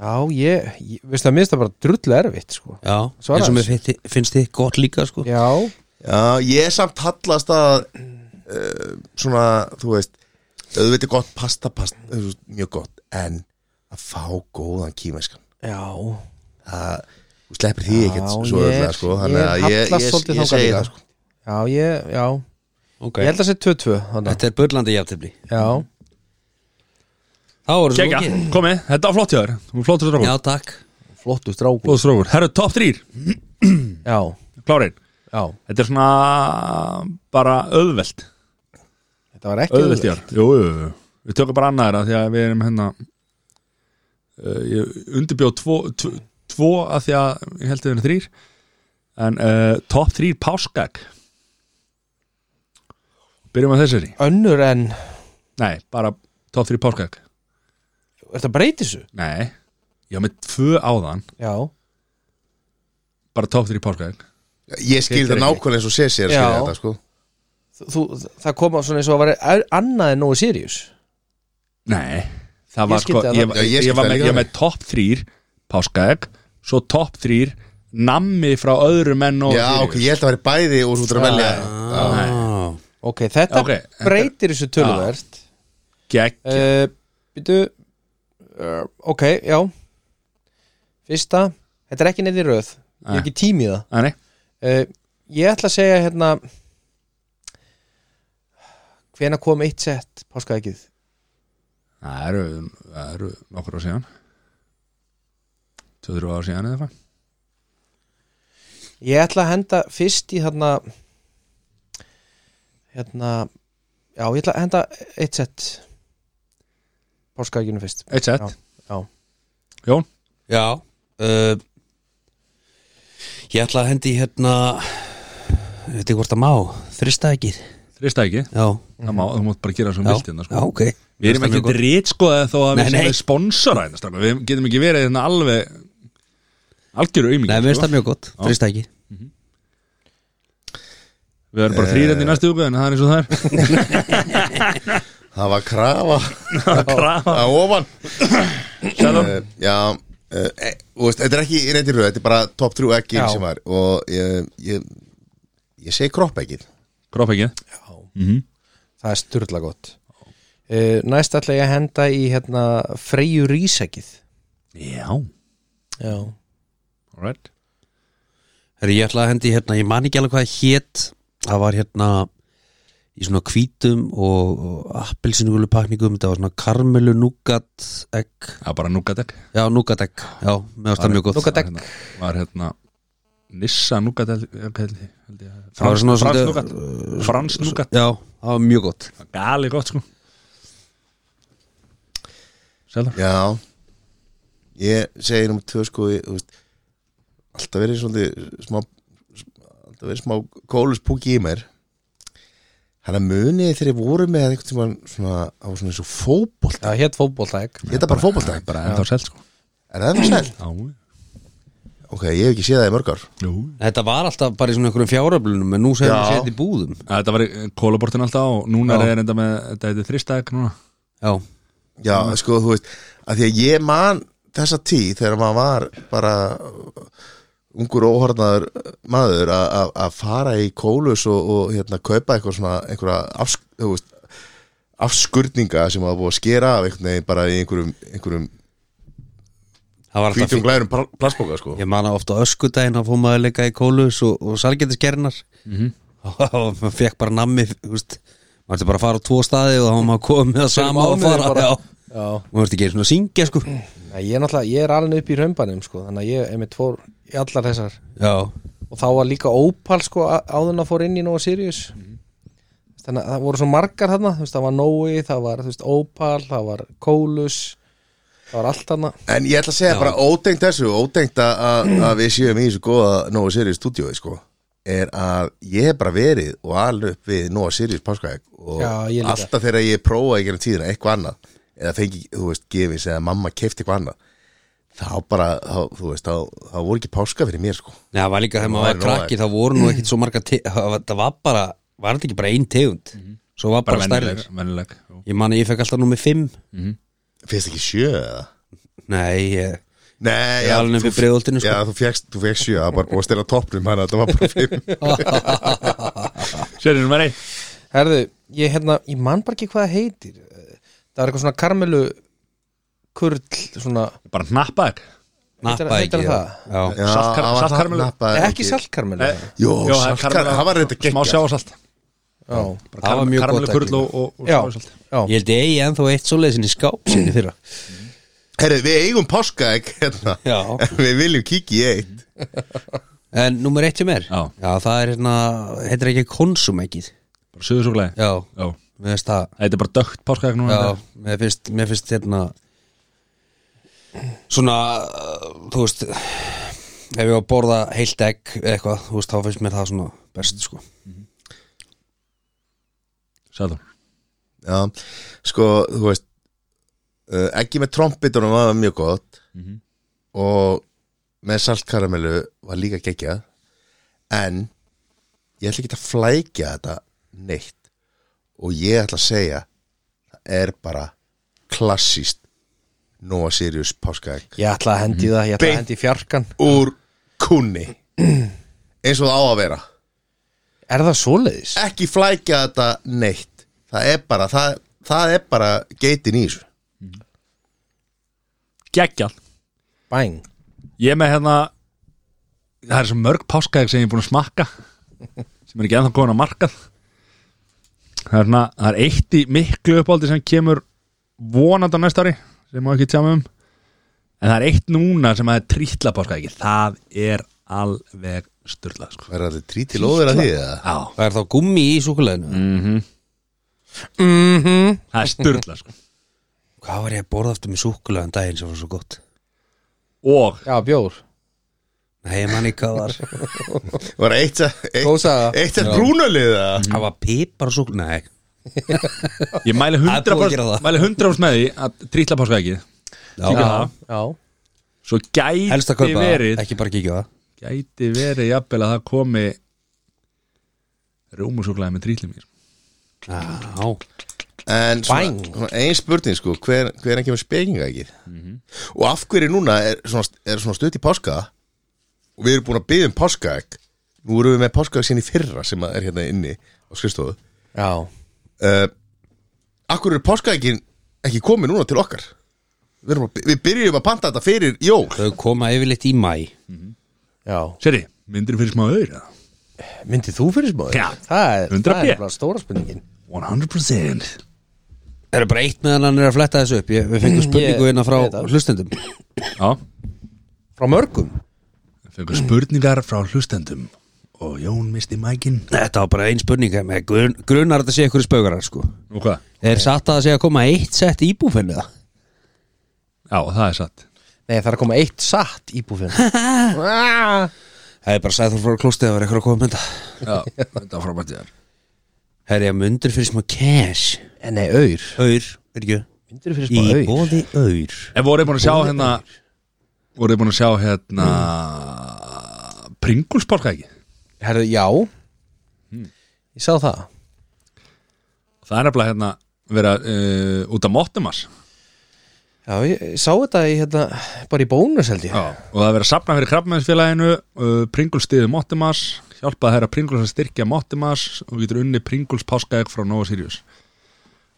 Speaker 2: já, ég, ég veist það, mér finnst það bara drullu erfitt sko.
Speaker 4: Já,
Speaker 2: Svaraðu.
Speaker 4: eins og mér finnst þið- finnst þið gott líka, sko
Speaker 2: já,
Speaker 3: Já, ég samt hallast að uh, svona, þú veist auðvitað er gott pasta, pasta þú veist, mjög gott, en að fá góðan kímeskan
Speaker 2: já
Speaker 3: það, þú sleppir því ekkert
Speaker 2: Já,
Speaker 3: svo
Speaker 2: ég-
Speaker 3: öðvitað, sko, þannig
Speaker 2: ég
Speaker 3: að ég,
Speaker 2: hallast
Speaker 3: ég, ég,
Speaker 2: svolítið þangað
Speaker 3: segi
Speaker 2: líka.
Speaker 3: það, sko
Speaker 2: já, ég, já
Speaker 4: okay.
Speaker 2: ég held að sé 2-2 þarna.
Speaker 4: Þetta er börlandi jafntefni
Speaker 2: já,
Speaker 4: Þá erum
Speaker 1: Kekja,
Speaker 4: við
Speaker 1: komið, þetta var flott hjá þér Þú er flottur
Speaker 4: Já,
Speaker 1: strókur
Speaker 4: takk
Speaker 2: flottu stráku
Speaker 1: Flottur strókur Herru, top 3
Speaker 2: já,
Speaker 1: Klárin
Speaker 2: já,
Speaker 1: Þetta er svona bara auðvelt
Speaker 2: þetta var ekki
Speaker 1: Auðvelt hjá Jú, jú, jú Við tökum bara annað þeirra því að við erum hérna uh, Ég undirbjóð tvo, tvo, tvo að því að ég held að við erum þrýr En uh, top 3 páskag Byrjum að þessari
Speaker 2: önnur en,
Speaker 1: Nei, bara top 3 páskag
Speaker 2: er þetta breytið svo?
Speaker 1: Nei, ég hafa með tvö áðan
Speaker 2: já,
Speaker 1: bara top 3 páskag
Speaker 3: ég skil
Speaker 1: Skildir
Speaker 3: það
Speaker 1: ekki.
Speaker 3: nákvæmlega eins og sé sér að
Speaker 2: Já.
Speaker 3: skilja þetta, sko
Speaker 2: þú, þú- það kom á svona eins og að vera annað en nógu sirius
Speaker 1: Nei, það
Speaker 2: Ég
Speaker 1: var
Speaker 2: skildi
Speaker 1: sko ég,
Speaker 2: það.
Speaker 1: ég,
Speaker 3: Já, ég
Speaker 1: ég,
Speaker 3: skildi
Speaker 1: var
Speaker 3: það
Speaker 1: með,
Speaker 3: líka
Speaker 1: ég var
Speaker 3: þannig.
Speaker 1: með top 3 páskag, svo top 3 nammi frá öðrum menn og
Speaker 3: Já, ok, ég held að það væri bæði og svo þú ert að velja
Speaker 4: ah.
Speaker 2: ok,
Speaker 1: Ok,
Speaker 2: þetta
Speaker 1: þetta er-
Speaker 2: breytir þessu töluvert
Speaker 1: Gekk,
Speaker 2: uh, býtu uh, ok, já fyrsta, þetta er ekki neitt í röð ég er ekki tími í það
Speaker 1: Nei, nei,
Speaker 2: uh, ég ætla að segja hérna hvena kom eitt sett páskaækið
Speaker 1: það eru, það eru nokkur á síðan 2-3 ára síðan eða eitthvað
Speaker 2: ég ætla að henda fyrst í þarna hérna já, ég ætla að henda eitt sett páskaækinu fyrst
Speaker 1: Eitt sett,
Speaker 2: já,
Speaker 1: Jón
Speaker 4: Já uh, Ég ætla að hendi í hérna Ég veit ekki hvort að má Þrista ekki
Speaker 1: Þrista ekki,
Speaker 4: Já,
Speaker 1: það má, þú mátt bara gera svo
Speaker 4: já,
Speaker 1: mildi hérna
Speaker 4: já
Speaker 1: sko.
Speaker 4: ok
Speaker 1: Við erum ekki drít sko eða þó að
Speaker 4: Nei,
Speaker 1: við sem
Speaker 4: nei.
Speaker 1: við sponsora hérna strákar. Við getum ekki verið hérna alveg algjöru sko.
Speaker 4: Nei,
Speaker 1: aumingi
Speaker 4: við finnst það mjög gott, þrista ekki
Speaker 1: Við verðum bara þrýrandi í næstu ugu en það er eins og það er
Speaker 3: Það var krafa
Speaker 1: Krafa.
Speaker 3: að ofan uh, Já, uh, e, og veist, þetta er ekki reyndi röð, þetta er bara top 3 ekki
Speaker 2: Já.
Speaker 3: sem var og ég, ég, ég segi kropp ekki
Speaker 1: Kroppekið Mhm.
Speaker 2: það er styrla gott uh, næst ætla ég að henda í hérna freyju rísækið
Speaker 1: Já,
Speaker 2: já,
Speaker 1: alright
Speaker 4: Herri, Ég ætla að hendi í hérna, ég man ekki alveg hvað það hét Það var hérna Í svona hvítum og, og appelsinu pakningum, þetta var svona karmelu núgat egg,
Speaker 1: Það var bara núgategg
Speaker 4: já núgat egg já, mér finnst það mjög gott
Speaker 2: Nougat egg.
Speaker 1: hérna, Var hérna Nissa núgat held held- held ég
Speaker 4: Það var
Speaker 1: Frans
Speaker 4: svona
Speaker 1: frans
Speaker 4: svolítið- uh,
Speaker 1: núgat Frans núgat
Speaker 4: Já, það var mjög gott
Speaker 1: Gali gott sko Selðar
Speaker 3: Já Ég segi nummer tvö sko ég, þú veist, Alltaf verið svolítið smá Alltaf verið smá kóluspúki í mér Þannig að munið þið þegar þið voru með einhvern tímann svona, á svona eins og fótbolt
Speaker 2: Það hétt fótboltæk
Speaker 3: Þetta bara fótbolta
Speaker 1: bara ennþá selt sko
Speaker 3: Er það það sæl?
Speaker 1: Já,
Speaker 3: Ok, ég hef ekki séð það í mörg ár
Speaker 1: jú
Speaker 4: Þetta var alltaf bara í svona einhverjum fjáröflunum en nú sem við
Speaker 3: Já.
Speaker 4: séð í búðum
Speaker 1: Þetta var eh, kólabortin alltaf og núna
Speaker 4: Já.
Speaker 1: er enda með, þetta heitir þristæk núna
Speaker 4: Já,
Speaker 3: Já, sko, þú veist að Því að ég man þessa tíð þegar maður var bara uh, ungur óhornaður maður að- að að fara í kólus og, og hérna, kaupa eitthvað svona einhverja afs, þú veist, afskurninga sem maður búið að skera af einhvern veginn bara í einhverjum, einhverjum
Speaker 4: það var alltaf
Speaker 3: hvítum glærum pl- plastbóka sko.
Speaker 4: Ég man að ofta öskudaginn að fóð maður leika í kólus og, og salgetiskernar
Speaker 3: Mhm.
Speaker 4: og maður fekk bara nammi þú veist, maður ætti bara að fara á tvo staði og þá var maður að koma með það sama og fara já.
Speaker 2: Já.
Speaker 4: og maður ætti ekki einu svona að syngja sko
Speaker 2: Nei, Ég er náttúrulega, ég er alveg upp í raunbanum sko, þannig að ég er með tvo í allar þessar
Speaker 4: Já,
Speaker 2: og þá var líka Opal sko á- áður en að fór inn í Nova Sirius þannig að það voru svo margar þarna þú veist, það var Nói, það var þú veist, Opal það var Kólus það var allt þarna
Speaker 3: En ég ætla að segja bara ótengt þessu ótengt að- að að við séum í þessu góða Nóa Sirius stúdíói sko er að ég hef bara verið og alveg upp við Nóa Sirius páskaegg og
Speaker 2: Já, ég líka.
Speaker 3: alltaf þegar ég prófaði ekki tíðina eitthvað annað eða fengi, þú veist, gefins eða mamma kefti eitthvað annað þá bara, þá, þú veist, þá, þá voru ekki páska fyrir mér sko
Speaker 4: Nei, það var líka þegar maður
Speaker 3: Það
Speaker 4: var
Speaker 3: væri nóg,
Speaker 4: krakki þá voru nú ekkit svo marga te- það var- það var bara, var þetta ekki bara ein tegund
Speaker 3: Mhm.
Speaker 4: svo var bara,
Speaker 1: Bara
Speaker 4: bara stærður
Speaker 1: vennileg, vennileg jú.
Speaker 4: Ég man að ég fekk alltaf númer fimm
Speaker 3: Finnst ekki sjö eða?
Speaker 4: Nei, ég,
Speaker 3: Nei,
Speaker 4: Ég er alveg upp í
Speaker 3: þú-
Speaker 4: Breiðholtinu, sko.
Speaker 3: Já, þú fegst, þú fegst sjö, það var bara búið að stela toppnum hann að það var bara fimm
Speaker 1: Sérinu var einn
Speaker 2: herðu, ég hérna, ég man bara ekki hvað það heitir það var eitthvað svona karmelu kurl, svona
Speaker 1: Bara hnappæk
Speaker 2: Heitir-
Speaker 4: nappa
Speaker 2: heitir
Speaker 4: ekki
Speaker 2: það?
Speaker 4: Já, já.
Speaker 3: Já,
Speaker 1: Saltkar-
Speaker 3: hann var
Speaker 1: saltkarmelu?
Speaker 3: nappaði
Speaker 2: ekki, ekki saltkarmelu
Speaker 3: Jó,
Speaker 1: Jó, það er
Speaker 3: saltkar,
Speaker 1: karamella-
Speaker 3: hann var reynda
Speaker 1: Eh, Smá
Speaker 3: geggjað
Speaker 1: sjáasalt
Speaker 2: já,
Speaker 4: Það var mjög gott
Speaker 1: Karamellu kurl
Speaker 4: ekki.
Speaker 1: og, og, og
Speaker 2: já,
Speaker 1: sjáasalt
Speaker 2: já.
Speaker 4: Ég held ég eigi ennþá eitt svoleiðsinn í skáp sinni fyrra
Speaker 3: Herri, við eigum páskaegg hérna
Speaker 4: Já.
Speaker 3: Við viljum kíkja í eitt
Speaker 4: En númer eitt sem er
Speaker 1: Já.
Speaker 4: það er hérna, heitir ekki konsumegið
Speaker 1: Bara söðusúkulega
Speaker 4: Já,
Speaker 1: Já
Speaker 4: mér finnst það
Speaker 1: Þetta er bara dögt páskaæk núna
Speaker 4: Já, mér finnst, mér finnst hérna svona uh, þú veist ef ég var að borða heilt egg eða eitthvað, þú veist, þá finnst mér það svona best sko.
Speaker 1: Sæður
Speaker 3: Já, sko, þú veist uh, Ekki með trombitunum var mjög gott
Speaker 1: Mhm.
Speaker 3: Og með saltkaramellu var líka gekkja En ég ætla ekki að flækja þetta neitt Og ég ætla að segja Það er bara klassíst Nóa Sirius páskaegg
Speaker 2: ég ætla að hendi það, ég ætla að
Speaker 3: Beint.
Speaker 2: hendi í fjarkan
Speaker 3: Úr kunni Eins og það á að vera
Speaker 2: er það svoleiðis?
Speaker 3: ekki flækja þetta neitt það er bara, það, það er bara geitin í þessu
Speaker 1: Geggjall
Speaker 2: bæn,
Speaker 1: Ég er með hérna Það er svo mörg páskaæk sem ég er búin að smakka sem er ekki ennþá komin að markað Það er, svona, það er eitt í miklu uppáldi sem kemur vonandi á næsta ári sem má ekki tjá mig um en það er eitt núna sem að er trítla páskaæki það er alveg styrla sko.
Speaker 3: það er allir tríti lóður að því eða?
Speaker 1: Já,
Speaker 4: Það er þá gummi í súkuleginu
Speaker 2: Mm-hmm.
Speaker 1: það er styrla sko.
Speaker 4: Hvað var ég að borða aftur með súkulegin daginn sem var svo gott?
Speaker 1: og
Speaker 2: já bjór
Speaker 4: Nei, ég man ekki að var
Speaker 3: var eitt að-
Speaker 2: Góð
Speaker 3: eitt-
Speaker 2: saga.
Speaker 3: eitt að brúnalið eða?
Speaker 4: Það var pipar og súkulegin Nei,
Speaker 1: ég mæli
Speaker 4: Það er búið
Speaker 1: 100%,
Speaker 4: að gera það.
Speaker 1: mæli 100 með því að trítla páskaæki
Speaker 4: já,
Speaker 1: það.
Speaker 2: já,
Speaker 1: svo
Speaker 4: helst
Speaker 1: gæti
Speaker 4: að kaupa það,
Speaker 1: verið
Speaker 4: ekki bara kíkja á það
Speaker 1: gæti verið jafnvel að það komi rjómusúklaði með trítli mér
Speaker 4: Já,
Speaker 3: en svona,
Speaker 2: Bang.
Speaker 3: svona ein spurning sko hver, hver er kemur spekinga ekki og af hverju núna er svona, er svona stutt í páska og við erum búin að byggja um páska nú erum við með páska sinni fyrra sem að er hérna inni á skrifstofu
Speaker 2: já.
Speaker 3: uh, Akkur er páska ekki, ekki komið núna til okkar við, erum að, við byrjum að panta þetta fyrir jól
Speaker 4: þau koma yfirleitt í mæ
Speaker 2: já.
Speaker 1: Seri, myndir fyrir smá auður
Speaker 2: Myndið þú fyrir smáður?
Speaker 1: Já.
Speaker 2: Það er,
Speaker 1: 100
Speaker 2: það
Speaker 1: pé.
Speaker 2: er bara stóra spurningin
Speaker 1: 100%
Speaker 4: Það er bara eitt meðan hann er að fletta þessu upp ég, Við fengum spurningu
Speaker 2: Ég-
Speaker 4: hérna frá
Speaker 2: ég veit það.
Speaker 4: hlustendum
Speaker 1: Já,
Speaker 2: Frá mörgum?
Speaker 1: fengur spurningar frá hlustendum og Jón misti mækin
Speaker 4: Þetta var bara ein spurning með grun, Grunar þetta sé ykkur spaugarar sko
Speaker 1: Nú hvað?
Speaker 4: Er satt að það sé að koma eitt sett í búfennu það?
Speaker 1: Já, það er satt
Speaker 2: Nei, það er að koma eitt satt í búfinn Já,
Speaker 4: Það er bara sæður frá klostið að vera ykkur að koma með þetta
Speaker 1: Já, þetta var frábært ég þar
Speaker 4: Herri, ég mundur fyrir smá cash
Speaker 2: En Eh, nei, auður
Speaker 4: Öyr, er ekki
Speaker 2: Myndur fyrir smá
Speaker 4: Í
Speaker 2: auður
Speaker 4: bóði öyr
Speaker 1: En voruð þið búin að sjá hérna Voruð þið búin að sjá hérna mm. Pringulsporka ekki
Speaker 2: Herðu, já
Speaker 1: Hmm.
Speaker 2: Ég sá það
Speaker 1: Það er nefnilega hérna vera uh, út af Mottimas
Speaker 2: Já, ég, ég sá þetta í, hérna, bara í bónus held ég
Speaker 1: og það er verið að sapna fyrir krabbmennsfélaginu uh, Pringulstiði Mottimas hjálpaði þeirra Pringuls að styrkja Mottimas og getur unni Pringuls páskaegg frá Nova Sirius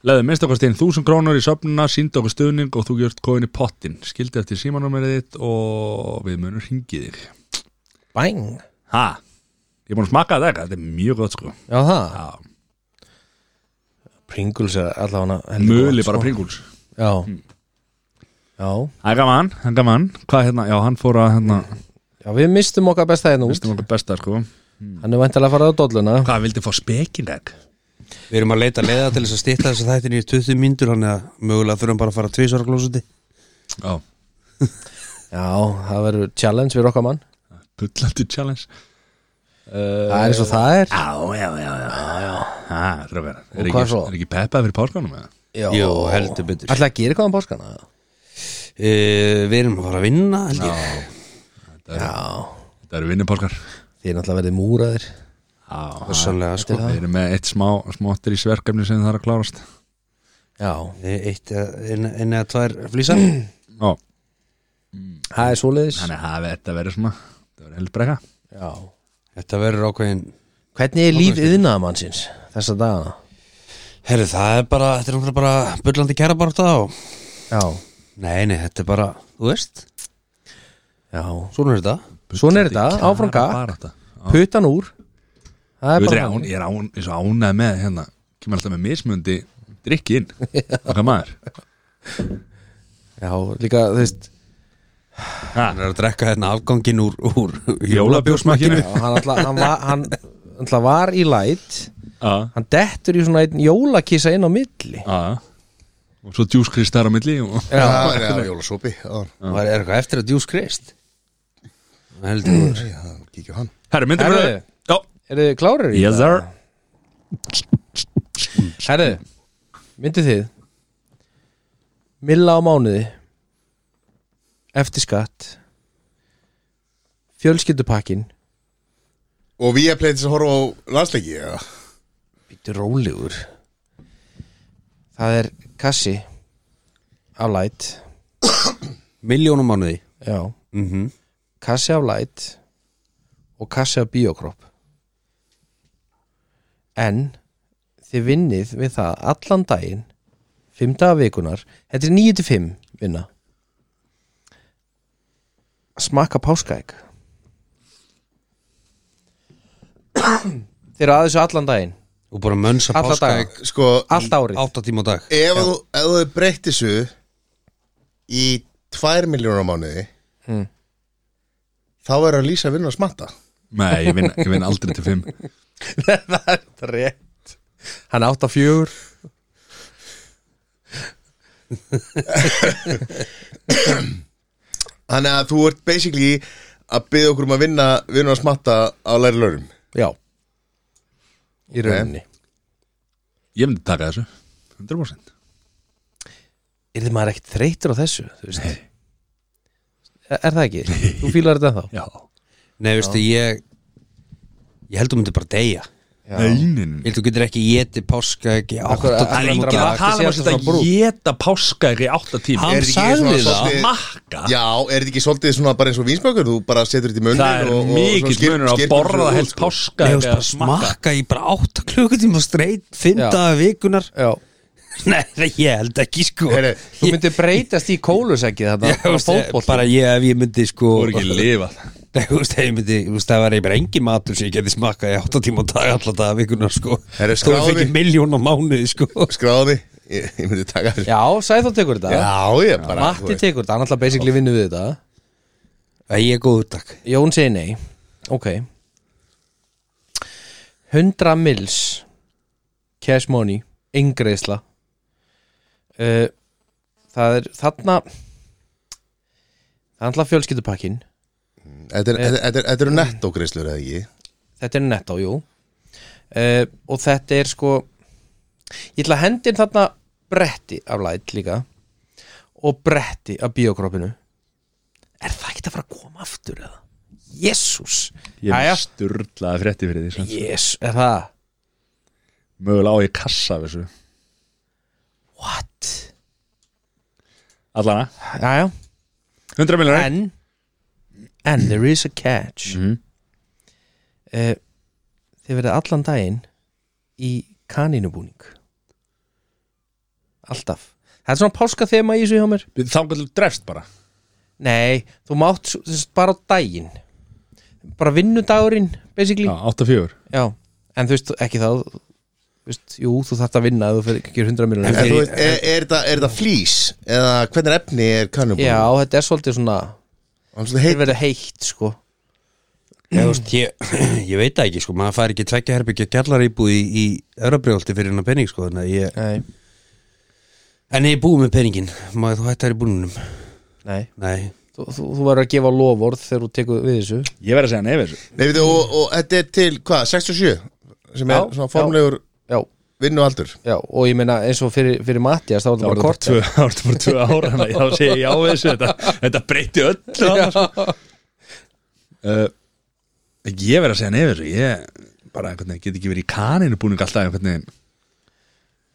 Speaker 1: Leðið minnst okkur stíðin 1000 krónur í söfnuna, síndi okkur stuðning og þú gjörst kóin í pottin, skildi eftir símanúmerið þitt og við munum hringið þig
Speaker 2: Bang
Speaker 1: Ha, ég er búin að smaka þetta eitthvað, þetta er mjög gott sko
Speaker 2: Já, það
Speaker 1: Já,
Speaker 2: Pringles er allavega heldur
Speaker 1: möli
Speaker 2: gott,
Speaker 1: bara Hmm.
Speaker 2: sko.
Speaker 1: Pringuls
Speaker 2: Já Já,
Speaker 1: Það er gaman, það er gaman Hvað hérna, já hann fór að hérna
Speaker 2: já, við mistum okkar besta hérna út
Speaker 1: Vistum okkur besta sko
Speaker 2: Hann er væntalega að fara á dolluna
Speaker 1: Hvað, vildi fá spekingegg?
Speaker 4: Við erum að leita leiða til þess að stýta þess að þættin í 20 myndur Þannig að mögulega þurfum bara að fara tvisvara glósuti
Speaker 1: Já,
Speaker 2: Já, það verður challenge fyrir okkar mann
Speaker 1: bullandi challenge
Speaker 2: Það er eins og það er
Speaker 1: Já, já, já, já, já. Ha, strákar, er,
Speaker 2: hvað
Speaker 1: ekki,
Speaker 2: svo?
Speaker 1: er ekki peppað fyrir páskanum eða?
Speaker 2: Já,
Speaker 4: Jó, heldur betur
Speaker 2: Ætlaði að gera eitthvað um páskana
Speaker 4: e, Við erum að fara að vinna held ég
Speaker 2: Já,
Speaker 1: Þetta eru vinnu páskar
Speaker 2: þið er náttúrulega verið múraðir
Speaker 1: Já,
Speaker 4: Sannlega sko
Speaker 1: við erum með eitt smá smóttir í sverkefni sem það er að klárast
Speaker 2: Já,
Speaker 4: Eitt eða- ein ein eða tvær flýsar
Speaker 1: Já,
Speaker 2: það er svoleiðis
Speaker 1: þannig að hafi þetta verið svona Þetta verið helbrega
Speaker 2: Já
Speaker 4: Þetta verður ákveðin
Speaker 2: Hvernig er líf yðnaðamannsins þessa dagana?
Speaker 4: Herri, það er bara, þetta er náttúrulega bara bullandi kæra bara og
Speaker 2: Já,
Speaker 4: Nei, nei, þetta er bara, þú veist
Speaker 2: já
Speaker 4: Svona er þetta
Speaker 2: Svona er þetta, áfram gakk,
Speaker 1: Bara þetta
Speaker 2: puttan úr Það er
Speaker 1: Þú veitir,
Speaker 2: bara
Speaker 1: án, ég er án, ég er svo ánæð með hérna kemur alltaf með mismundi drikki inn okkar maður
Speaker 2: Já, líka, þú veist
Speaker 4: Hann er að drekka hérna afgangin úr, úr
Speaker 1: Jólabjósmakkinu
Speaker 2: já, hann, alltaf, hann, var, hann alltaf var í læt
Speaker 1: og
Speaker 2: Hann dettur í svona einn jólakissa inn á milli
Speaker 1: svo djúskristar á milli og
Speaker 3: Já, já, jólasopi já.
Speaker 4: Og er eitthvað eftir að djús kreist Heldur úr
Speaker 3: Já, kíkja á hann
Speaker 1: herru, myndir
Speaker 2: Herru.
Speaker 1: fyrir Já,
Speaker 2: Eru þið klárir í
Speaker 1: yes sir
Speaker 2: Herðu, myndið þið Milla á mánuði Eftir skatt Fjölskyldupakkin
Speaker 3: Og við erum pleiðis að horfa á landsleiki já.
Speaker 2: Býttu rólegur Það er kassi Af læt
Speaker 4: Miljónum mánuði
Speaker 2: Já,
Speaker 4: mm
Speaker 2: Mhm.
Speaker 4: -hmm.
Speaker 2: kassi af læt Og kassi af bíókropp En Þið vinnið við það allan daginn Fimm daga vikunar Þetta er 9-5 vinna Að Smakka páskaegg Þið eru að þessu allan daginn
Speaker 4: Og bara mönsa
Speaker 2: Alla
Speaker 4: páskaegg
Speaker 3: Sko,
Speaker 2: Allt árið
Speaker 4: Átta tíma á dag
Speaker 3: ef þú, ef þú breytt þessu Í tvær miljónar á mánuði
Speaker 1: Hmm.
Speaker 2: Mm.
Speaker 3: Þá er að lýsa að vinna að smatta
Speaker 1: Nei, ég vinn, ég vinn aldrei til fimm
Speaker 2: Það er þetta rétt Hann er 8-4
Speaker 3: Þannig að þú ert basically að byggja okkur um að vinna Vinna að smatta á læri lörum
Speaker 2: Já Í rauninni
Speaker 1: Ég myndi taka þessu 100%
Speaker 2: Er þið maður ekkert þreytur á þessu? þú veist? Er er það ekki? Þú fílar þetta þá?
Speaker 1: Já
Speaker 4: Nei, veistu, ég Ég held þú myndir bara deyja
Speaker 1: Neinin
Speaker 4: Ég held þú getur ekki éti páskaegg í
Speaker 2: Akkur-
Speaker 4: átta
Speaker 1: Það er
Speaker 2: Akkur-
Speaker 4: tíma á
Speaker 1: enginn
Speaker 4: dag
Speaker 1: að
Speaker 2: Akkur-
Speaker 1: tala um að
Speaker 2: Akkur- Akkur-
Speaker 1: þetta
Speaker 2: Akkur-
Speaker 1: geta páska í átta tíma
Speaker 4: Hann
Speaker 3: Er ekki
Speaker 4: sagði
Speaker 3: svona
Speaker 4: það
Speaker 3: svolítið-
Speaker 1: Makka
Speaker 3: Já, er þetta ekki svolítið svona bara eins og vínsbökur Þú bara setur þetta í munnum
Speaker 1: Það er mikill munur að borða heilt páska
Speaker 4: Ég hefst bara smakka í bara átta klukkutíma streitt
Speaker 2: Já.
Speaker 4: Fyndaða vikunar
Speaker 2: Já
Speaker 4: Nei, ég held ekki sko
Speaker 3: Heri,
Speaker 2: Þú myndir breytast í kólusækið þetta
Speaker 4: Ég, veist, ég- bara ég ef ég myndi sko
Speaker 1: Þú er ekki lifað
Speaker 4: Nei, þú veist, ef ég myndi, þú veist, það var bara engin matur sem ég geti smakka í 8 tíma á dag alltaf dag vikunar, sko
Speaker 3: Herra,
Speaker 4: Þó ég
Speaker 3: skráði.
Speaker 4: fengi miljón á mánuði, sko
Speaker 3: Skráði mig, ég, ég myndi taka þessu
Speaker 2: Já, Sæþór tekur þetta
Speaker 3: já ég bara þú
Speaker 2: Matti
Speaker 3: veist.
Speaker 2: tekur þetta, hann alltaf basically vinnu við þetta
Speaker 4: Það ég er góður takk
Speaker 2: Jón segi nei Ok 100 mils Cash money Engreisla uh, Það er þarna Það er alltaf fjölskyldupakkin
Speaker 3: Þetta er- þetta- þetta- þetta eru nettogreislur eða ekki
Speaker 2: Þetta er nettó, jú uh, og þetta er sko ég ætla að hendi inn þarna bretti af læt líka og bretti af biokroppinu er það ekki að fara að koma aftur eða? Jésús
Speaker 1: Ég
Speaker 2: Jæja.
Speaker 1: er sturlaði frétti fyrir því sem.
Speaker 2: Jés, er það?
Speaker 1: Mögulega á ég kassa af þessu
Speaker 2: What?
Speaker 1: Allana,
Speaker 2: Jæja,
Speaker 1: 100 miljonir
Speaker 2: en en there is a catch mm
Speaker 3: Mm-hmm.
Speaker 1: Mhm.
Speaker 2: þið verða allan daginn í kanínubúning alltaf þetta er svona páska þema í þessu hjá mér
Speaker 1: Þá getur drefst bara
Speaker 2: Nei, þú mátt s- s- bara á daginn bara vinnudagurinn basically,
Speaker 1: Já, 8-4
Speaker 2: já. en þú veist ekki þá þú veist, jú, þú þarft að vinna ef þú fyrir ekki 100
Speaker 3: En
Speaker 2: miljonir
Speaker 3: þú veist, er, er, þetta- er þetta flýs? Eða hvernig efni er kannum?
Speaker 2: Já, þetta er svolítið svona
Speaker 3: Hann svolítið
Speaker 2: þetta
Speaker 3: heit
Speaker 2: verður heitt, sko
Speaker 4: Ég, veist, ég, ég veit það ekki sko, maður fær ekki tveggja herbyggja kjallaríbúð í, í Örabrjólti fyrir hennar pening sko, þannig að ég,
Speaker 2: Nei,
Speaker 4: en ég er búið með peningin maður þú hættar í búnunum
Speaker 2: nei
Speaker 4: Nei,
Speaker 2: Þú, þú, þú verður að gefa lofórð þegar þú tekur við þessu
Speaker 1: Ég verð að segja nefið þessu
Speaker 3: Nei, veitu, og, og þetta er til, hvað, 67? Sem er
Speaker 2: Já,
Speaker 3: svona formlegur
Speaker 2: Já,
Speaker 3: vinnualdur
Speaker 2: já, og ég meina eins og fyrir, fyrir Mattias, þá var
Speaker 1: Það voru
Speaker 2: þetta bara
Speaker 1: bara tvö,
Speaker 2: kort
Speaker 1: það voru bara tvö ára Þannig að þá segja já við þessu Þetta, þetta breyti öllu annars. uh, Ég verð að segja nefið þessu Ég bara einhvern veginn get ekki verið í kaninu búning alltaf einhvern veginn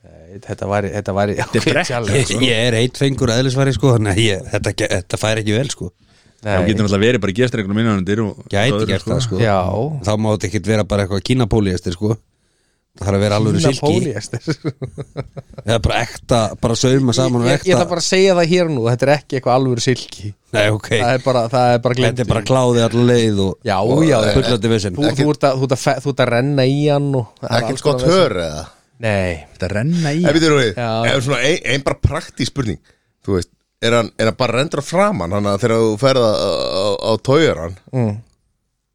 Speaker 2: Nei, Þetta væri, þetta væri
Speaker 1: Þetta er brekk
Speaker 4: ég, ég er eitt fengur eðlisværi sko, þannig að ég, þetta, ge- þetta fær ekki vel sko,
Speaker 1: Það getur
Speaker 2: Nei,
Speaker 1: náttúrulega verið bara í gestrengunum innanundir og
Speaker 4: gæti gert það sko
Speaker 2: já
Speaker 4: þá má þetta ekkert vera bara eitthvað kínapóliðastir sko það þarf að vera alveg
Speaker 2: Fína
Speaker 4: silki
Speaker 2: polyester.
Speaker 4: eða bara ekta, bara sauma saman og
Speaker 2: ég, ég
Speaker 4: ekta
Speaker 2: ætla bara að segja það hér og nú þetta er ekki eitthvað alvöru silki
Speaker 4: Nei, ok,
Speaker 2: það er bara, það er bara glemt
Speaker 4: þetta er bara kláði allar leið og,
Speaker 2: Já,
Speaker 4: og eh,
Speaker 2: já, já.
Speaker 4: bullandi vissinn
Speaker 2: þú, þú, ert að, þú, ert að, fe- þú ert að renna í hann og það er alls
Speaker 3: Ekkert gott
Speaker 2: konar vesen.
Speaker 3: hör eða
Speaker 2: nei,
Speaker 1: Þetta renna í
Speaker 3: En við þurfum við,
Speaker 2: Já.
Speaker 3: ef svona ein, ein bara praktísk spurning Þú veist, er hann, er hann bara rendur á framan Þannig að þegar þú ferð á, á, á tójaran
Speaker 2: mm.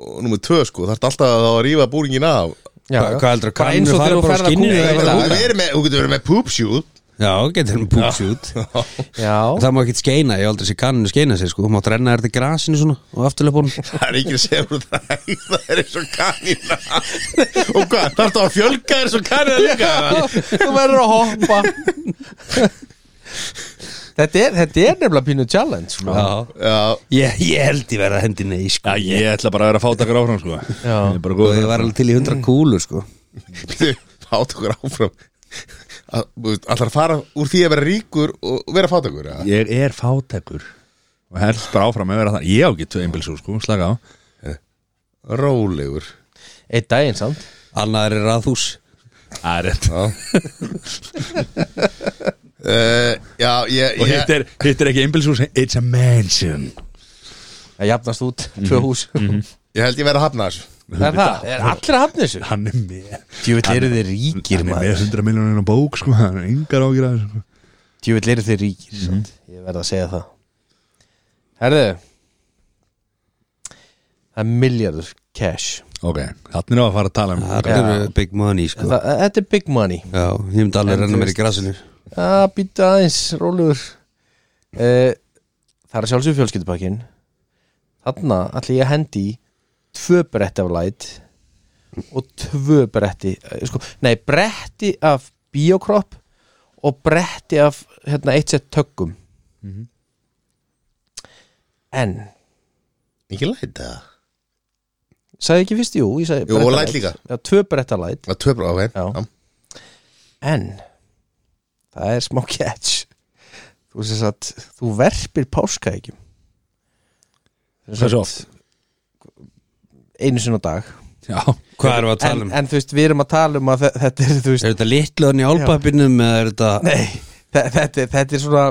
Speaker 3: Og númer tvö sko, þarf alltaf að, að rífa búringin af
Speaker 2: já, já.
Speaker 4: Hva- hvað heldurðu,
Speaker 2: Bara
Speaker 4: kannur
Speaker 2: eins og
Speaker 4: fara
Speaker 2: þegar þú
Speaker 4: bara á
Speaker 2: ferð að
Speaker 4: skinninu eða
Speaker 2: kúka
Speaker 3: Þú
Speaker 4: eitthvað?
Speaker 2: í
Speaker 3: getur verið með, þú getur verið með poopshoot
Speaker 4: Já, getur hann púks út
Speaker 2: þetta. já,
Speaker 4: Það má ekkert skeina, ég hef aldrei sé kanninu skeina sér sko Þú mátt renna þér til grasinu svona og afturleipunum
Speaker 3: Það er ekki að segja frá það Það er eins og kanína Og hvað, þarf það að fjölga þér svo kanína líka
Speaker 2: þú verður að hoppa þetta er, þetta er nefnilega pínu challenge sko.
Speaker 4: Já,
Speaker 3: Já,
Speaker 4: ég, ég held ég verið að hendi nei sko
Speaker 1: Já, ég ætla bara að vera fátakar áfram sko Ég
Speaker 2: Já.
Speaker 1: er bara
Speaker 4: Og
Speaker 1: góð
Speaker 4: ég var alveg til í hundra kúlu sko
Speaker 3: býttu, fátökur áfram Að- þú veist, Ætlar að fara úr því að vera ríkur og vera fátökur eða?
Speaker 1: Ég er fátakur og held bara áfram að vera það Ég á ekki tvö einbilsú sko, slaka á
Speaker 3: Rólegur
Speaker 2: einn daginn samt
Speaker 4: Annar er raðhús
Speaker 1: Það er rétt
Speaker 3: Já uh, Já, ég,
Speaker 1: Og hitt
Speaker 3: ég
Speaker 1: er, hitt er ekki einbilsús, it's a mansion
Speaker 2: það jafnast út, tvö hús
Speaker 3: Ég held ég verið að hafna þessu
Speaker 2: það er það, er allir að hafna þessu
Speaker 1: Hann er með
Speaker 2: djúvill eru þið ríkir
Speaker 1: Hann er
Speaker 2: maður
Speaker 1: með 100 miljonir á bók sko Hann er yngar ágjur að þessu sko.
Speaker 2: djúvill eru þið ríkir samt.
Speaker 1: Mhm.
Speaker 2: ég verð að segja það herðu það er miljardur cash
Speaker 1: Ok, þannig er á að fara að tala um
Speaker 4: Það eru big money sko
Speaker 2: Þa, þetta er big money
Speaker 4: Já, ég myndi alveg
Speaker 2: En
Speaker 4: renna
Speaker 2: þú
Speaker 4: mér í
Speaker 2: veist-
Speaker 4: grasinu
Speaker 2: að býta aðeins, rólegur uh, það er sjálfsög fjölskyldupakkin þarna ætla ég að hendi í tvö bretti af light og tvö bretti eh, sko, nei, bretti af biokropp og bretti af hérna, eitt sett tökum
Speaker 3: Mhm.
Speaker 2: en
Speaker 3: Ekki læta
Speaker 2: sagði ég ekki fyrst, jú, ég sagði
Speaker 3: Jú, og
Speaker 2: bretta
Speaker 3: light
Speaker 2: light.
Speaker 3: líka.
Speaker 2: já, tvö bretta light
Speaker 3: Það töfra á henn
Speaker 2: Já. en það er smá catch þú sést að þú verpir páskaegjum
Speaker 1: Hversu oft?
Speaker 2: einu sinni á dag
Speaker 1: Já,
Speaker 4: Hvað erum við að
Speaker 2: en,
Speaker 4: tala um?
Speaker 2: en þú veist, við erum að tala um að þe- þetta er þú veist,
Speaker 4: Er þetta litluðan í álpappinum eða er þetta
Speaker 2: nei þe- þetta, er- þetta er svona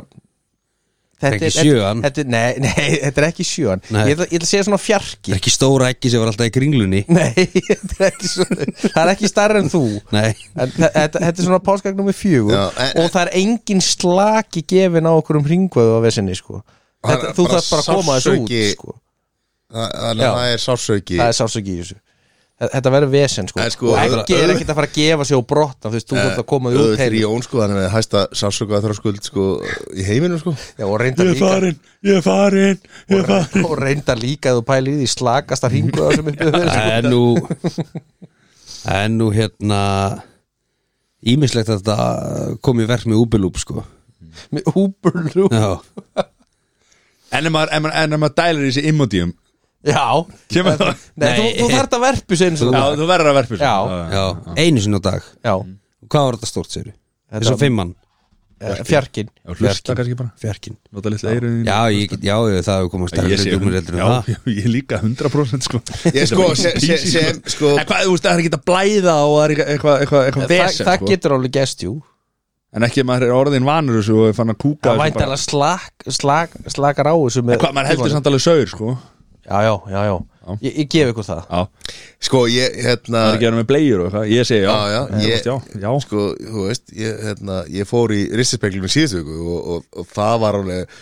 Speaker 4: er ekki
Speaker 2: þetta-
Speaker 4: sjöan.
Speaker 2: þetta, er- nei, nei, þetta er ekki sjöan
Speaker 4: Nei.
Speaker 2: ég ætla, ég ætla að segja svona
Speaker 4: Er
Speaker 2: fjarki
Speaker 4: ekki stóra ekki sem var alltaf í kringlunni?
Speaker 2: nei, þetta er ekki svona, það er ekki starra en þú
Speaker 4: Nei,
Speaker 2: En þe- þetta þetta er svona páskagn nummer fjögur
Speaker 3: Já, en-
Speaker 2: og það er engin slaki gefin á okkur um hringvöðu á vesinni sko.
Speaker 3: Hann
Speaker 2: þetta,
Speaker 3: er
Speaker 2: þú
Speaker 3: bara
Speaker 2: þarf bara að koma þessu út
Speaker 3: sársauki-
Speaker 2: sko.
Speaker 3: Þannig
Speaker 2: Já.
Speaker 3: að það er sásauki
Speaker 2: það er sálsöki í þessu Þe- þetta verður vesen sko.
Speaker 3: En sko,
Speaker 2: og
Speaker 3: öðru- Eh,
Speaker 2: ekki er ekkert að fara að gefa sig og brotna þú veist, þú þarf að koma því út
Speaker 3: Öður
Speaker 2: heim
Speaker 3: Jón sko, hann er með hæsta sásauka þröskuld sko í heiminum sko
Speaker 2: Já, og reynda
Speaker 1: ég er
Speaker 2: líka
Speaker 1: farin, ég er farin Ég er farin
Speaker 2: og reynda líka að þú pælir í því slakasta hringvöða sem uppið
Speaker 4: en nú en nú hérna ímislegt að þetta kom í verk með Uberloop sko
Speaker 2: með Uberlú
Speaker 4: Já,
Speaker 1: En ef maður, ef maður, en ef maður dælir í þessi immodíum
Speaker 2: Já,
Speaker 1: Kemur það
Speaker 2: Nei, þú, þú
Speaker 4: Nei.
Speaker 2: þarft að verpu sér eins og
Speaker 1: Já,
Speaker 2: það
Speaker 1: þú verður að sko. verpa þessu.
Speaker 2: Já.
Speaker 4: já, einu sinni á dag
Speaker 2: Já,
Speaker 4: Hvað var þetta stórt, segir við?
Speaker 2: Þetta-
Speaker 4: Þessu fimmann,
Speaker 2: eh, fjarkinn
Speaker 1: Já, hlusta kannski bara
Speaker 4: fjarkinn
Speaker 1: Nota litla eiruðin
Speaker 4: Já, ég, get- já, ég- það hefur komast
Speaker 1: Ég sé,
Speaker 4: dugmur heldur en
Speaker 1: já,
Speaker 4: um það
Speaker 1: já, ég líka 100% sko
Speaker 3: Ég sko,
Speaker 1: Þetta var
Speaker 3: sem- sem-
Speaker 1: easy,
Speaker 3: sem, sko
Speaker 1: En hvað, þú veist, það er ekki að blæða og það er ekki eitthvað, eitthvað, eitthvað
Speaker 2: Það,
Speaker 1: vesen
Speaker 2: það
Speaker 1: sko.
Speaker 2: getur alveg gest, jú
Speaker 1: En ekki að maður er orðin vanur þessu og er fann að kúka
Speaker 2: Það vænt alveg slak, slak, slakar á þessu
Speaker 1: En
Speaker 2: með
Speaker 1: hvað, maður heldur samt alveg saur sko Já,
Speaker 2: Já, já, já, já, Ég, ég gef ykkur það
Speaker 3: Sko, ég, hérna
Speaker 1: það er ekki að vera með blegjur og eitthvað Ég segi já,
Speaker 3: Já, já,
Speaker 1: En þú
Speaker 3: ég-
Speaker 1: veist, já, já.
Speaker 3: Sko, þú veist, ég, hérna, ég fór í ristispeglunum síðustu viku og, og, og það var alveg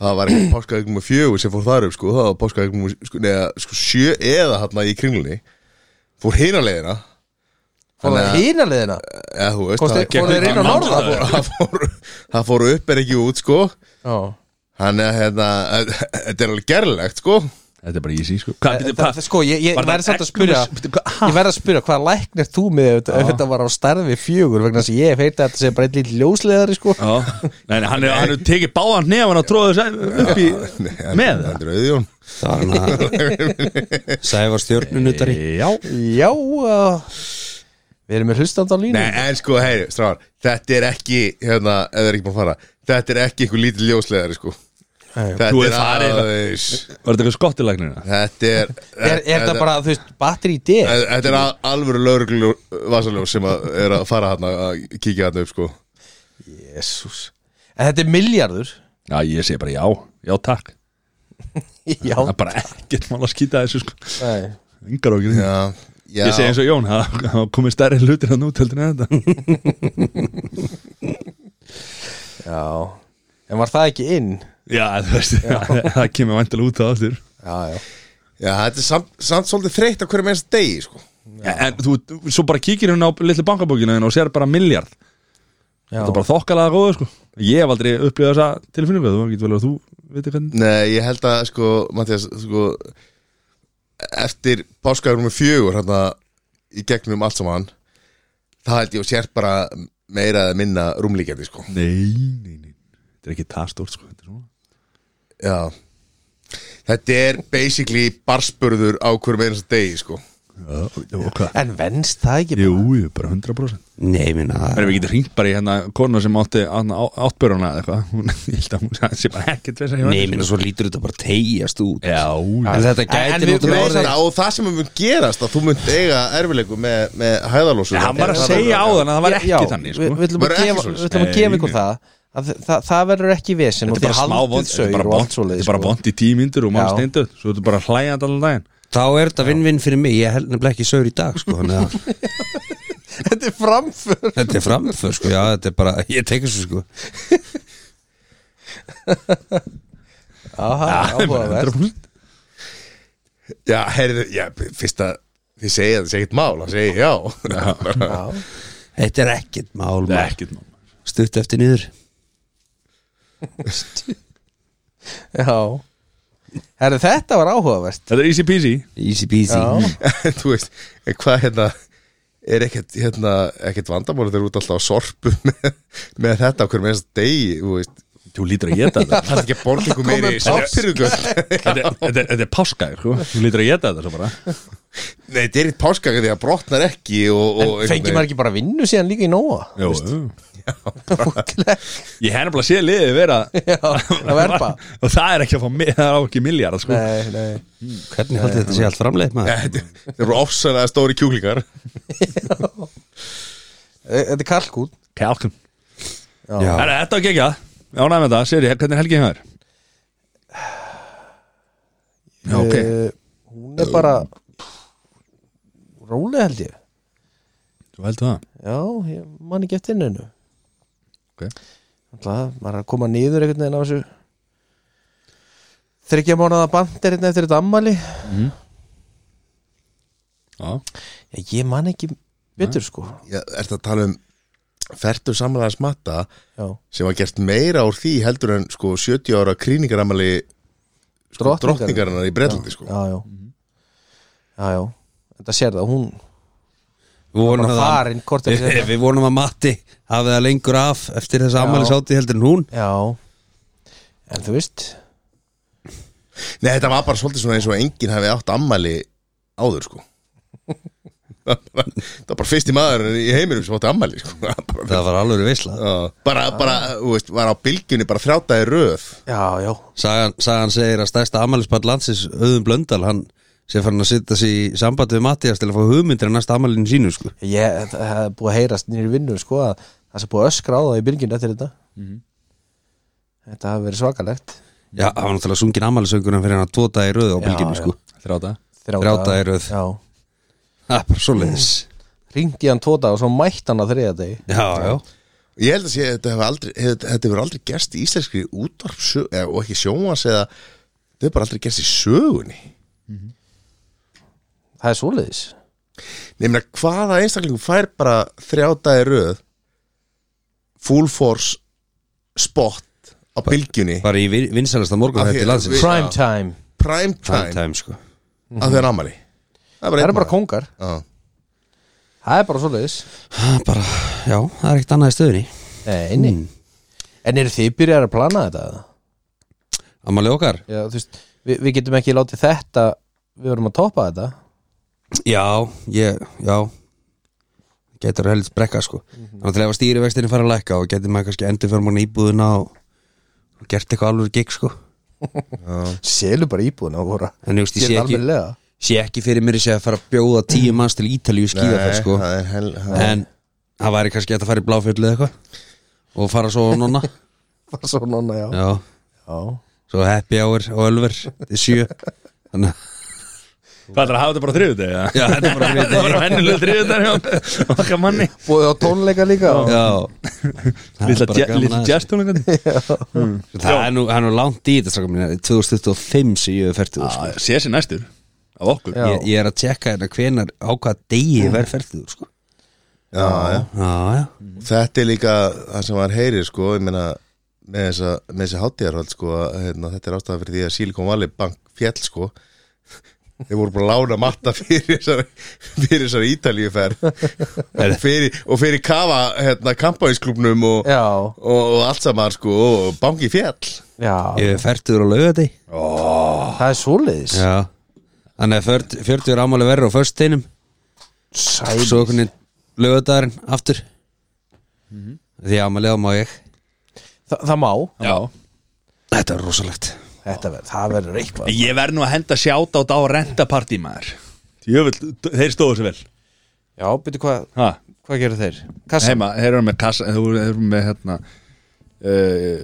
Speaker 3: það var ekki páskaðegum og fjögur sem fór þar upp sko, það var páskaðegum sko, neða, sko, sjö eða hérna í kringlunni fór hina leiðina
Speaker 2: Fór það hína leðina
Speaker 3: eða þú veist
Speaker 2: Fór
Speaker 3: það,
Speaker 2: þeir inn á
Speaker 1: Mann-
Speaker 2: norða
Speaker 3: það, fór, það, fór, það fór upp er ekki út sko
Speaker 2: Já.
Speaker 3: þannig að hérna, þetta er alveg gerlegt sko
Speaker 1: Þetta er bara easy sko Hvað,
Speaker 2: Það-
Speaker 1: byrju,
Speaker 2: það-
Speaker 1: hvað-
Speaker 2: Sko, ég, ég
Speaker 1: var það
Speaker 2: verði samt að
Speaker 1: egg-
Speaker 2: spyrja
Speaker 1: byrju, hvað- ha?
Speaker 2: Ég verði að spyrja, hvað læknir þú með þetta ef þetta var á starfi fjögur vegna þess að ég feita þetta sem bara einn lítið ljósleðari sko
Speaker 1: Já, nei, nei, hann er, hann er tekið báðan nefn og tróðu þess upp í
Speaker 3: Nei,
Speaker 1: með það
Speaker 3: Þetta er auðjón
Speaker 4: Það var hann að Sævar stjórnunutari
Speaker 1: Eh, Já,
Speaker 2: Já, uh, við erum með hlustand á línu
Speaker 3: Nei, en sko, heyri, stráðar Þetta er ekki, hérna, ef það er ekki búin að fara Þetta er ekki einhver lítið ljósleðari, sko Þetta
Speaker 1: Þú er
Speaker 3: er
Speaker 1: farið.
Speaker 3: aðeins
Speaker 1: var þetta eitthvað skottilagnina?
Speaker 3: Þetta er
Speaker 2: Er, er
Speaker 3: þetta-
Speaker 2: það bara, þú veist, batteri í deg?
Speaker 3: Þetta er al- alvöru lögreglu vasaljós sem að er að fara hann að kíkja hann upp, sko
Speaker 2: Jésús En þetta er miljardur
Speaker 1: Já, ég segi bara já, já takk
Speaker 2: Já,
Speaker 1: Það er bara ekkert mál að skýta þessu sko
Speaker 2: nei
Speaker 1: Engar okkur
Speaker 3: Já, já
Speaker 1: Ég segi eins og Jón, það það komið stærri hlutir að núteldur en þetta
Speaker 2: Já En var það ekki inn?
Speaker 1: Já, þú veist, það kemur vantilega út það aftur
Speaker 2: Já, já
Speaker 3: Já, þetta er samt, samt svolítið þreytt á hverjum einst degi, sko
Speaker 1: En þú, svo bara kíkir hún á litlu bankabókinu þína og sér bara miljard
Speaker 2: Já,
Speaker 1: Þetta er bara þokkalega góðu sko Ég hef aldrei upplýðað þessa tilfinningu Þú getur vel um að þú veitir hvernig
Speaker 3: Nei, ég held að, sko, Mattias, sko Eftir páskaður með fjögur, hann í gegnum allt saman Það held ég að sér bara meira eða minna rúmlíkjandi, sko
Speaker 1: Nei, nei, nei Þetta er ekki það stórt sko Þetta er svona
Speaker 3: Já Þetta er basically barspörður á hverjum einasta degi sko
Speaker 1: Já, og hvað?
Speaker 2: En venst það ekki?
Speaker 1: Jú, jú, bara 100%
Speaker 4: Nei, minna
Speaker 1: Það er við getum hringt bara í hérna konu sem átti áttböruna eða eitthvað Hún- Ég held að hún sagði þessi bara ekkert þess að ég
Speaker 4: Nei, minna svo lítur þetta bara tegjast út
Speaker 1: Já,
Speaker 4: En þetta
Speaker 2: En- en við-
Speaker 4: gæti
Speaker 3: Ég
Speaker 4: náttúrulega
Speaker 3: veist
Speaker 4: orðið
Speaker 3: það, og það sem mun gerast að þú mun eiga erfilegu með, með hæðalósu
Speaker 1: Nei, hann var að segja á þann að það var ekki þannig sko.
Speaker 2: við, við
Speaker 1: Nei,
Speaker 3: Verður ekki svoleiðis?
Speaker 2: ætlum að gefa, við ætlum að gefa
Speaker 1: nei.
Speaker 2: ykkur það að þa- það, það verður ekki
Speaker 1: Þetta
Speaker 2: vesen og
Speaker 1: er bara
Speaker 2: þið
Speaker 1: smá
Speaker 2: haldið
Speaker 1: vond Þetta er
Speaker 2: saur
Speaker 1: bara
Speaker 2: og allt
Speaker 1: vond-
Speaker 2: svoleiðis
Speaker 1: þetta er bara
Speaker 2: sko.
Speaker 1: vond í tímindur og
Speaker 2: Já.
Speaker 1: maður stendur Svo þetta er bara hlægjand allan daginn
Speaker 4: Þá er þetta vinn-vinn fyrir mig, ég held nefnilega ekki saur í dag sko, þannig að
Speaker 2: Þetta er framför
Speaker 4: þetta er framför sko, já, þetta er bara, ég tekur svo sko
Speaker 2: Aha, áhugavert
Speaker 1: 100%.
Speaker 3: Já, heyrðu, já, fyrst að þið segja það segja eitt mál, það segja já Já,
Speaker 2: Já.
Speaker 4: Þetta er ekkert mál,
Speaker 1: Það er
Speaker 4: maður.
Speaker 1: ekkert mál
Speaker 4: stutt eftir niður
Speaker 2: Já Herru, þetta var áhugavert
Speaker 1: Þetta er easy peasy
Speaker 4: Easy peasy Mm,
Speaker 2: Já,
Speaker 3: en þú veist, en hvað hérna er ekkert, hérna, ekkert vandamál þeir eru út alltaf á sorpu með, með þetta á hverjum einasta degi, þú veist
Speaker 1: Þú lítur að geta þetta
Speaker 3: Það er ekki að borga ykkur meiri sorpirugöld
Speaker 1: Þetta er- Þetta er- þetta er páskaður sko. Þú lítur að geta þetta svo bara
Speaker 3: Nei, þetta er eitt páskaka því að brotnar ekki og, og
Speaker 2: en fengi maður ekki bara vinnu síðan líka í Nóa?
Speaker 1: Jú, jú. Ég hef nefnilega séð liðið vera
Speaker 2: Já, að verpa
Speaker 1: Og það er ekki að fá mi- Það er á ekki miljard sko.
Speaker 2: Nei, nei
Speaker 4: Hvernig haldið þetta sé allt framleið
Speaker 3: Eh,
Speaker 4: maður?
Speaker 3: Það eru ofsalega stóri kjúklingar
Speaker 2: E- Þetta er kalkún
Speaker 1: Kalkun
Speaker 4: Já,
Speaker 1: Herra, Þetta var gegja Ánægð með þetta, sér ég, hvernig er helgið hjá þér? Já, ok
Speaker 2: Eh, Hún er bara Róleg held ég
Speaker 1: Þú heldur það?
Speaker 2: Já, ég man ekki eftir hennu
Speaker 1: Ok.
Speaker 2: Alltaf, maður er að koma nýður einhvern veginn á þessu Þryggja mánuða band er hérna eftir þetta ammali
Speaker 1: Já
Speaker 2: Já, ég man ekki betur sko
Speaker 3: Já, ertu að tala um fertur samlæðans matta
Speaker 2: Já,
Speaker 3: sem var gert meira úr því heldur en sko 70 ára krýningaramali sko,
Speaker 2: Drottningar.
Speaker 4: Mhm.
Speaker 3: drottningarinnar í Breitlandi sko.
Speaker 2: já, já Já, já, þetta sér það, hún
Speaker 4: Við vonum
Speaker 2: Bara
Speaker 4: að það-
Speaker 2: farin, korter
Speaker 4: Við-
Speaker 2: seinna.
Speaker 4: Við vonum að Matti hafi það lengur af eftir þess ammælis átti heldur en hún
Speaker 2: Já En þú veist
Speaker 3: Nei, þetta var bara svolítið svona eins og enginn hefði átt ammæli áður sko Það var bara- það var bara fyrsti maður í heiminum sem átti ammæli sko. bara,
Speaker 4: Það var alveg veisla
Speaker 3: Já, bara, bara þú veist, var á bylgjunni bara þrjátaði röð
Speaker 2: Já, já
Speaker 4: Sagan, sagan segir að stærsta ammælisball landsins Öðum Blöndal, hann sé fann að sitta sér í sambandi við Mattias til að fá hugmyndir að næsta ammælinu sínu sko.
Speaker 2: Ég það hefði búið að heyrast nýri vinnu sko að það sem búið að öskra á það í byrginu eftir þetta
Speaker 4: Mhm.
Speaker 2: Þetta hafi verið svakalegt
Speaker 4: Já, það var náttúrulega sungin ammælisöngurinn fyrir hann að tóta í röð á
Speaker 2: Já,
Speaker 4: bylginu
Speaker 2: já.
Speaker 4: sko.
Speaker 1: Þráta
Speaker 4: Þrjá daga í röð.
Speaker 2: Já
Speaker 4: Það er bara svoleiðis
Speaker 2: Ringdi hann tóta og svo mætti hann að þriða degi
Speaker 4: Já, já,
Speaker 3: Ég held að sé, að þetta hefur aldrei, hef, þetta hefur aldrei gerst í íslenskri útvarpsög eða- og ekki sjómas eða þetta hefur bara aldrei gerst í sögunni
Speaker 2: Það er svoleiðis
Speaker 3: Nei, ég meina, hvaða einstaklingum fær bara þrjátaði röð full force spot á bylgjunni
Speaker 4: bara í vin- vinsælasta morgun
Speaker 3: Af því
Speaker 4: hætti
Speaker 3: að
Speaker 4: landsins
Speaker 3: við-
Speaker 2: Prime time
Speaker 3: prime time,
Speaker 4: Prime time, sko
Speaker 3: að það er ammali Það er
Speaker 2: Það
Speaker 3: bara,
Speaker 2: eru bara kóngar
Speaker 3: koma
Speaker 2: Það er bara svoleiðis
Speaker 4: Það er bara, já, það er ekkert annað í stöðunni
Speaker 2: Nei, nei
Speaker 4: Mm.
Speaker 2: En eru þið byrjar að plana þetta? eða?
Speaker 4: Ammæli okkar
Speaker 2: Já, þú veist, við, við getum ekki látið þetta Við verum að toppa þetta
Speaker 4: Já, ég, já Getur að helst brekka sko Þannig til ef að stýrivextinni fara að lækka og getur maður kannski endur fyrir mann íbúðuna og, og gert eitthvað alveg gig sko
Speaker 2: Selur bara íbúðuna á voru
Speaker 4: En ég, veist, ég sé,
Speaker 2: Gerðu
Speaker 4: ekki,
Speaker 2: almennilega
Speaker 4: sé ekki fyrir mér sé að fara að bjóða tíu manns til Ítalíu skíðaferð sko
Speaker 3: það er hel, það er-
Speaker 4: En það væri kannski hægt að fara í bláfjöldu eða eitthvað og fara svo á nonna
Speaker 2: Bara svo nonna, já
Speaker 4: Já,
Speaker 2: Já,
Speaker 4: svo happy hour og ölver til sjö Þannig að
Speaker 1: Hvað er að hafa þetta bara þriðudegi? eða?
Speaker 4: Já, þetta er bara fyrir
Speaker 1: Það var hennilega þriðudegi hjá okkar manni
Speaker 2: Búið á tónleika líka
Speaker 4: Já Það er bara
Speaker 1: Lilla
Speaker 4: gaman
Speaker 1: lilla
Speaker 4: aðeins.
Speaker 1: jazz tónleikandi
Speaker 4: Það er nú, það er nú langt í þetta strákum mínar 2025 sem ég hef fertið sko.
Speaker 1: Sér sér næstur Af okkur
Speaker 2: Já.
Speaker 4: ég, ég er að tjekka hérna hvenar á hvaða degi ég verð fertið sko.
Speaker 3: já, já.
Speaker 4: Já, já
Speaker 3: Þetta er líka það sem var heyrir sko, ég meina með þessa, með þessa hátíðarhald sko, að, hérna, þetta er ástæða fyrir því að Silicon Valley Bank fjall sko þeir voru bara að lána matta fyrir þessari, fyrir þessari Ítalíuferð og fyrir, og fyrir kafa hérna, kampænsklubnum og,
Speaker 2: Já,
Speaker 3: og, og allt saman sko og banki fjall
Speaker 2: já, Ah,
Speaker 4: Ég er fertið á laugati
Speaker 2: það er svoleiðis
Speaker 4: Já Þannig að 40 40 er ámáli verður á föstudinum
Speaker 2: Sæl
Speaker 4: Svo okkur laugadagurinn aftur Því ámáli á má ég
Speaker 2: Þa, Það má,
Speaker 1: Já
Speaker 4: Þetta er rosalegt
Speaker 2: þetta verður, það verður eitthvað
Speaker 1: Ég verð nú að henda sjátt á rentapartí maður Jöfull, þeir stóðu sér vel
Speaker 2: Já, byrju hvað,
Speaker 1: Ha,
Speaker 2: hvað gerðu þeir? Kassa,
Speaker 1: heima, þeir eru með kassa Þeir eru- þeir eru með hérna uh,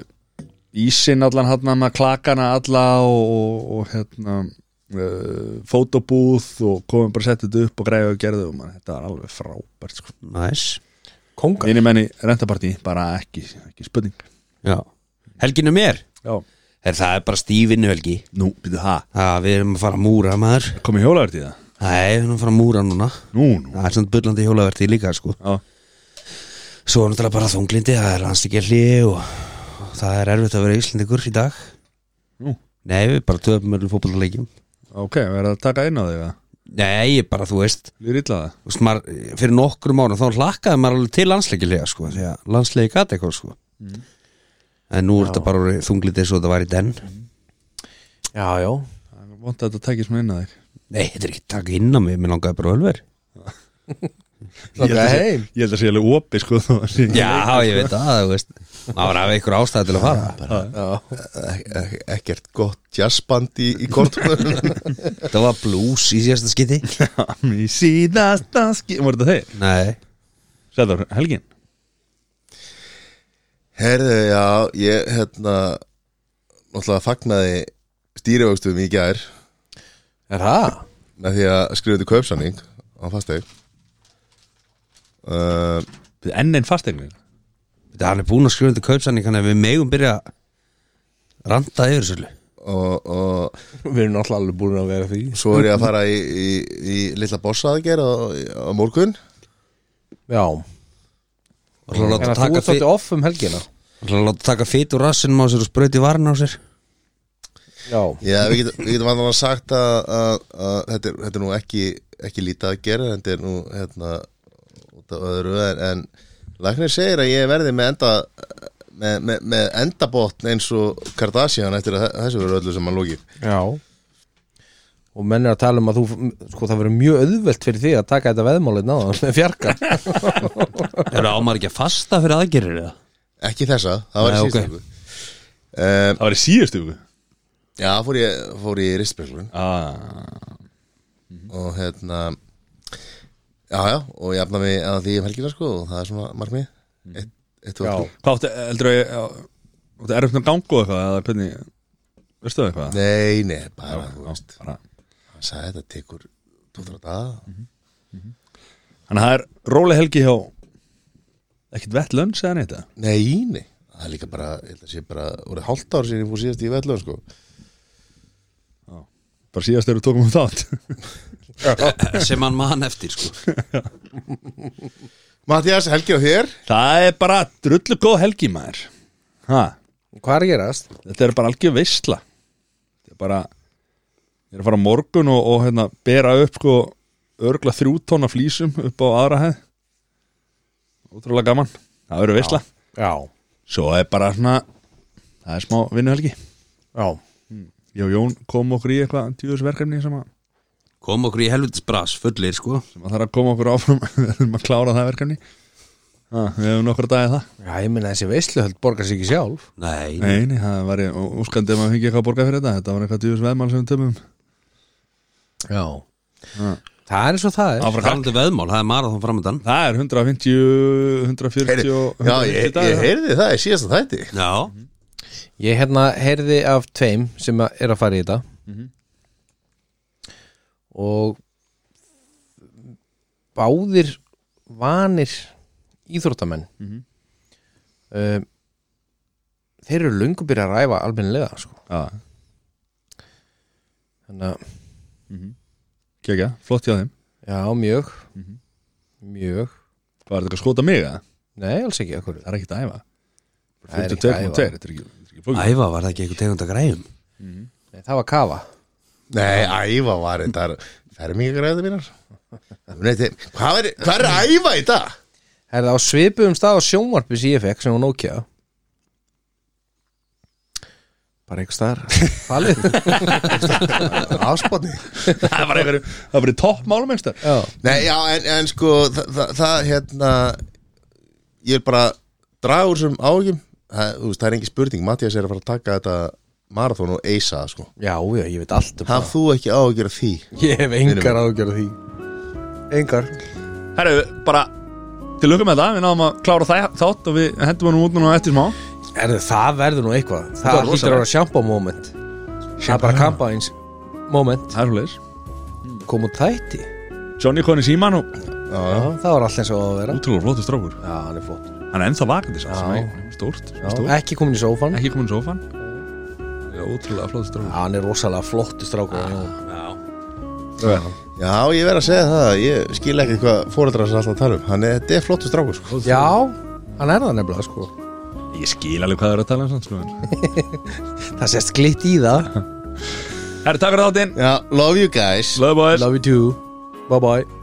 Speaker 1: Ísin allan hérna með klakana alla og, og, og hérna uh, fotobúð og komum bara að setja þetta upp og greiðu og gerðu og maður, þetta var alveg frábært sko.
Speaker 4: Næs
Speaker 2: kongar
Speaker 1: Einu menni rentapartí, bara ekki, ekki spurning
Speaker 4: Já Helginu mér
Speaker 1: Já
Speaker 4: er, Það er bara stífinu helgi
Speaker 1: Nú, byrju, ha,
Speaker 4: Já, við erum að fara að múra maður
Speaker 1: komið hjólaður til það?
Speaker 4: Nei, við erum að fara að múra núna
Speaker 1: Nú, nú
Speaker 4: Það er svona bullandi hjólaverti líka sko
Speaker 1: Já,
Speaker 4: Svo er náttúrulega bara þunglindi, það er landstíkja hlið og, og það er erfitt að vera Íslendingur í dag
Speaker 1: Nú.
Speaker 4: Nei, við bara töfum öllum fótballaleikjum
Speaker 1: ok, verður það að taka inn á þig að
Speaker 4: Nei, ég bara, þú veist,
Speaker 1: Lýr illa það?
Speaker 4: þú veist maður, fyrir nokkrum árum þá hlakkaði maður alveg til landsleiki hlið sko, því að landsleiki gæti eitthvað sko
Speaker 2: Mm.
Speaker 4: En nú er þetta bara orðið þunglindi svo þetta var í den
Speaker 2: Mm. Já, já,
Speaker 1: Það er vont að þetta takist með inn að þig
Speaker 4: Nei, þetta er ekki takk inn á mig, mér langaði bara ölver
Speaker 1: Ég held að sé-
Speaker 2: heim.
Speaker 1: Ég held að sé alveg opið sko þó að sé ekki
Speaker 4: Já, ég veit að, þú veist Maður hafi ykkur ástæði til að fara
Speaker 3: Ek-
Speaker 2: E-,
Speaker 3: ek- ekkert gott jazzband í, í kortunum
Speaker 4: Þetta var blues í síðasta skiti
Speaker 1: leik. Í síðasta skil Var þetta þeir?
Speaker 4: Nei,
Speaker 1: Sæður Helgin
Speaker 3: Herðu, já, ég hérna náttúrulega fagnaði stýrivöxtum í gær
Speaker 2: er það?
Speaker 3: með því að skrifa til kaupsanning á fasteg uh,
Speaker 1: Enn einn fastegnir
Speaker 4: Þetta hann er búin að skrifa undir kaupsanning Þannig að við megum byrja að randa yfir svolítið
Speaker 3: og, og
Speaker 2: Við erum náttúrulega alveg búin að vera því
Speaker 3: svo er ég að fara í, í, í litla bossa aðgerð á, á morgun
Speaker 2: Já,
Speaker 4: Og ætla að
Speaker 2: en
Speaker 4: láta
Speaker 2: að þú
Speaker 4: taka
Speaker 2: ert
Speaker 4: fit-
Speaker 2: þátti off um helgina
Speaker 4: ætla að láta taka fit úr rassinum á sér og sprauti varin á sér
Speaker 2: Já,
Speaker 3: Já, við getum, við getum annað sagt að, að, að þetta, er, þetta er nú ekki, ekki lítið aðgerð þetta er nú hérna, mat og öðru en, en læknir segir að ég verði með enda með, með, með endabotn eins og Kardashian eftir að þe- þessu verður öllu sem hann lókir
Speaker 2: Já Og menn er að tala um að þú, sko það verður mjög auðvelt fyrir því að taka þetta veðmálið náðan með fjarka
Speaker 4: Eru ámar ekki að fasta fyrir aðgerir það?
Speaker 3: ekki þessa, það var í
Speaker 4: Nei,
Speaker 3: síðustu
Speaker 4: ok.
Speaker 3: viku. um,
Speaker 1: Það var í síðustu viku
Speaker 3: Já, fór ég, fór ég í ristspeklun
Speaker 1: ah,
Speaker 3: og hérna já, já, og ég afna mig að því um helgina sko og það er svona markmið eitt, eitt og
Speaker 2: Já.
Speaker 3: þrjú.
Speaker 1: Hvað áttu, heldur að ég Þetta er uppnum gangu eitthvað eða hvernig Veistu það eitthvað?
Speaker 3: Nei, nei, bara,
Speaker 1: Já,
Speaker 3: þú veist
Speaker 1: bara.
Speaker 3: hann sagði þetta tekur 2-3 daga
Speaker 1: Þannig að það er róleg helgi hjá ekkert vett lönn segja neitt eða?
Speaker 3: Nei, nei, það er líka bara ég held að sé bara, voru hálft ár síðan ég fór síðast í vellu sko.
Speaker 1: Bara síðast eru tókum um þátt
Speaker 4: Sem hann man eftir sko
Speaker 3: Mattias, helgi á þér
Speaker 1: Það er bara drullu góð helgi maður ha,
Speaker 2: Hvað er að gerast?
Speaker 1: Þetta er bara algjör veisla Þetta er bara Ég er að fara á morgun og, og hérna, bera upp sko, örgla þrjú tóna flýsum upp á aðra hæð Ótrúlega gaman Það verður veisla
Speaker 2: Já,
Speaker 1: Svo er bara svona Það er smá vinnuhelgi
Speaker 2: já
Speaker 1: Ég og Jón kom okkur í eitthvað tjúðusverkefni sem, að-
Speaker 4: Kom okkur í helvitis bras fullir sko
Speaker 1: sem að það er að koma okkur áfram Við erum að klára það verkefni ha, Við hefum nokkur dagið það
Speaker 2: Já, ég meina þessi veisluhöld borgar sig ekki sjálf
Speaker 4: Nei,
Speaker 1: Nei, nei, það var ég úskandi ef maður fengi eitthvað að borga fyrir þetta Þetta var eitthvað tjúðusveðmál sem við tömum
Speaker 2: Já Það er eins og það er
Speaker 4: talandi um veðmál, það er marathon framöndan
Speaker 1: Það er 150, 140
Speaker 3: Heyri,
Speaker 1: og
Speaker 3: Já, ég,
Speaker 1: 150 dagar.
Speaker 3: ég heyrði það í síðasta þætti
Speaker 4: Já,
Speaker 2: Ég hérna heyrði af tveim sem að- er að fara í þetta Og báðir vanir íþróttamenn um, Þeir eru löngu byrja að ræfa almennilega sko.
Speaker 1: Já,
Speaker 2: Þannig að
Speaker 1: kekja, flott hjá þeim
Speaker 2: Já, mjög Mjög
Speaker 1: Hvað er þetta eitthvað að skota mig? eða?
Speaker 2: Nei, alls ekki akkur
Speaker 1: Það er ekkert að æfa
Speaker 2: Það er ekki
Speaker 1: 52.2,
Speaker 2: að æfa.
Speaker 1: þetta er ekki, þetta er ekki flókið.
Speaker 4: æfa var það ekki eitthvað tegund að græjum
Speaker 2: Nei, Það var kafa
Speaker 3: Nei, æfa var þetta fermingagræði mínar Nei, þið- Hvað er, hvað er að æfa í dag?
Speaker 2: Er það á svipuðum stað á sjónvarpi sem ég fekk sem hún ókja Bara einhver staðar Fallið
Speaker 3: Afspotni
Speaker 1: Það var einhverju, það var í toppmálum einstar
Speaker 2: Já,
Speaker 3: Nei, já, en, en sko það, það, það, hérna Ég vil bara draga úr sem áhugjum það, þú veist, það er engin spurning, Mattias er að fara að taka þetta marathón og eisa það, sko
Speaker 2: já, já, ég veit allt um
Speaker 3: Haf þú ekki áhugjur af því?
Speaker 2: það Ég hef engar ágjörð því Engar
Speaker 1: Herru, bara til lukkum með það, við náðum að klára það þátt og við hendum hann út núna eftir smá
Speaker 2: Er það verður nú eitthvað
Speaker 1: Það er
Speaker 2: Það hlýtur
Speaker 1: rosalegt.
Speaker 2: að vera sjampo moment Það er bara kampaðins moment
Speaker 1: Það er svo leiðis
Speaker 2: Kom út þætti
Speaker 1: Johnny Conny Síman og
Speaker 3: Já,
Speaker 2: Já, það var allt eins og á að vera
Speaker 1: útrúlega flottur strákur
Speaker 2: Já, hann er flott
Speaker 1: Hann er ennþá vakandi sá, sem
Speaker 2: Já.
Speaker 1: er stórt, sem er
Speaker 2: já,
Speaker 1: stórt.
Speaker 2: Ekki komin í sófan
Speaker 1: Ekki komin í sófan Útrúlega flottur
Speaker 2: Já,
Speaker 1: strákur
Speaker 2: hann er rosalega flottu strákur já.
Speaker 3: já ég verð að segja það Ég skil ekki hvað fóreldrar hans er alltaf að tala um Hann er, þetta er flottur strákur, sko
Speaker 2: já, hann er það nefnilega sko
Speaker 1: Ég skil alveg hvað það er að tala um samt, sko, en-
Speaker 2: Það sést glitt í það
Speaker 1: Herru, takk fyrir þáttinn
Speaker 3: Já, love you guys
Speaker 1: Love boys
Speaker 2: Love you too Bye bye